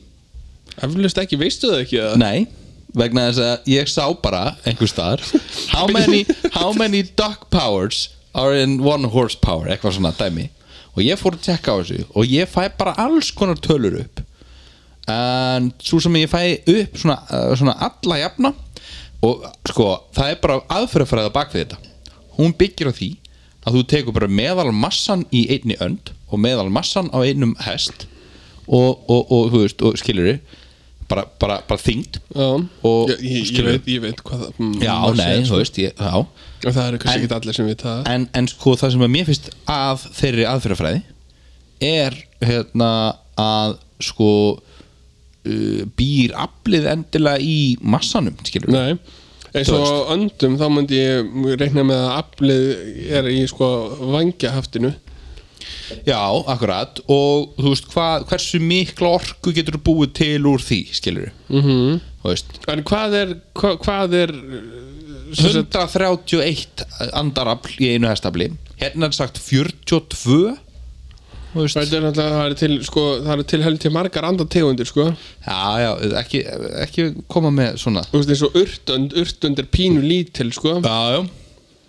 Speaker 2: Eflust ekki, veistu það ekki það?
Speaker 1: Nei Vegna þess að ég sá bara einhver staðar How many, how many duck powers are in one horsepower Eitthvað svona dæmi og ég fór að tekka á þessu og ég fæ bara alls konar tölur upp en svo sem ég fæ upp svona, eh, svona alla jafna og sko það er bara aðferðafræða bak við þetta hún byggir á því að þú tekur bara meðalmassan í einni önd og meðalmassan á einum hest og, og, og, þú veist, og skilur bara, bara, bara þyngd
Speaker 2: Já,
Speaker 1: og
Speaker 2: ég, ég, ég,
Speaker 1: skilur
Speaker 2: veit, ég veit hvað það mm,
Speaker 1: já,
Speaker 2: maður
Speaker 1: nei,
Speaker 2: segir,
Speaker 1: þú veist, ég, já
Speaker 2: sko. Og það eru
Speaker 1: En-
Speaker 2: kannski ekki allir sem við það
Speaker 1: en, en sko það sem að mér finnst að þeirri aðferðafræði er hérna að sko uh, býr aflið endilega í massanum skilur við
Speaker 2: Nei, eins og á öndum þá myndi ég reikna með að aflið er í sko vangjahaftinu
Speaker 1: já, akkurat og þú veist hvað, hversu mikla orku getur búið til úr því skilur við mm -hmm. þú veist
Speaker 2: En hvað er, hva, hvað er
Speaker 1: 131 andarafl í einu hestafli hérna er sagt 42 þú veist
Speaker 2: Þetta er náttúrulega, það er til, sko, það er til helviti margar andategundir, sko
Speaker 1: já, já, ekki, ekki koma með svona
Speaker 2: Þú veist, eins og urtönd, urtönd er pínu lítil, sko
Speaker 1: Já, já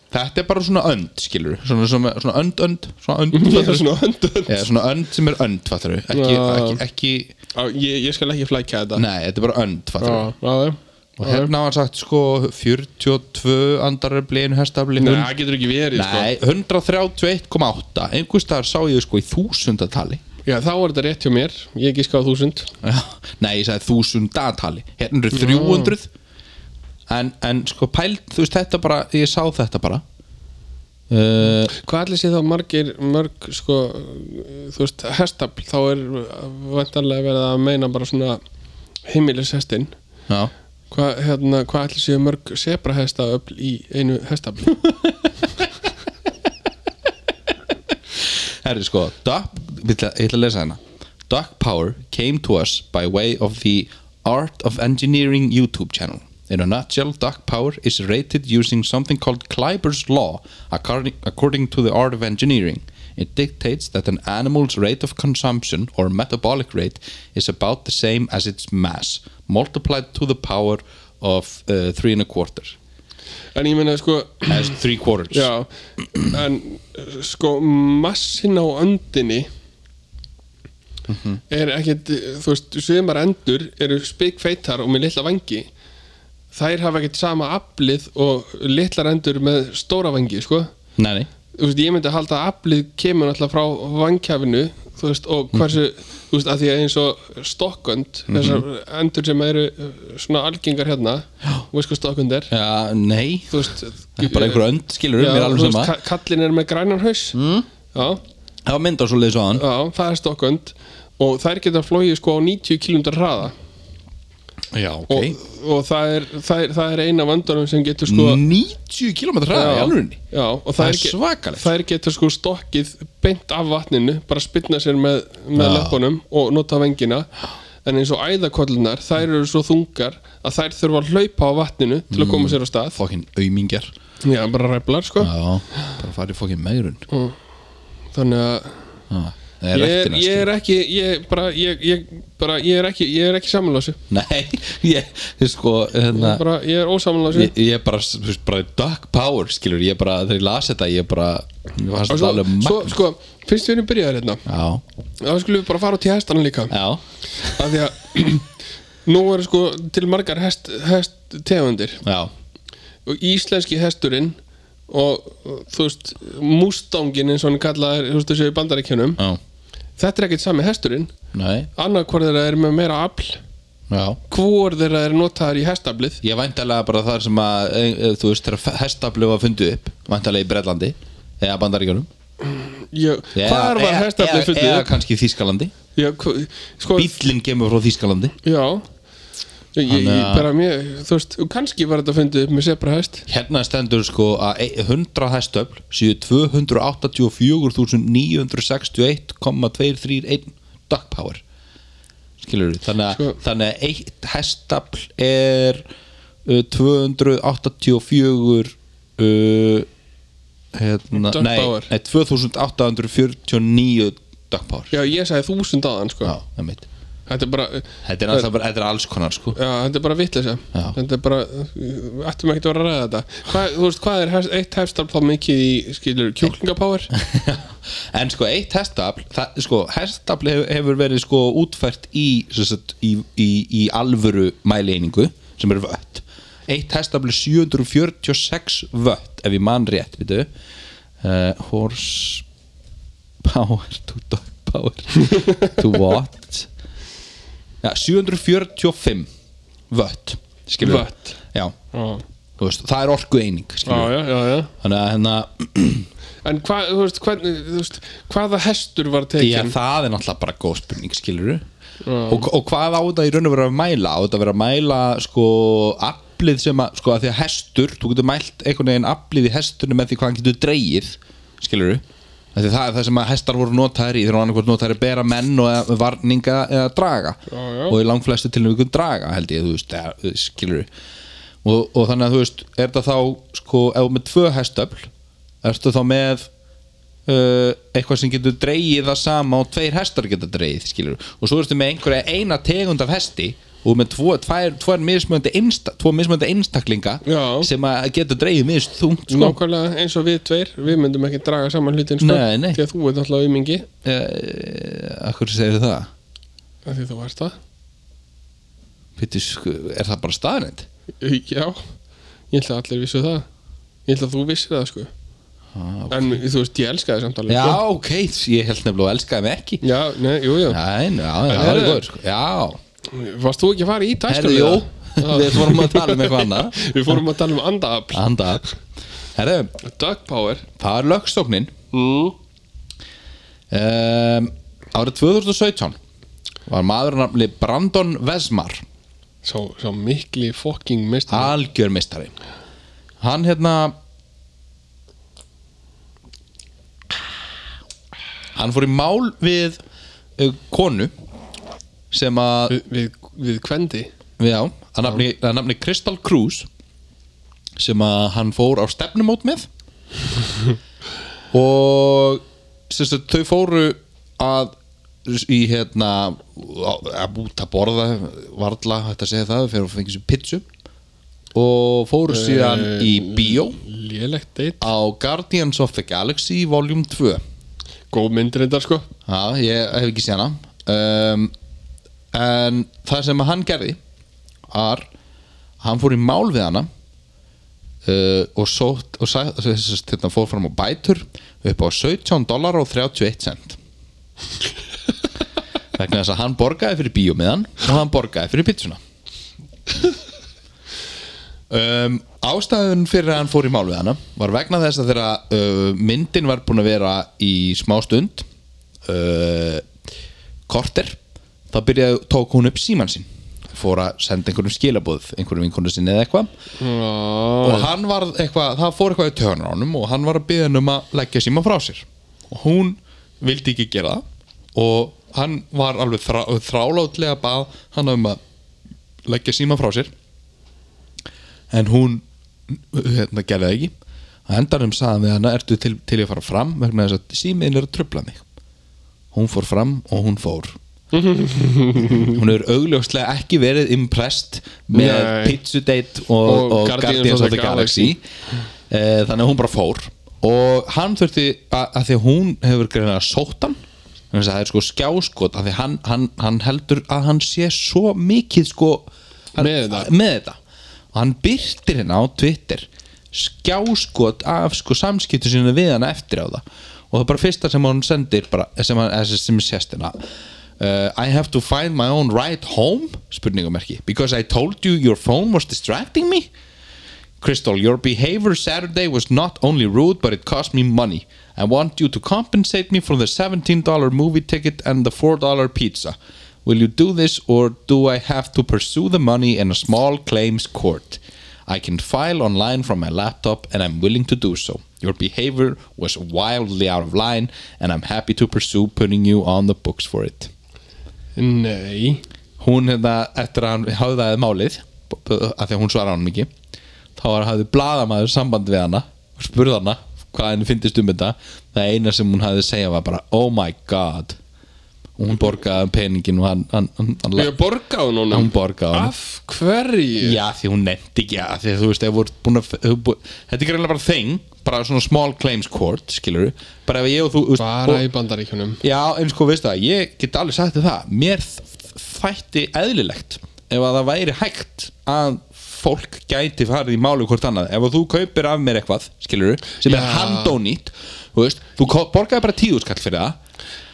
Speaker 1: Þetta er bara svona önd, skilur Svona, svona, svona önd, önd Svona önd,
Speaker 2: Ég er
Speaker 1: fattarðu?
Speaker 2: svona öndönd
Speaker 1: Já, svona önd sem er önd, fattar við ekki,
Speaker 2: Mhm. Já.
Speaker 1: ekki, ekki,
Speaker 2: ég, ég skal ekki flækja þetta
Speaker 1: nei, þetta er bara önd, fattar við
Speaker 2: Já, já, já
Speaker 1: Og hérna var sagt, sko, 42 andaröfli, einu hestafli
Speaker 2: Nei,
Speaker 1: hund-
Speaker 2: það getur ekki verið, sko
Speaker 1: Nei, 131,8 Einhvers staðar sá ég sko í þúsundatali
Speaker 2: Já, þá er þetta rétt hjá mér, ég gíska á þúsund
Speaker 1: Já, Nei, ég sagði þúsundatali Hérna eru 300 en, en sko pælt, þú veist, þetta bara Ég sá þetta bara uh,
Speaker 2: Hvað allir sé þá margir, mörg, sko, þú veist, hestafl, þá er vantarlega verið að meina bara svona heimilis hestinn.
Speaker 1: Já
Speaker 2: Hvað, hérna, hvað allir séu mörg sebrahestaöfl í einu hestafli?
Speaker 1: Herri sko, duck, ég ætla ég ætla að lesa hérna Duck Power came to us by way of the Art of Engineering YouTube channel. In a nutshell, Duck Power is rated using something called Kleiber's Law according, according to the Art of Engineering. It dictates that an animal's rate of consumption or metabolic rate is about the same as its mass, multiplied to the power of uh, three and a quarter.
Speaker 2: En ég meina, sko,
Speaker 1: As three quarters.
Speaker 2: já, en sko, massin á öndinni
Speaker 1: Mhm.
Speaker 2: er ekkit, þú veist, sumar endur eru spikfeitar og með litla vangi. Þær hafa ekkit sama aflið og litlar endur með stóra vangi, sko.
Speaker 1: Nei, nei.
Speaker 2: þú veist, ég myndi að halda að aflið kemur náttúrulega frá vangkjafinu þú veist, og
Speaker 1: Mhm.
Speaker 2: hversu, þú veist, að því að eins og stokkund, þessar endur sem eru uh, svona algengar hérna þú veist hvað stokkund er
Speaker 1: Já, Uh, nei.
Speaker 2: þú veist,
Speaker 1: Bara einhver önd, skilur mér alveg
Speaker 2: þú
Speaker 1: sama.
Speaker 2: veist, ka- kallinn er með grænan haus mm. já,
Speaker 1: Það var mynd á svo leiðis á hann
Speaker 2: já, það er stokkund og þær geta flóið sko á 90 km hraða
Speaker 1: Já,
Speaker 2: og, og það, er, það, er, það er eina vandunum sem getur sko
Speaker 1: 90 km hraða í alvörunni
Speaker 2: já, og
Speaker 1: Það
Speaker 2: það
Speaker 1: er
Speaker 2: er ge-
Speaker 1: svakalegt.
Speaker 2: þær geta sko stokkið beint af vatninu, bara spilna sér með, með
Speaker 1: Já.
Speaker 2: löpunum og nota vengina en eins og æðakollunar þær eru svo þungar að þær þurfa að hlaupa á vatninu til að koma sér á stað
Speaker 1: Fokkin aumingjar
Speaker 2: já, bara ræflar sko
Speaker 1: Mm. Já, bara farið fokkin megrun
Speaker 2: þannig að
Speaker 1: Það er
Speaker 2: ég er,
Speaker 1: rektina
Speaker 2: ég er ekki ég, bara, ég, ég, bara, ég er ekki ég er ekki samanlásu
Speaker 1: Nei, ég, þið sko hérna,
Speaker 2: bara, ég er ósamanlásu
Speaker 1: ég, ég bara, þú veist, bara duck power skilur Ég bara, þegar ég las þetta Ég bara, ég var
Speaker 2: og
Speaker 1: svo
Speaker 2: svo,
Speaker 1: alveg
Speaker 2: svo,
Speaker 1: magn
Speaker 2: sko, fyrst við erum byrjaðir hérna
Speaker 1: Já,
Speaker 2: þá skulum við bara fara út í hestana líka
Speaker 1: já,
Speaker 2: af því að nú eru sko til margar hest, hest tegundir
Speaker 1: já
Speaker 2: og íslenski hesturinn og og, þú veist mústangin eins og hann kallaði þú veist þessu í bandaríkjunum
Speaker 1: Já,
Speaker 2: þetta er ekkert sami hesturinn
Speaker 1: nei,
Speaker 2: annað hvort þeirra er með meira afl
Speaker 1: já
Speaker 2: hvor þeirra er notaðar í hestaflið
Speaker 1: Ég væntalega bara þar sem að e, e, Þú veist, þegar hestaflu var fundið upp Væntalega í Bretlandi Eða Bandaríkjunum
Speaker 2: Ég- hvar var
Speaker 1: Eða-
Speaker 2: hestaflið
Speaker 1: eða- Eða
Speaker 2: fullið
Speaker 1: kannski í Þýskalandi
Speaker 2: Já, hva- sko,
Speaker 1: Bíllinn kemur frá Þýskalandi
Speaker 2: já ég, ég,
Speaker 1: Þannig að-
Speaker 2: bara mér, þú veist, kannski var þetta fundið upp með sebra hest
Speaker 1: Hérna stendur sko að e- 100 hestöfl séu 284.961,231 duck power skilur við, þannig að,
Speaker 2: Sko-
Speaker 1: þannig að eitt hestafl er uh, 284 uh, hérna,
Speaker 2: Duck
Speaker 1: nei,
Speaker 2: power.
Speaker 1: nei 2849 duck power
Speaker 2: já, ég sagði þúsund aðan sko.
Speaker 1: já, það mitt
Speaker 2: þetta er bara
Speaker 1: Þetta er, alltaf, bara- þetta er alls konar sko
Speaker 2: Já, þetta er bara vitleisa
Speaker 1: Já.
Speaker 2: Þetta er bara, við ættum ekki að vera að ræða þetta Hva, Þú veist, hvað er hef, eitt hefstafl þá mikið í, skilur, kjúklingapáir?
Speaker 1: En sko eitt hestafl það, sko, Hestafl hefur, hefur verið sko útfært í, sem sagt, í, í, í alvöru mæleiningu sem eru vött Eitt hestafl er 746 vött ef ég man rétt við þau uh, Horse power to dog power to what ja, 745 vött skilurðu?
Speaker 2: Vött.
Speaker 1: Já,
Speaker 2: Já,
Speaker 1: þú veist, það er orku eining
Speaker 2: já, já, já, já
Speaker 1: Þannig að hérna
Speaker 2: En hvað, þú veist, hvernig, þú veist, hvaða hestur var
Speaker 1: Já,
Speaker 2: tekin?
Speaker 1: það er náttúrulega bara góð spurning, skilur og, og hvað á þetta í raun og vera að mæla? Á þetta að vera að mæla, sko, aflið sem að, sko, að því að hestur þú getur mælt einhvern veginn aflið í hestunum með því hvað hann getur dreigið, skilur Því það er það sem að hestar voru notaðir í þegar hann hvort notaðir að bera menn og eða varninga eða draga
Speaker 2: já.
Speaker 1: og í langflestu til einhvern draga held ég, þú veist, eða, skilur og, og þannig að þú veist, er þetta þá sko, ef þú ert með tvö hestöfl ertu þá með uh, eitthvað sem getur dreigið það sama og tveir hestar geta dreigið skilur. og svo ertu með einhverja eina tegund af hesti og með tvo, tvær, tvær mismöndi insta, tvo mismöndi einstaklinga
Speaker 2: Já.
Speaker 1: sem að getur dreigið misst þungt sko.
Speaker 2: Nákvæmlega eins og við tveir, við myndum ekki draga saman hlutin sko,
Speaker 1: Nei, nei.
Speaker 2: því að þú ert alltaf aumingi
Speaker 1: uh, Akkur segir það?
Speaker 2: af því þú ert það
Speaker 1: Pittu, sko, er það bara staðnend?
Speaker 2: Já, ég ætla að allir vissu það Ég ætla að þú vissir það sko
Speaker 1: Ah,
Speaker 2: En þú veist, ég elska það samt alveg
Speaker 1: já,
Speaker 2: sko.
Speaker 1: ok, ég held nefnilega að elska þeim ekki
Speaker 2: já, nei, jú, jú
Speaker 1: Nei, já, já, það er
Speaker 2: Herðu.
Speaker 1: góður sko. Já,
Speaker 2: Varst þú ekki að fara í
Speaker 1: herðu,
Speaker 2: dagskrána?
Speaker 1: jú Við fórum að tala um eitthvað annað
Speaker 2: Við fórum að tala um andaafl
Speaker 1: Anda Herðu,
Speaker 2: Duck power
Speaker 1: það er lögstofnin
Speaker 2: mm.
Speaker 1: um, Árið 2017 var maður nafnli Brandon Vesmar
Speaker 2: Svo, svo mikli fucking mist
Speaker 1: algjör mistari Hann hérna Hann fór í mál við uh, konu sem að
Speaker 2: við, við, við kvendi
Speaker 1: Já, að nafni, að nafni Crystal Cruise sem að hann fór á stefnumót með og sem sagt, þau fóru að í hérna á- að út að borða varla hægt að segja það, fyrir að fengið sér pizzu og fóru síðan í bíó
Speaker 2: Lélegt deitt
Speaker 1: á Guardians of the Galaxy Volume 2
Speaker 2: Góð myndir þetta sko
Speaker 1: Já, ég hef ekki séð hana um, En það sem hann gerði var hann fór í mál við hana uh, og, sótt, og sæ, sérst, hérna, fór fram á bætur upp á 17 dólar og 31 cent vegna þess að hann borgaði fyrir bíómiðan og hann borgaði fyrir pizzuna um, Ástæðun fyrir að hann fór í mál við hana var vegna þess að þegar uh, myndin var búin að vera í smá stund uh, korter þá byrjaði, tók hún upp síman sinn fór að senda einhverjum skilabóð einhverjum vinkonu sinni eða eitthvað
Speaker 2: Já,
Speaker 1: og hann var eitthvað, það fór eitthvað í töðunar á honum og hann var að byggja hann um að leggja síma frá sér og hún vildi ekki gera það og hann var alveg þrá, þrálátlega að bað hann um að leggja síma frá sér en hún hérna, gerði það ekki að endanum saðan við hana ertu til, til ég að fara fram vegna þess að símiðin er að trubla mig hún fór fram og hún fór hún hefur augljóslega ekki verið impressed með
Speaker 2: Nei.
Speaker 1: pizza date og og, og Guardians of the Galaxy Eh, þannig að hún bara fór og hann þurfti að, að því að hún hefur greina sóttan þannig að það er sko skjáskot að því hann, hann, hann heldur að hann sé svo mikið sko hann,
Speaker 2: Með þetta.
Speaker 1: með þetta og hann byrtir hérna á Twitter skjáskot af sko samskiptu sína við hana eftir á það og það er bara fyrsta sem hann sendir bara, eh, sem, hann, eða sem- sem sést hérna Uh, I have to find my own right home spurningamerki because I told you your phone was distracting me Crystal, your behavior Saturday was not only rude, but it cost me money. I want you to compensate me for the $17 movie ticket and the $4 pizza. Will you do this, or do I have to pursue the money in a small claims court? I can file online from my laptop, and I'm willing to do so. Your behavior was wildly out of line, and I'm happy to pursue putting you on the books for it.
Speaker 2: nei
Speaker 1: hún hérna eftir að hann hafðaði málið b- b- af því að hún svaraði hann mikið þá var hafði blaðamaður samband við hana og spurði hana hvað henni fyndist um þetta það eina sem hún hafði að segja var bara oh my god og hún borgaði peningin og hann, hann, hann, hann,
Speaker 2: Ég borga á núna
Speaker 1: hann borgaði hann
Speaker 2: Af hverju?
Speaker 1: Já, því hún nefndi ekki að því að þú veist, ef þú ert búin að þú bú- þetta er greinlega bara þing, bara svona small claims court, skilur bara ef ég og þú, þú veist,
Speaker 2: Bara
Speaker 1: og,
Speaker 2: í bandaríkjunum
Speaker 1: já, eins og veist það ég get alveg sagt þér það, mér þ- þætti eðlilegt ef að það væri hægt að fólk gæti farið í máli hvort annað ef að þú kaupir af mér eitthvað, skilur sem er
Speaker 2: Já.
Speaker 1: handónýtt, þú veist þú ko- borgaði bara tíu skall fyrir það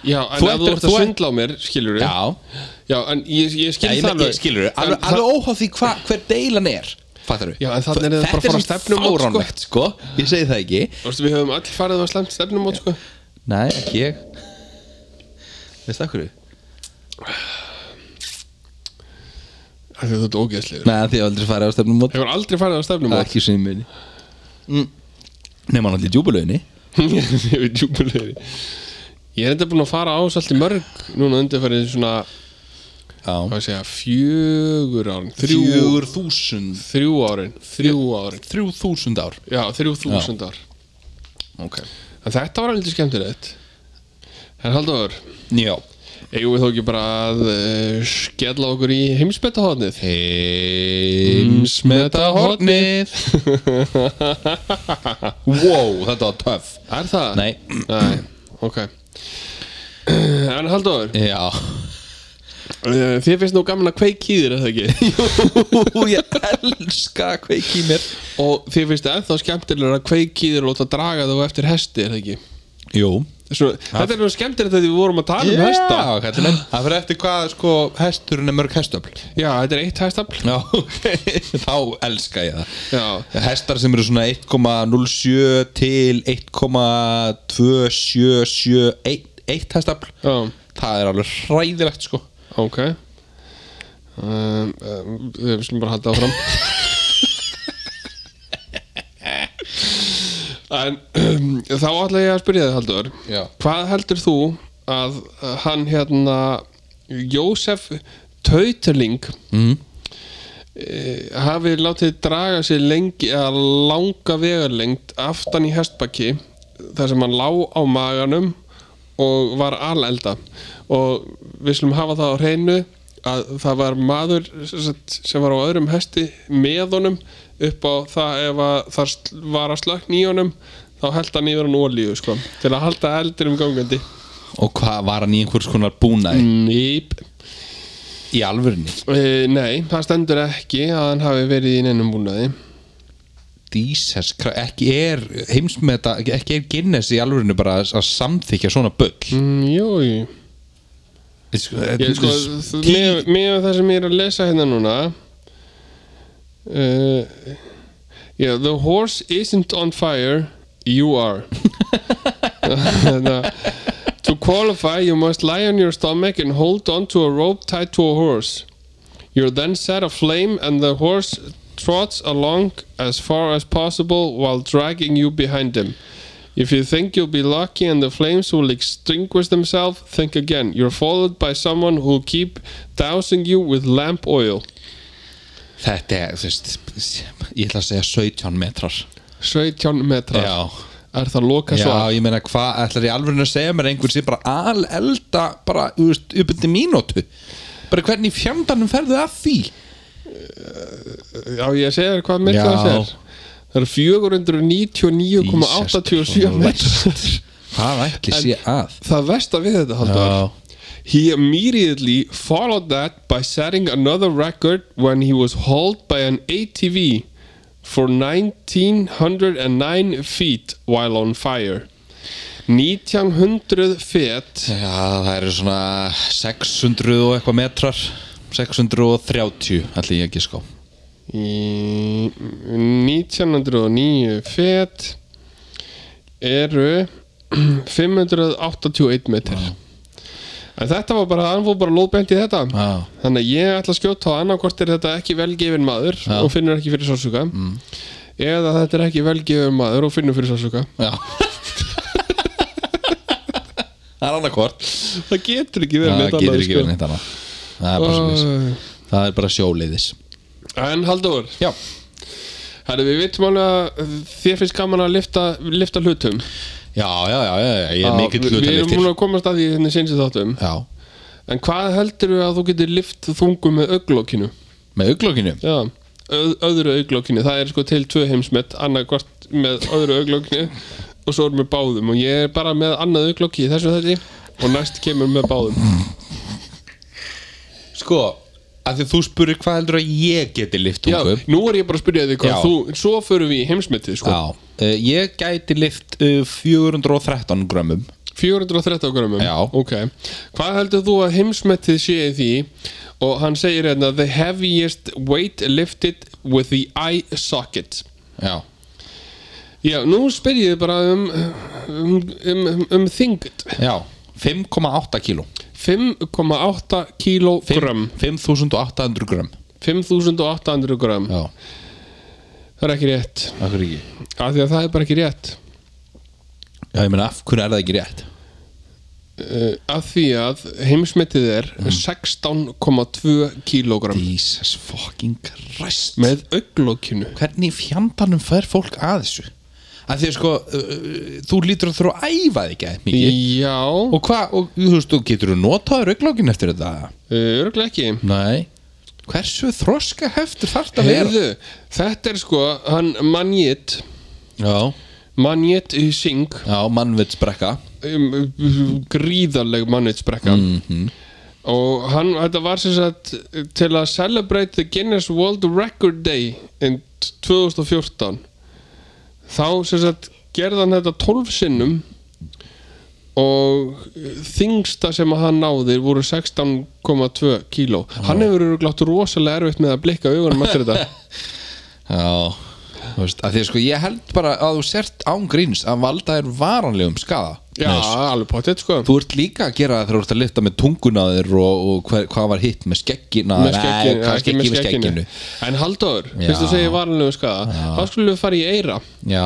Speaker 2: Já, en
Speaker 1: Þú
Speaker 2: ef
Speaker 1: ert-
Speaker 2: þú ert
Speaker 1: þú
Speaker 2: að
Speaker 1: ert-
Speaker 2: svindla á mér, skilur við
Speaker 1: já,
Speaker 2: Já, en ég, ég skil
Speaker 1: Já, ég,
Speaker 2: það
Speaker 1: ég skilur, alveg,
Speaker 2: En
Speaker 1: alveg óháð því hva, hver deilan er Fattarðu?
Speaker 2: Já, en þarna er það bara að fara
Speaker 1: samt
Speaker 2: stefnumót, sko.
Speaker 1: fáránlegt, sko. Ég segi það ekki
Speaker 2: Þú veist, við höfum öll farið á slemt stefnum át, sko
Speaker 1: Nei, ekki ég Veist það hverju?
Speaker 2: Það er þetta ógeðslegur
Speaker 1: Nei, því ég hef aldrei farið á stefnum mót
Speaker 2: Hefur aldrei farið á stefnum át
Speaker 1: Ekki sem ég muni mm. Nefnum hann allir djúbulauðinni
Speaker 2: Ég veit júbilegri Ég er enda búin að fara á svolítið mörg Núna undirfærið svona,
Speaker 1: Já
Speaker 2: hvað sé ég, fjögur árin Þrjú,
Speaker 1: Þrjúur þúsund
Speaker 2: þrjú árin Þrjú árin
Speaker 1: Þrjú þúsund ár
Speaker 2: Já, þrjú þúsund ár
Speaker 1: Ok
Speaker 2: En þetta var alveg skemmtilegt Herr Halldóður,
Speaker 1: Já
Speaker 2: eigum við þó ekki bara að uh, skella okkur í heimsbetahotnið
Speaker 1: Heimsmetahornið Wow, þetta var töff
Speaker 2: Er það?
Speaker 1: Nei
Speaker 2: Nei, ok En Halldóður,
Speaker 1: Já
Speaker 2: uh, þið finnst nú gaman að kveiki í þér, er það ekki?
Speaker 1: Ú, ég elska kveiki í mér
Speaker 2: Og þið finnst ennþá skemmtilegur að kveiki í þér og láta draga þá eftir hesti, er það ekki?
Speaker 1: Jú
Speaker 2: Svona, þetta er nú skemmtilegt að við vorum að tala um hesta
Speaker 1: Já, kallinn Það fyrir eftir hvað sko hesturinn er mörg hestöfl
Speaker 2: Já, þetta er eitt hestafl
Speaker 1: Já, þá elska ég það
Speaker 2: Já,
Speaker 1: Hestar sem eru svona 1,07 til 1,2771 hestafl
Speaker 2: já,
Speaker 1: Það er alveg hræðilegt sko
Speaker 2: ok Um, um, við slum bara halda áfram En um, þá ætla ég að spyrja þig Haldur
Speaker 1: Já.
Speaker 2: Hvað heldur þú að uh, hann hérna Jósef Tauterling
Speaker 1: mm.
Speaker 2: Eh, hafi látið draga sér lengi að langa vegarlengt aftan í hestbakki þar sem hann lá á maganum og var alelda og við slum hafa það á hreinu að það var maður sem sagt, sem var á öðrum hesti með honum upp á það ef að það sl- var að slökn í honum þá held hann yfir hann olíu sko til að halda eldinum gangandi
Speaker 1: Og hvað var hann í einhvers konar búnaði
Speaker 2: Nýp Mm.
Speaker 1: í alvörinni
Speaker 2: e, Nei, það stendur ekki að hann hafi verið í neinum búnaði
Speaker 1: Jesus, Christ, ekki er heimsmeta, ekki er Guinness í alvörinni bara að að samþykja svona bull
Speaker 2: mm, Jú, jú
Speaker 1: Þetta
Speaker 2: Ég,
Speaker 1: er
Speaker 2: sko, með, með það sem ég er að lesa hérna núna uh, yeah, The horse isn't on fire You are Hérna, To qualify you must lie on your stomach and hold on to a rope tied to a horse You're then set aflame and the horse trots along as far as possible while dragging you behind him If you think you'll be lucky and the flames will extinguish themselves, think again. You're followed by someone who'll keep dousing you with lamp oil.
Speaker 1: Þetta er, þú veist, ég ætla að segja 17 metrar
Speaker 2: 17 metrar.
Speaker 1: Já,
Speaker 2: Er það loka
Speaker 1: já
Speaker 2: svo?
Speaker 1: ég meina hvað ætlar ég alveg að segja mér að einhver sem bara al elda bara þú veist, upp undir mínútu bara hvernig í fjandanum ferðu að því
Speaker 2: Já, ég segir þér hvað metrar
Speaker 1: Já.
Speaker 2: það er. Það eru 499,87 metrar.
Speaker 1: Hvað ætli sé að
Speaker 2: Það versta við þetta, Halldór. He immediately followed that by setting another record when he was hauled by an ATV for 1909 feet while on fire. 1900 fet
Speaker 1: Já, það eru svona 600 og eitthvað metrar 630 ætli ég ekki sko
Speaker 2: í 1909 fet eru 581 metr en þetta var bara, hann fór bara lóðbent í þetta
Speaker 1: Já,
Speaker 2: Þannig að ég ætla að skjóta á annarkvort er þetta ekki velgefin maður
Speaker 1: Já. Mm.
Speaker 2: og finnur ekki fyrir sásuka eða þetta er ekki velgefin maður og finnur fyrir sásuka
Speaker 1: já Það er annarkvort
Speaker 2: Það getur ekki verið
Speaker 1: Það
Speaker 2: neitt
Speaker 1: getur
Speaker 2: annað, sko.
Speaker 1: ekki verið neitt annað Það er bara svona
Speaker 2: Ó,
Speaker 1: Það er bara sjóleiðis
Speaker 2: En Halldór,
Speaker 1: Já
Speaker 2: herri, við vitum alveg að þér finnst gaman að lifta, lifta hlutum
Speaker 1: Já, já, já, já, já, ég er mikill
Speaker 2: Við- Við erum
Speaker 1: hlutaliftir
Speaker 2: múin að komast að því henni sinni þáttum
Speaker 1: Já
Speaker 2: hérna En hvað heldur við að þú getur lift þungum með auglókinu?
Speaker 1: með auglókinu
Speaker 2: Já, öð, öðru auglókinu Það er sko til tvö heimsmet annað hvort með öðru auglókinu og svo er með báðum og ég er bara með annað auglóki í þessu þetta og næst kemur með
Speaker 1: Mm,
Speaker 2: báðum
Speaker 1: sko, af því að þú spurir hvað heldur að ég geti lift
Speaker 2: Já,
Speaker 1: tungum
Speaker 2: nú er ég bara að spyrja þig
Speaker 1: Já.
Speaker 2: hvað þú, svo förum við í heimsmetið sko
Speaker 1: Já, uh, ég gæti lift uh, 413 grömmum
Speaker 2: 413 grömmum
Speaker 1: Já.
Speaker 2: Ok Hvað heldur þú að heimsmetið sé í því og hann segir hérna the heaviest weight lifted with the eye socket
Speaker 1: Já,
Speaker 2: Já, nú spyr ég þig bara um um, um, um, um þingd
Speaker 1: já 5,8 kíló
Speaker 2: 5,8 kílógrömm
Speaker 1: 5.800 grömm
Speaker 2: 5.800 grömm
Speaker 1: Já,
Speaker 2: Það er ekki rétt
Speaker 1: af hverju ekki
Speaker 2: Af því að það er bara ekki rétt
Speaker 1: Já, ég meina, af hverju er það ekki rétt?
Speaker 2: uh, Af því að heimsmetið er 16,2 kílógrömm
Speaker 1: Jesus fucking Christ
Speaker 2: Með auglókinu
Speaker 1: Hvernig í fjandanum fær fólk að þessu? Af því að sko, uh, uh, þú lítur að þurfa að æfa þig ekki mikið
Speaker 2: Já,
Speaker 1: Og hvað, og þú veist, þú getur þú notað rauglókin eftir þetta?
Speaker 2: örglega eh, ekki
Speaker 1: Nei Hversu þroska heftur þarft að vera?
Speaker 2: Heyrðu, þetta er sko hann Manjit
Speaker 1: Já,
Speaker 2: Manjit Singh
Speaker 1: já, mannvitsbrekka
Speaker 2: um, gríðarleg mannitsbrekka og hann, þetta var sem sagt til að celebrate the Guinness World Record Day in 2014 þá sem sagt gerði hann þetta 12 sinnum og þingsta sem að hann náði voru 16,2 kíló hann hefur verið glátt rosalega erfitt með að blikka augunum eftir þetta
Speaker 1: Já Þú veist, að því að sko ég held bara að þú sért án gríns að valda þér varanlegum skada
Speaker 2: já,
Speaker 1: Nei, sko.
Speaker 2: alveg potið sko
Speaker 1: Þú ert líka að gera það þegar þú ert að lifta með tunguna á þér og, og hver, hvað var hitt með skeggina
Speaker 2: með skekkinu,
Speaker 1: Nei, kannski
Speaker 2: ekki með
Speaker 1: ekki með
Speaker 2: skekkinu
Speaker 1: skegginu
Speaker 2: en Halldór,
Speaker 1: Já.
Speaker 2: fyrst þú segir varanlegu skaða þá skulum við fara í eira
Speaker 1: Já,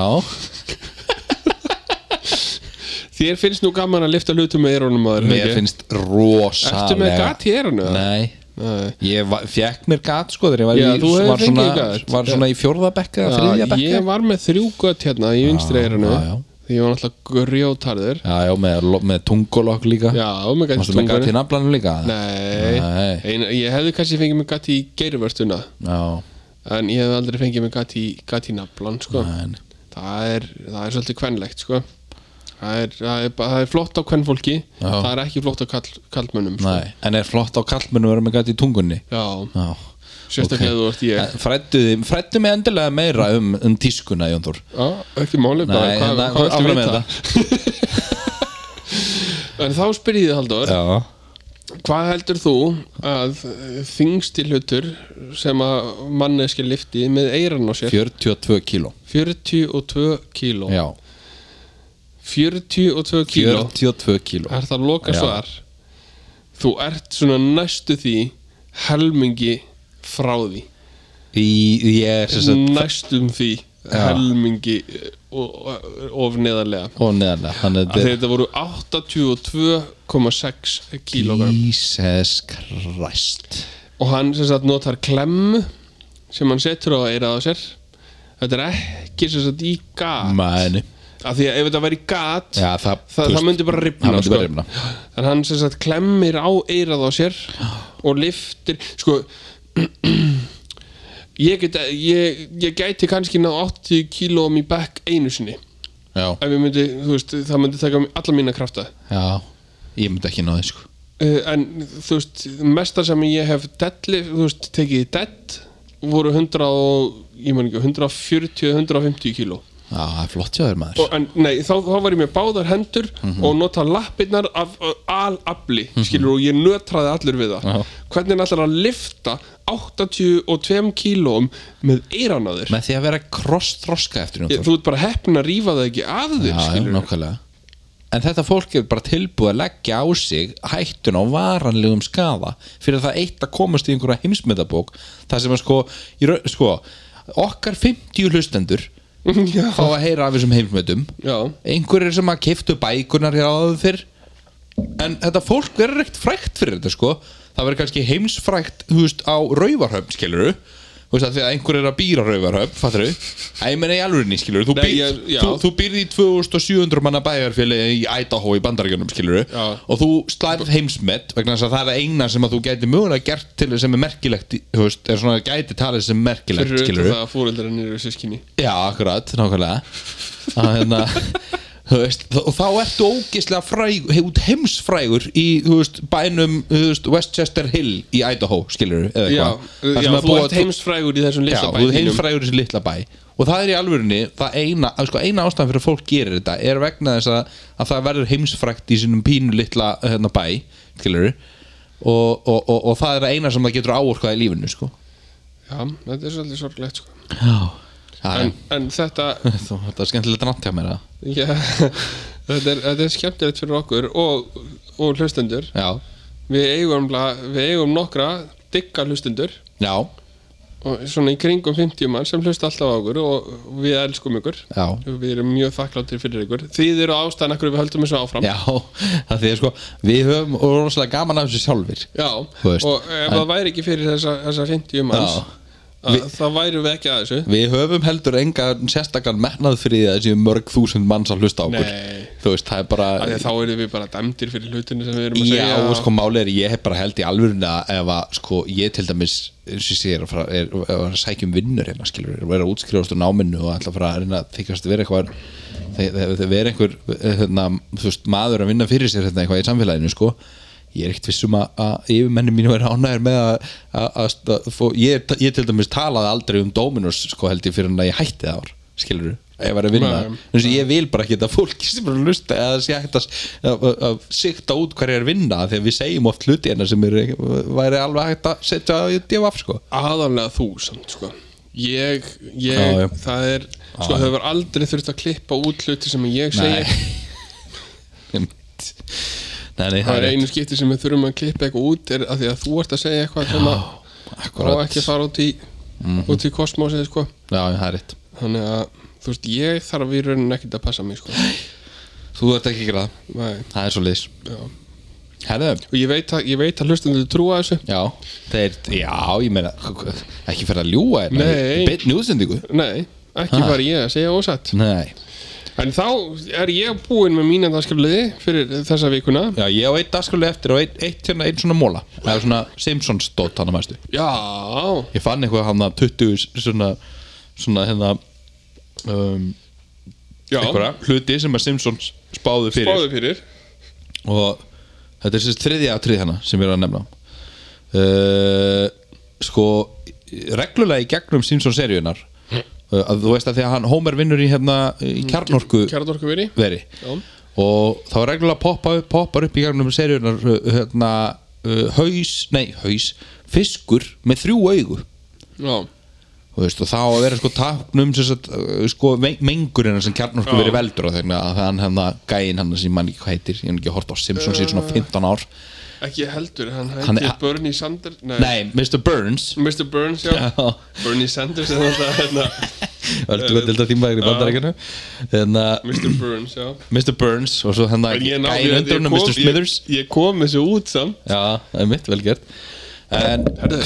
Speaker 2: þér finnst nú gaman að lifta hlutum með eirunum að
Speaker 1: mér finnst rosalega
Speaker 2: ertu með gat í eirunu?
Speaker 1: Nei,
Speaker 2: Nei.
Speaker 1: ég va- fekk mér gat sko þegar ég var,
Speaker 2: Já,
Speaker 1: í,
Speaker 2: þú hefur
Speaker 1: var,
Speaker 2: fengið
Speaker 1: svona,
Speaker 2: gat.
Speaker 1: var svona í fjórða bekka eða þriðja bekka
Speaker 2: ég var með þrjú gött hérna í vinstri eirunu
Speaker 1: já, já.
Speaker 2: því ég var náttúrulega grjótarður
Speaker 1: Já, já, með, lo- með tungolokk líka
Speaker 2: já, með
Speaker 1: Varstu
Speaker 2: gæti
Speaker 1: með gat í naflanum líka?
Speaker 2: nei,
Speaker 1: Nei.
Speaker 2: Ein, ég hefði kannski fengið mig gæti í geirvörstuna
Speaker 1: Já,
Speaker 2: en ég hefði aldrei fengið mig gæti í, gat í naflan sko.
Speaker 1: en
Speaker 2: það er, það er svolítið kvenlegt sko. það, er, það, er, bara- það er flott á kvenfólki
Speaker 1: Já.
Speaker 2: það er ekki flott á kall, kallmönnum sko.
Speaker 1: Nei, en er flott á kallmennu að vera með gat í tungunni
Speaker 2: já,
Speaker 1: Já
Speaker 2: sérstaklega
Speaker 1: ok.
Speaker 2: þú ert ég
Speaker 1: En Fræddu þið- fræddu mig endilega meira um, um tískuna, Jón Þór
Speaker 2: já, ekki máli bara,
Speaker 1: Nei,
Speaker 2: hvað,
Speaker 1: hérna, áfram
Speaker 2: hvað ertu
Speaker 1: með
Speaker 2: vita en þá spyr ég þið Halldór
Speaker 1: Já
Speaker 2: hvað heldur þú að þingsti hlutur sem að manneski lifti með eiran á sér
Speaker 1: 42 kíló
Speaker 2: 42 kíló
Speaker 1: Já,
Speaker 2: 42 kíló
Speaker 1: 42 kíló
Speaker 2: er það loka
Speaker 1: Já.
Speaker 2: svar þú ert svona næstu því helmingi frá því
Speaker 1: Í, ég er sem sagt
Speaker 2: næstum því helmingi eh, o- o- of neðarlega
Speaker 1: Ó, neðanlega, þannig
Speaker 2: Af því
Speaker 1: að
Speaker 2: þetta voru 82,6
Speaker 1: þetta er
Speaker 2: kílógram
Speaker 1: Jesus Christ
Speaker 2: og hann sem sagt notar klemmu sem hann setur á eirað á sér þetta er ekki sem sagt í gat
Speaker 1: Mæni
Speaker 2: af því að ef þetta væri í gat
Speaker 1: Já, það,
Speaker 2: Þa,
Speaker 1: þú
Speaker 2: það
Speaker 1: veist,
Speaker 2: myndi bara ripna,
Speaker 1: það myndi bara rifna.
Speaker 2: En hann sem sagt klemmir á eirað á sér og liftir sko ég, get, ég, ég gæti kannski ná 80 kílóum í bekk einu sinni
Speaker 1: Já,
Speaker 2: ef ég myndi, þú veist, það myndi taka alla mína krafta
Speaker 1: já Ég myndi ekki náði, sko
Speaker 2: uh, en þú veist, mesta sem ég hef deadli, þú veist, tekið dead voru 100 og, ég man ekki 140, 150 kíló
Speaker 1: Já, það er flott hjá þér maður
Speaker 2: og, en, nei, þá, þá var ég með báðar hendur
Speaker 1: Mhm.
Speaker 2: og nota lappirnar af uh, alafli, skilur, og ég nötraði allur við það.
Speaker 1: Já.
Speaker 2: Hvernig er allar að lifta 82 kílóum með eiranaður?
Speaker 1: Með því að vera krossþroska eftir Jón Þór
Speaker 2: Þú ert bara heppin að rífa það ekki af þér,
Speaker 1: já, já,
Speaker 2: skilur.
Speaker 1: nákvæmlega En þetta fólk er bara tilbúið að leggja á sig hættun á varanlegum skada fyrir það eitt að komast í einhverja heimsmyndabók það sem að sko, í raun- sko okkar 50 hlustendur
Speaker 2: já.
Speaker 1: fá að heyra af þessum heimsmyndum
Speaker 2: já.
Speaker 1: einhverjir sem að keiftu bækunar hér áður fyrr en þetta fólk verður ekkert frækt fyrir þetta sko það verður kannski heimsfrækt þú veist, á rauvarhöfn skiluru þú veist að því að einhver er að býra rauvarhöf fattur þau, að ég menna í alvörinni skilur þú,
Speaker 2: Nei,
Speaker 1: býr,
Speaker 2: ég- já.
Speaker 1: þú, þú býrð í 2700 manna bæjarfélagi í Idaho í bandaríkjunum skilur
Speaker 2: Já.
Speaker 1: og þú slærð heimsmet vegna þess að það er það eina sem að þú gæti mögulega gert til sem er merkilegt í- þú veist, er svona gæti talið sem merkilegt
Speaker 2: Fyrir
Speaker 1: skilur
Speaker 2: auðvitað það að fóreldarinn eru sískinni
Speaker 1: Já, akkurat, nákvæmlega að, hérna, þú veist, og þá ertu ógislega frægur, he- út heimsfrægur í þú veist, bænum þú veist, Westchester Hill í Idaho skilur, eða
Speaker 2: Já,
Speaker 1: eitthvað Þar
Speaker 2: já
Speaker 1: sem að
Speaker 2: þú
Speaker 1: búa-
Speaker 2: ert heimsfrægur í þessum
Speaker 1: Já,
Speaker 2: litla
Speaker 1: þú ert
Speaker 2: bæðinum
Speaker 1: heimsfrægur í þessu litla bæ og það er í alvörunni, það eina að sko, eina ástæðan fyrir að fólk gerir þetta er vegna þess að, að það verður heimsfrægt í sínum pínu litla hérna, bæ skilur og, og, og, og það er það eina sem það getur áorkað í lífinu sko.
Speaker 2: Já, þetta er svolítið sorglegt sko.
Speaker 1: Já, en,
Speaker 2: en, en þetta
Speaker 1: þú, þetta er skemmtilegt að nátt hjá mér það
Speaker 2: já, þetta, er, þetta er skemmtilegt fyrir okkur og, og hlustendur
Speaker 1: Já,
Speaker 2: við eigum, nefnilega- við eigum nokkra digga hlustendur
Speaker 1: já,
Speaker 2: og svona í kringum 50 mann sem hlusta alltaf á okkur og við elskum ykkur
Speaker 1: já
Speaker 2: við erum mjög þakkláttir fyrir ykkur þið eru ástæðan akkur við höldum þessu áfram
Speaker 1: Já, það því er sko Við höfum rosalega gaman af þessu sjálfir
Speaker 2: Já,
Speaker 1: Þú veist,
Speaker 2: og ef það væri ekki fyrir þessa, þessa 50 manns
Speaker 1: Já.
Speaker 2: að, þá værum við ekki að þessu
Speaker 1: Við höfum heldur engan sérstakann mennað fyrir því að þessi mörg þúsund manns að hlusta á okkur
Speaker 2: Nei.
Speaker 1: Þú veist, það er bara
Speaker 2: af því að þá erum við bara dæmdir fyrir hlutinu sem við erum að
Speaker 1: Já,
Speaker 2: segja
Speaker 1: og sko máli er ég hef bara held í alvöruna ef að sko ég til dæmis eins og ég segir að, fara, er, er, er að sækja um vinnur hérna skilur, er að útskrifast úr náminu og ætla að fara að reyna að þykast að vera eitthvað þegar vera einhver hérna, þú veist, maður að vinna fyrir sér hérna, eitthvað í samfélaginu sko ég er ekkert vissum að, að yfirmenni mínu er ánægur með að, að, að, að fó, ég, ég til dæmis talaði aldrei um Dominus sko held ég fyrir hann að ég hætti það ár skilur, ef ég var að vinna
Speaker 2: Nei.
Speaker 1: eins og ég vil bara ekki þetta fólki sem er að lusta eða það sé hægt að, að, að, að sikta út hverja er að vinna þegar við segjum oft hluti hérna sem er, væri alveg hægt að setja í divaf sko
Speaker 2: aðalega þú samt sko ég, ég,
Speaker 1: Já, já.
Speaker 2: það er sko,
Speaker 1: Já.
Speaker 2: það hefur aldrei þurft að klippa út hluti sem ég segi,
Speaker 1: nei, nei
Speaker 2: það er einu skipti sem við þurfum að klippa eitthvað út er að því að þú ert að segja eitthvað sem að á
Speaker 1: akkurat Mhm.
Speaker 2: ekki að fara út í út í kosmosið sko
Speaker 1: já, það er rétt
Speaker 2: þannig að þú veist, ég þarf í rauninu ekkert að passa mig sko
Speaker 1: þú ert ekki að gera það,
Speaker 2: Nei,
Speaker 1: það er svo liðs
Speaker 2: já.
Speaker 1: herðu
Speaker 2: og ég veit að, ég veit að hlustandur trúa þessu
Speaker 1: Já, þeir, já, ég meina ekki fyrir að ljúga hérna
Speaker 2: Nei.
Speaker 1: Beitt njúðsendingu
Speaker 2: Nei, ekki bara ég að segja ósatt
Speaker 1: Nei,
Speaker 2: En þá er ég búinn með mína dagskjöfliði fyrir þessa vikuna
Speaker 1: já, ég á eitt dagskrálega eftir og eitt, eitt hérna, eitt svona móla Það er svona Simpsons dot hann að mæstu
Speaker 2: Já,
Speaker 1: ég fann eitthvað hann að 20 svona, svona hérna um,
Speaker 2: já
Speaker 1: einhverja hluti sem að Simpsons spáðu fyrir
Speaker 2: Báðu fyrir
Speaker 1: og þetta er sérst þriðja atrið hana sem ég er að nefna uh, sko reglulega í gegnum Simpsons seríunar uh, að þú veist að því að hann Homer vinnur í hérna í kjarnorku
Speaker 2: Kjarðorku veri
Speaker 1: veri
Speaker 2: Mm, Já.
Speaker 1: og þá er reglulega poppa upp, poppar upp í gegnum seríunar uh, hérna uh, haus, nei haus fiskur með þrjú augu
Speaker 2: Já,
Speaker 1: Þú veist, og þá að vera sko taknum sem sagt, uh, sko, men- mengurina sem kjarnorku
Speaker 2: Já.
Speaker 1: verið veldur á þegar að hann hefna gæinn hann sem mann ekki hvað heitir, ég hef ekki hort á Simpsons í svona
Speaker 2: Eh.
Speaker 1: 15 ár
Speaker 2: ekki heldur, hann
Speaker 1: Hann
Speaker 2: hætti
Speaker 1: er-
Speaker 2: Bernie Sanders Nei,
Speaker 1: Nei, Mr. Burns
Speaker 2: Mr. Burns, já,
Speaker 1: Já.
Speaker 2: Bernie Sanders er alltaf hérna
Speaker 1: öllu að delta tímaðir í bandarækjunu
Speaker 2: Mr. Burns, já
Speaker 1: Mr. Burns og svo hann
Speaker 2: En ég
Speaker 1: gæinn
Speaker 2: náði- ég-
Speaker 1: undir
Speaker 2: ég
Speaker 1: honum
Speaker 2: kom-
Speaker 1: Mr. Smithers
Speaker 2: Ég, ég kom þessu út samt
Speaker 1: Já, það er mitt, vel gert En,
Speaker 2: Herðu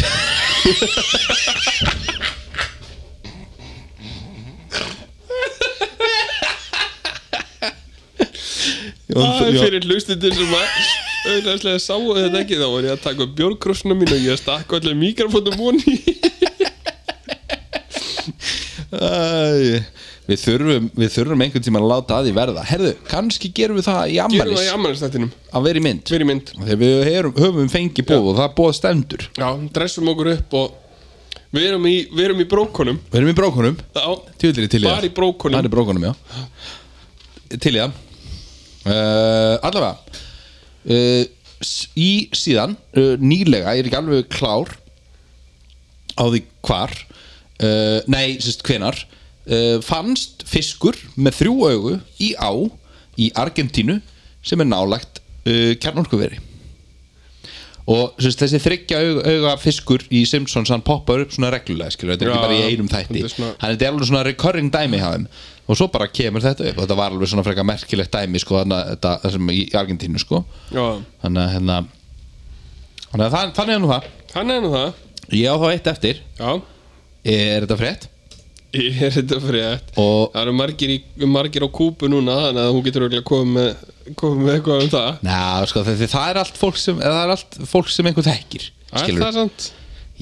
Speaker 1: Um,
Speaker 2: Það er fyrir hlustundir sem að auðvitaðslega sáu þetta ekki þá var ég að taka upp bjórkrossuna mín og ég stakk allir mikrofónum voni
Speaker 1: Æ, Við þurfum, við þurfum einhvern tímann að láta að því verða Herðu, kannski gerum við það í
Speaker 2: Gerum það
Speaker 1: ammælis
Speaker 2: í ammælistættinum
Speaker 1: að vera í mynd
Speaker 2: Fyrir mynd
Speaker 1: Þegar við herum, höfum fengið bóð og það bóð stendur
Speaker 2: Já, dressum okkur upp og við erum í, við erum í brókonum
Speaker 1: Við erum í brókunum
Speaker 2: Já,
Speaker 1: Tjóðlir í til í það
Speaker 2: Bara í brókunum.
Speaker 1: Bara í brókunum, já Til í það uh, Allavega uh, s- Í síðan uh, Nýlega, ég er ekki alveg klár Á því hvar uh, Nei, sérst hvenar uh, Fannst fiskur með þrjú augu Í á Í Argentínu Sem er nálægt uh, kjarnorkuveri og sérst, þessi þryggja auga, auga fiskur í Simpsons hann poppar upp svona reglulega skilur, þetta er
Speaker 2: Já,
Speaker 1: ekki bara í einum
Speaker 2: þetta
Speaker 1: þætti
Speaker 2: er svona-
Speaker 1: hann þetta er alveg svona recurring dæmi hjá þeim og svo bara kemur þetta upp og þetta var alveg svona frekar merkilegt dæmi sko, þarna, þetta, það sem í Argentínu sko
Speaker 2: Já,
Speaker 1: þannig að hérna þannig að þann- þannig er nú það
Speaker 2: hann er nú það
Speaker 1: ég á þá eitt eftir
Speaker 2: Já,
Speaker 1: er þetta frétt?
Speaker 2: er þetta frétt
Speaker 1: Og-
Speaker 2: það eru margir, í, margir á kúpu núna þannig að hún getur auðvitað komið með komið með eitthvað um það
Speaker 1: Ná, sko, það, það er allt fólk sem eða það er allt fólk sem einhver þekkir
Speaker 2: er það sant?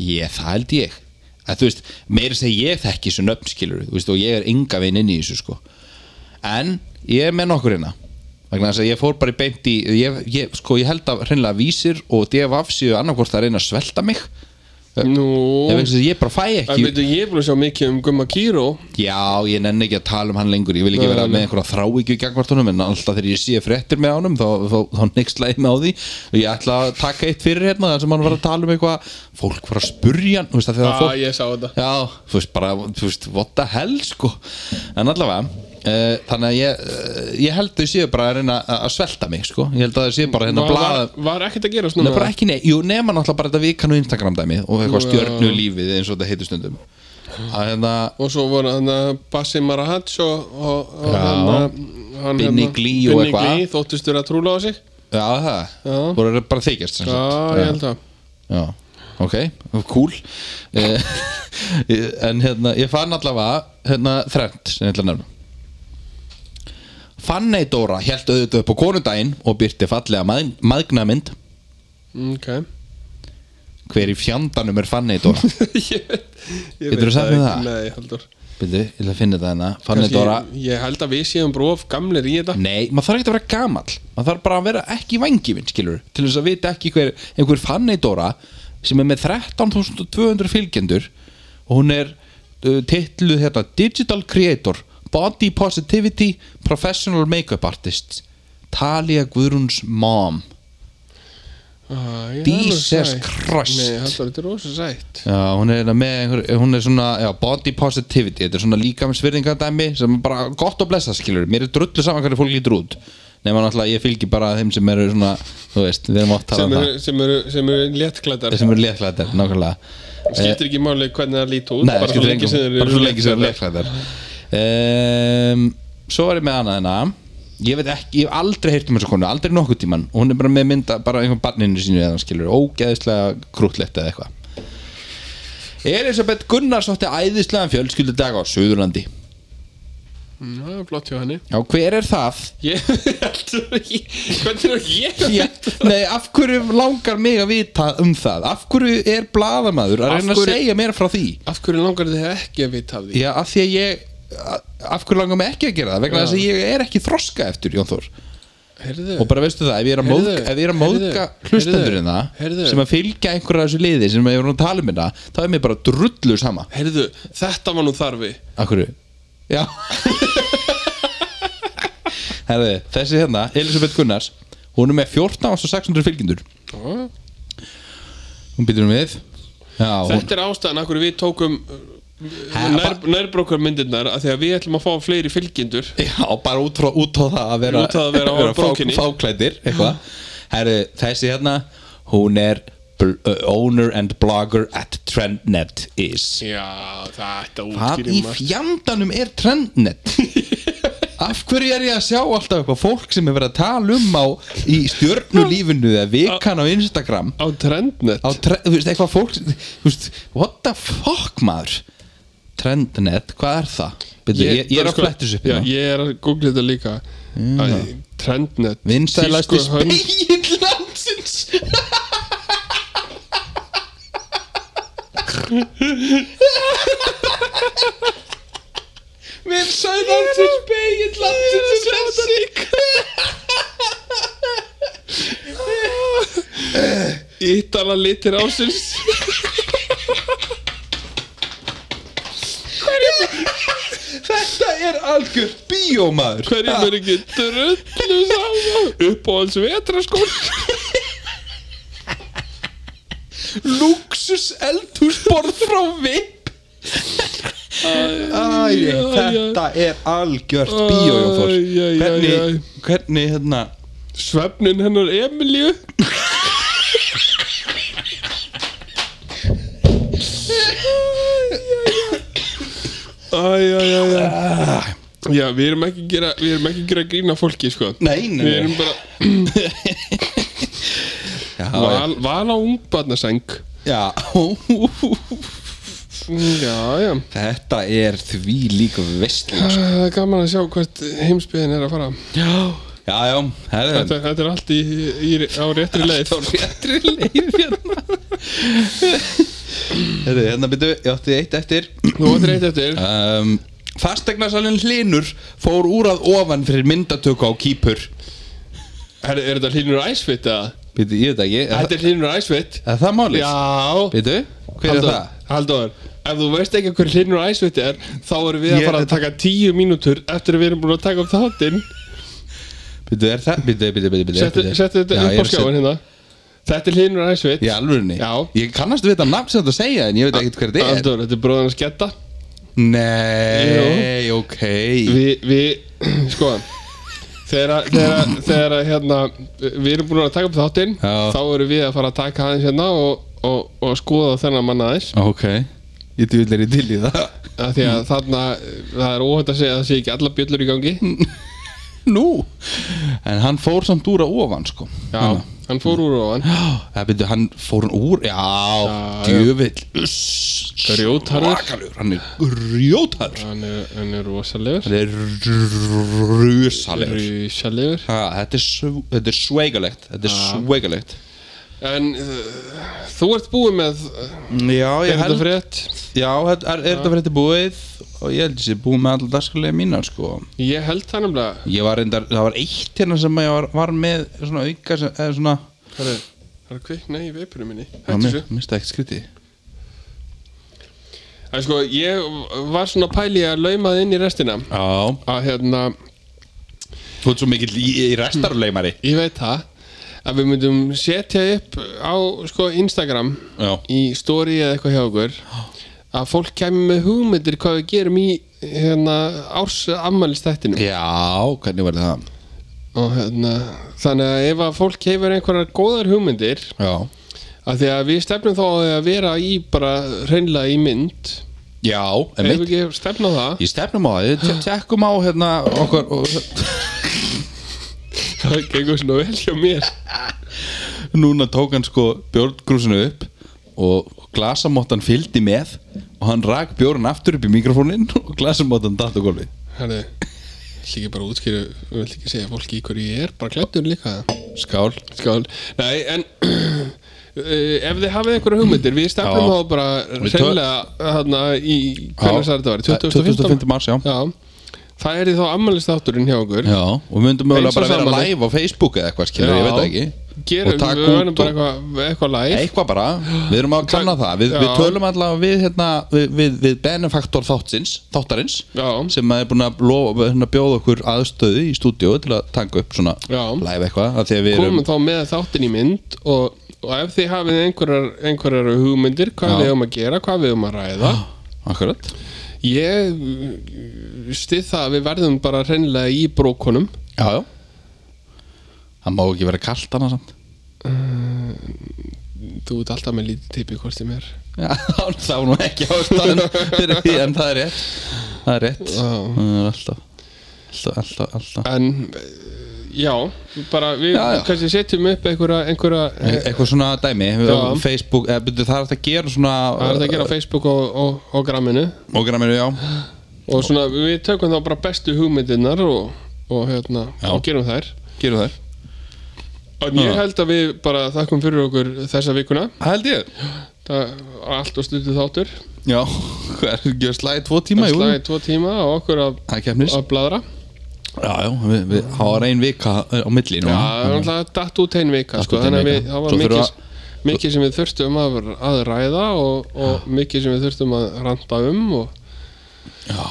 Speaker 1: Ég, það held ég að, Þú veist, meira að segja ég þekki þessu nöfn skilur Þú veist, og ég er enga vinn inn í þessu sko En ég er með nokkur hérna Vegna þess að ég fór bara í beint í ég, ég, Sko, ég held að hreinlega vísir og DFF séu annarkvort að reyna að svelta mig
Speaker 2: nú
Speaker 1: Ef vegna þess að ég bara fæ
Speaker 2: en
Speaker 1: ekki
Speaker 2: veitu ég er búin að sjá mikið um Gumma Kíró
Speaker 1: Já, ég nenni ekki að tala um hann lengur Ég vil ekki vera með einhverja þráhyggju gangvart honum En alltaf þegar ég sé fréttir með honum Þá, þá, þá nexlaði með á því Og ég ætla að taka eitt fyrir hérna þar sem hann var að tala um eitthvað Fólk var að spurja hann Þú veist að þegar
Speaker 2: að
Speaker 1: fólk
Speaker 2: ég sá þetta
Speaker 1: Já, þú veist bara, þú veist, what the hell sko En allavega uh, Þannig að ég, uh, ég held þau séu bara að reyna að að svelta mig sko Ég held að þau séu bara hérna að
Speaker 2: var,
Speaker 1: blaða
Speaker 2: var, var ekkert að gera
Speaker 1: Nei,
Speaker 2: svona
Speaker 1: bara ekki nei, jú, nema náttúrulega bara þetta vikan og Instagram dæmi Og eitthvað stjörnu lífið eins og þetta heitur stundum Að hérna,
Speaker 2: og svo voru hann að Bassi Marahats og, og, og
Speaker 1: Já.
Speaker 2: hann hann
Speaker 1: Binni
Speaker 2: hérna-
Speaker 1: Glee og
Speaker 2: Binni
Speaker 1: eitthvað.
Speaker 2: Glee, þóttust þurra að trúla á sig
Speaker 1: já það
Speaker 2: Já.
Speaker 1: Voru þeir bara að þykjast sem
Speaker 2: já,
Speaker 1: sagt.
Speaker 2: ég held það
Speaker 1: Já, ok, cool Eh, En hérna, ég fann allavega hérna, þrennt sem ég ætla að nefna Fanny Dóra held auðvitað upp á konundaginn og byrti fallega mað, maðgnamynd
Speaker 2: ok
Speaker 1: Hver í fjandanum er Fanny Dóra?
Speaker 2: ég veit, ég
Speaker 1: Geturðu
Speaker 2: veit
Speaker 1: sagt mér það?
Speaker 2: nei, Halldór
Speaker 1: Byrju, ég ætla að finna þetta hérna Fanny
Speaker 2: Kannski-
Speaker 1: Dóra
Speaker 2: ég held að við séum bróf gamlir í þetta
Speaker 1: Nei, maður þarf ekki að vera gamall Maður þarf bara að vera ekki vængifinn, skilur Til þess að vita ekki hver, einhver fanneitóra sem er með 13.200 fylgjendur og hún er uh, titluð hérna Digital Creator Body Positivity Professional Makeup Artist Talia Guðruns Mom
Speaker 2: Ah, ég er alveg
Speaker 1: Jesus
Speaker 2: sæt.
Speaker 1: Christ.
Speaker 2: Nei, Halldór, þetta er rosa sætt
Speaker 1: Já, hún er, hérna með einhver, hún er svona já, body positivity, þetta er svona líkamsvirðingadæmi sem er bara gott og blessa skilur mér er drullu saman hvernig fólk lítur út nema náttúrulega ég fylgi bara þeim sem eru svona þú veist, við erum átt að tala
Speaker 2: sem
Speaker 1: um
Speaker 2: eru, sem eru, sem eru léttklæddar
Speaker 1: það sem eru léttlæðar, nákvæmlega
Speaker 2: skiptir ekki máli hvernig það líti út
Speaker 1: Nei,
Speaker 2: bara svo lengi sem þeir
Speaker 1: bara
Speaker 2: eru
Speaker 1: svo lengi sem þeir eru
Speaker 2: léttklæddar.
Speaker 1: léttlæðar um, Svo var ég með hana þennan Ég veit ekki, ég hef aldrei heyrt um þessu konu, aldrei nokkuð tíman og hún er bara með mynda, bara einhvern barninu sínu eða hann skilur, ógeðislega krútlegt eða eitthvað Elisabeth Gunnars átti æðislegan fjölskyldudag á Suðurlandi
Speaker 2: Mm, það er flott hjá henni
Speaker 1: Já, hver er það?
Speaker 2: ég heldur ekki hvernig er ég
Speaker 1: Ég, nei, af hverju langar mig að vita um það? Af hverju er bladamaður að
Speaker 2: Af
Speaker 1: reyna
Speaker 2: hverju-
Speaker 1: að segja mér frá því?
Speaker 2: af hverju langar þið ekki að vita af því
Speaker 1: Já, af því að ég a- af hverju langar mig ekki að gera það vegna
Speaker 2: Já.
Speaker 1: þess að ég er ekki þroska eftir Jón Þór
Speaker 2: heyrðu
Speaker 1: og bara veistu það, ef ég er að
Speaker 2: Heyrðu,
Speaker 1: móðga, ef ég er að
Speaker 2: heyrðu,
Speaker 1: móðga
Speaker 2: heyrðu,
Speaker 1: hlustendurinn það
Speaker 2: heyrðu.
Speaker 1: sem að fylgja einhverja af þessu liði sem ég er að tala um þetta þá er mér bara drullu sama
Speaker 2: heyrðu þetta var nú þarfi
Speaker 1: af hverju? Já Herðu, þessi hérna, Elisabeth Gunnars hún er með 14.600 fylgjendur hún býtur um við Já, hún,
Speaker 2: þetta er ástæðan af hverju við tókum uh,
Speaker 1: Ha,
Speaker 2: nær, nærbrókar myndirnar af því að við ætlum að fá fleiri fylgjendur
Speaker 1: Já, bara út, frá, út á það að vera
Speaker 2: Út á það að vera á
Speaker 1: fá-
Speaker 2: brókinni.
Speaker 1: Fáklæddir, eitthvað Herru, þessi hérna Hún er bl- uh, owner and blogger at Trendnet is
Speaker 2: já þetta
Speaker 1: Hvað í
Speaker 2: útskýrir margt.
Speaker 1: fjandanum er Trendnet? Af hverju er ég að sjá alltaf eitthvað fólk sem er verið að tala um á í stjörnulífinu eða vikan á Instagram
Speaker 2: á trendnet
Speaker 1: á tre, þú veist, eitthvað fólk þú veist, what the fuck maður Trendnet, hvað er það? Byrju, ég, ég, er að
Speaker 2: sko-
Speaker 1: flettis upp
Speaker 2: já,
Speaker 1: hérna.
Speaker 2: ég er að googla þetta líka Æ, trendnet
Speaker 1: Vinsælasti
Speaker 2: tísku hönd-
Speaker 1: spegill landsins Vinsælasti spegill landsins
Speaker 2: Ítala litir ásins
Speaker 1: Þetta er algjör bíómaður
Speaker 2: Hverjum er ekki drullu saman Uppáhalds vetraskól
Speaker 1: Luxus eldhúsborð frá VIP Æ,
Speaker 2: æ, æ.
Speaker 1: þetta er algjört bíó Jón Þór.
Speaker 2: Æ, æ, æ, æ.
Speaker 1: Hvernig, hvernig hérna
Speaker 2: Svefnin hennar Emilíu Æjæjæjæ Já, við erum ekki að gera, við erum ekki að gera grína fólki, sko
Speaker 1: Nei, nei,
Speaker 2: Við
Speaker 1: nei.
Speaker 2: erum bara
Speaker 1: Já,
Speaker 2: val, val á ungbarnaseng
Speaker 1: já
Speaker 2: já, já
Speaker 1: Þetta er því líka vestla
Speaker 2: Það er gaman að sjá hvert heimsbyðin er að fara
Speaker 1: Já, já, já herðu,
Speaker 2: Þetta, þetta er allt í, í, á réttri leið
Speaker 1: Þá réttri leið hérna Herðu, hérna byrju, ég átti eitt eftir
Speaker 2: Þú áttir eitt eftir
Speaker 1: um, Fastegnasalinn Hlinur fór úr að ofan fyrir myndatöku á Kýpur
Speaker 2: Er, er þetta hlínur æsfitt eða?
Speaker 1: Byrju, ég veit ekki, er,
Speaker 2: Þetta er hlínur æsfitt
Speaker 1: er það málið?
Speaker 2: Já
Speaker 1: Byrju, hver er
Speaker 2: Halldór,
Speaker 1: það?
Speaker 2: Halldór, ef þú veist ekki hver hlinur æsvitt er þá erum við að
Speaker 1: Ég-
Speaker 2: fara að taka tíu mínútur eftir að við erum búin að taka upp þáttinn
Speaker 1: Byrju, er það? Byrju, byrju, byrju, byrju
Speaker 2: Settu
Speaker 1: byrju.
Speaker 2: settu þetta
Speaker 1: Já, ég
Speaker 2: upp á
Speaker 1: er að
Speaker 2: skjáin hérna Þetta er hlinur æsvitt
Speaker 1: Í alvörunni?
Speaker 2: Já.
Speaker 1: Ég kannast við þetta nafn sem þú ert að segja en ég veit ekkert hver þetta er
Speaker 2: Halldór, þetta er bróðan að sketta
Speaker 1: Nei, ok
Speaker 2: Við, við, sko Þegar, að- þegar, að- þegar að, hérna, við erum búin að taka upp þáttinn
Speaker 1: Já.
Speaker 2: þá erum við að fara að taka aðeins hérna og, og, og skoða þennan mann aðeins
Speaker 1: Ok Ég djúll er í til í það
Speaker 2: af því
Speaker 1: Mm.
Speaker 2: að þarna, það er óhætt að segja að það sé ekki alla bjöllur í gangi
Speaker 1: Mm. Nú En hann fór samt úr að ofan sko
Speaker 2: Já, hann fór úr ofan
Speaker 1: Það byrju, hann fór hann úr Já,
Speaker 2: Já,
Speaker 1: djöfill
Speaker 2: Grjótharður.
Speaker 1: Svakalur, Hann er grjótarður
Speaker 2: Hann er, hann er rosalegur
Speaker 1: Hann er rusalegur
Speaker 2: Rísalegur
Speaker 1: Þetta er, svo- þetta er sveigalegt Þetta er sveigalegt
Speaker 2: En uh, þú ert búið með uh,
Speaker 1: Já,
Speaker 2: Er
Speaker 1: ég
Speaker 2: þetta
Speaker 1: held
Speaker 2: frétt?
Speaker 1: Já, þetta- er, er þetta fyrir þetta búið og ég held þessi búið með allar dagskalegi mínar sko
Speaker 2: Ég held það nefnilega
Speaker 1: Ég var reyndar, það var eitt hérna sem ég var, var með svona auka sem, eða svona
Speaker 2: Það er, það er kvikna í veipurinn minni
Speaker 1: Já,
Speaker 2: Hættu
Speaker 1: mér
Speaker 2: þessu
Speaker 1: minnst það ekkert skriti
Speaker 2: Það er sko, ég var svona pæli að lauma þið inn í restina
Speaker 1: Já,
Speaker 2: Að hérna,
Speaker 1: þú ert svo mikill í, í restarleimari
Speaker 2: ég veit það Að við myndum setja upp á sko Instagram
Speaker 1: Já,
Speaker 2: Í story eða eitthvað hjá okkur Að fólk kemur með hugmyndir hvað við gerum í hérna árs afmælistættinu
Speaker 1: Já hvernig var það?
Speaker 2: og hérna þannig að ef að fólk hefur einhverjar góðar hugmyndir
Speaker 1: Já
Speaker 2: að því að við stefnum þá á því að vera í bara hreinlega í mynd
Speaker 1: Já,
Speaker 2: ef við
Speaker 1: emitt
Speaker 2: ekki stefna á það
Speaker 1: Ég stefnum á það, við tekkum á hérna okkar og,
Speaker 2: það gengur svona vel hjá mér
Speaker 1: Núna tók hann sko bjórngrúsinu upp og glasamottan fylgdi með og hann rak bjórn aftur upp í mikrofónin og glasamottan datt á gólfið
Speaker 2: hérna líka bara útskýru við vilt ekki segja fólki í hverju ég er bara klættur líka
Speaker 1: Skál
Speaker 2: skál nei en eh, ef þið hafið einhverja hugmyndir við stefnum
Speaker 1: Já.
Speaker 2: þá bara
Speaker 1: Við tö-
Speaker 2: hreinlega hérna í hvernig
Speaker 1: Já.
Speaker 2: sagði þetta var
Speaker 1: 25. mars, já.
Speaker 2: já það er þá ammælistátturinn hjá okkur
Speaker 1: Já, og við myndum mögulega
Speaker 2: Eins og
Speaker 1: bara vera
Speaker 2: saman.
Speaker 1: live á Facebook eða eitthvað skilur, ég veit það ekki
Speaker 2: gerum,
Speaker 1: Og taka
Speaker 2: við verðum
Speaker 1: út
Speaker 2: bara
Speaker 1: og-
Speaker 2: eitthvað eitthvað live
Speaker 1: Eitthvað bara, við erum að kanna það Við, við
Speaker 2: Já.
Speaker 1: tölum allavega við, hérna, við, við, við benefaktor þáttins, þáttarins
Speaker 2: Já.
Speaker 1: sem er búin að lofa, hérna, bjóða okkur aðstöðu í stúdíu til að taka upp svona
Speaker 2: Já.
Speaker 1: live eitthvað af því að við erum
Speaker 2: komum þá með þáttin í mynd og, og ef þið hafið einhverjar, einhverjar hugmyndir, hvað
Speaker 1: Já.
Speaker 2: við höfum að gera hvað við höfum að ræða
Speaker 1: Akkurat
Speaker 2: ég stið það að við verðum bara hreinlega í brókunum
Speaker 1: Já, já Það má ekki vera kalt annað samt
Speaker 2: þú ert alltaf með lítið tipi hvort sem er
Speaker 1: Já, það var nú ekki ástæðan fyrir því en það er rétt Það er rétt
Speaker 2: Já.
Speaker 1: Það er alltaf Alltaf, alltaf, alltaf
Speaker 2: en eh, já, bara við
Speaker 1: Já, já.
Speaker 2: kannski setjum upp einhverja, einhverja
Speaker 1: E- eitthvað svona dæmi á
Speaker 2: Eh, Já.
Speaker 1: Facebook, eða byrju það er hægt að gera svona
Speaker 2: það er þetta að gera á Facebook og, og, og gramminu
Speaker 1: og gera mér, já,
Speaker 2: og svona við tökum þá bara bestu hugmyndirnar og, og, hérna,
Speaker 1: Já.
Speaker 2: og gerum þær
Speaker 1: gera þær
Speaker 2: En ég held að við bara þakkum fyrir okkur þessa vikuna.
Speaker 1: Það held ég
Speaker 2: Það var allt og stuttu þáttur.
Speaker 1: Já, hvað er ekki að slæði tvo tíma,
Speaker 2: Það
Speaker 1: jú
Speaker 2: slagi tvo tíma og okkur að,
Speaker 1: Það er kemnis
Speaker 2: að bladra.
Speaker 1: Já, já, við, við hafa reyn vika eh, á milli
Speaker 2: Já,
Speaker 1: núna
Speaker 2: það var alltaf datt út einn vika,
Speaker 1: Datt
Speaker 2: sko.
Speaker 1: út ein
Speaker 2: Þannig að
Speaker 1: vika.
Speaker 2: við, það var
Speaker 1: Svo þurfum
Speaker 2: mikið, mikið sem við þurftum að, að ræða og, og mikið sem við þurftum að randa um og,
Speaker 1: Já,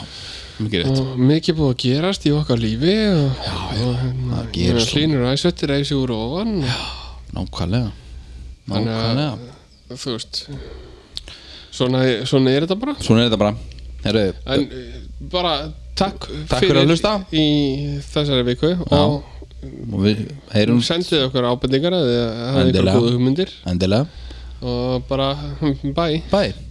Speaker 1: mikið rétt
Speaker 2: og mikið búið að gerast í okkar lífi og, já, og hérna,
Speaker 1: það gerist svo.
Speaker 2: hlínur æsvettir æsi úr ofan. Já.
Speaker 1: Nákvæmlega
Speaker 2: Þannig að-
Speaker 1: Nákvæmlega
Speaker 2: Þú veist, svona, svona er þetta bara.
Speaker 1: Svona er þetta bara Heru,
Speaker 2: En eh, bara takk,
Speaker 1: Takk fyrir að hlusta.
Speaker 2: í þessari viku og
Speaker 1: og við heyrum
Speaker 2: sendið okkur ábendingar eða hafið ykkur
Speaker 1: Endilega.
Speaker 2: góðu hugmyndir
Speaker 1: endilega
Speaker 2: og bara bye
Speaker 1: Bye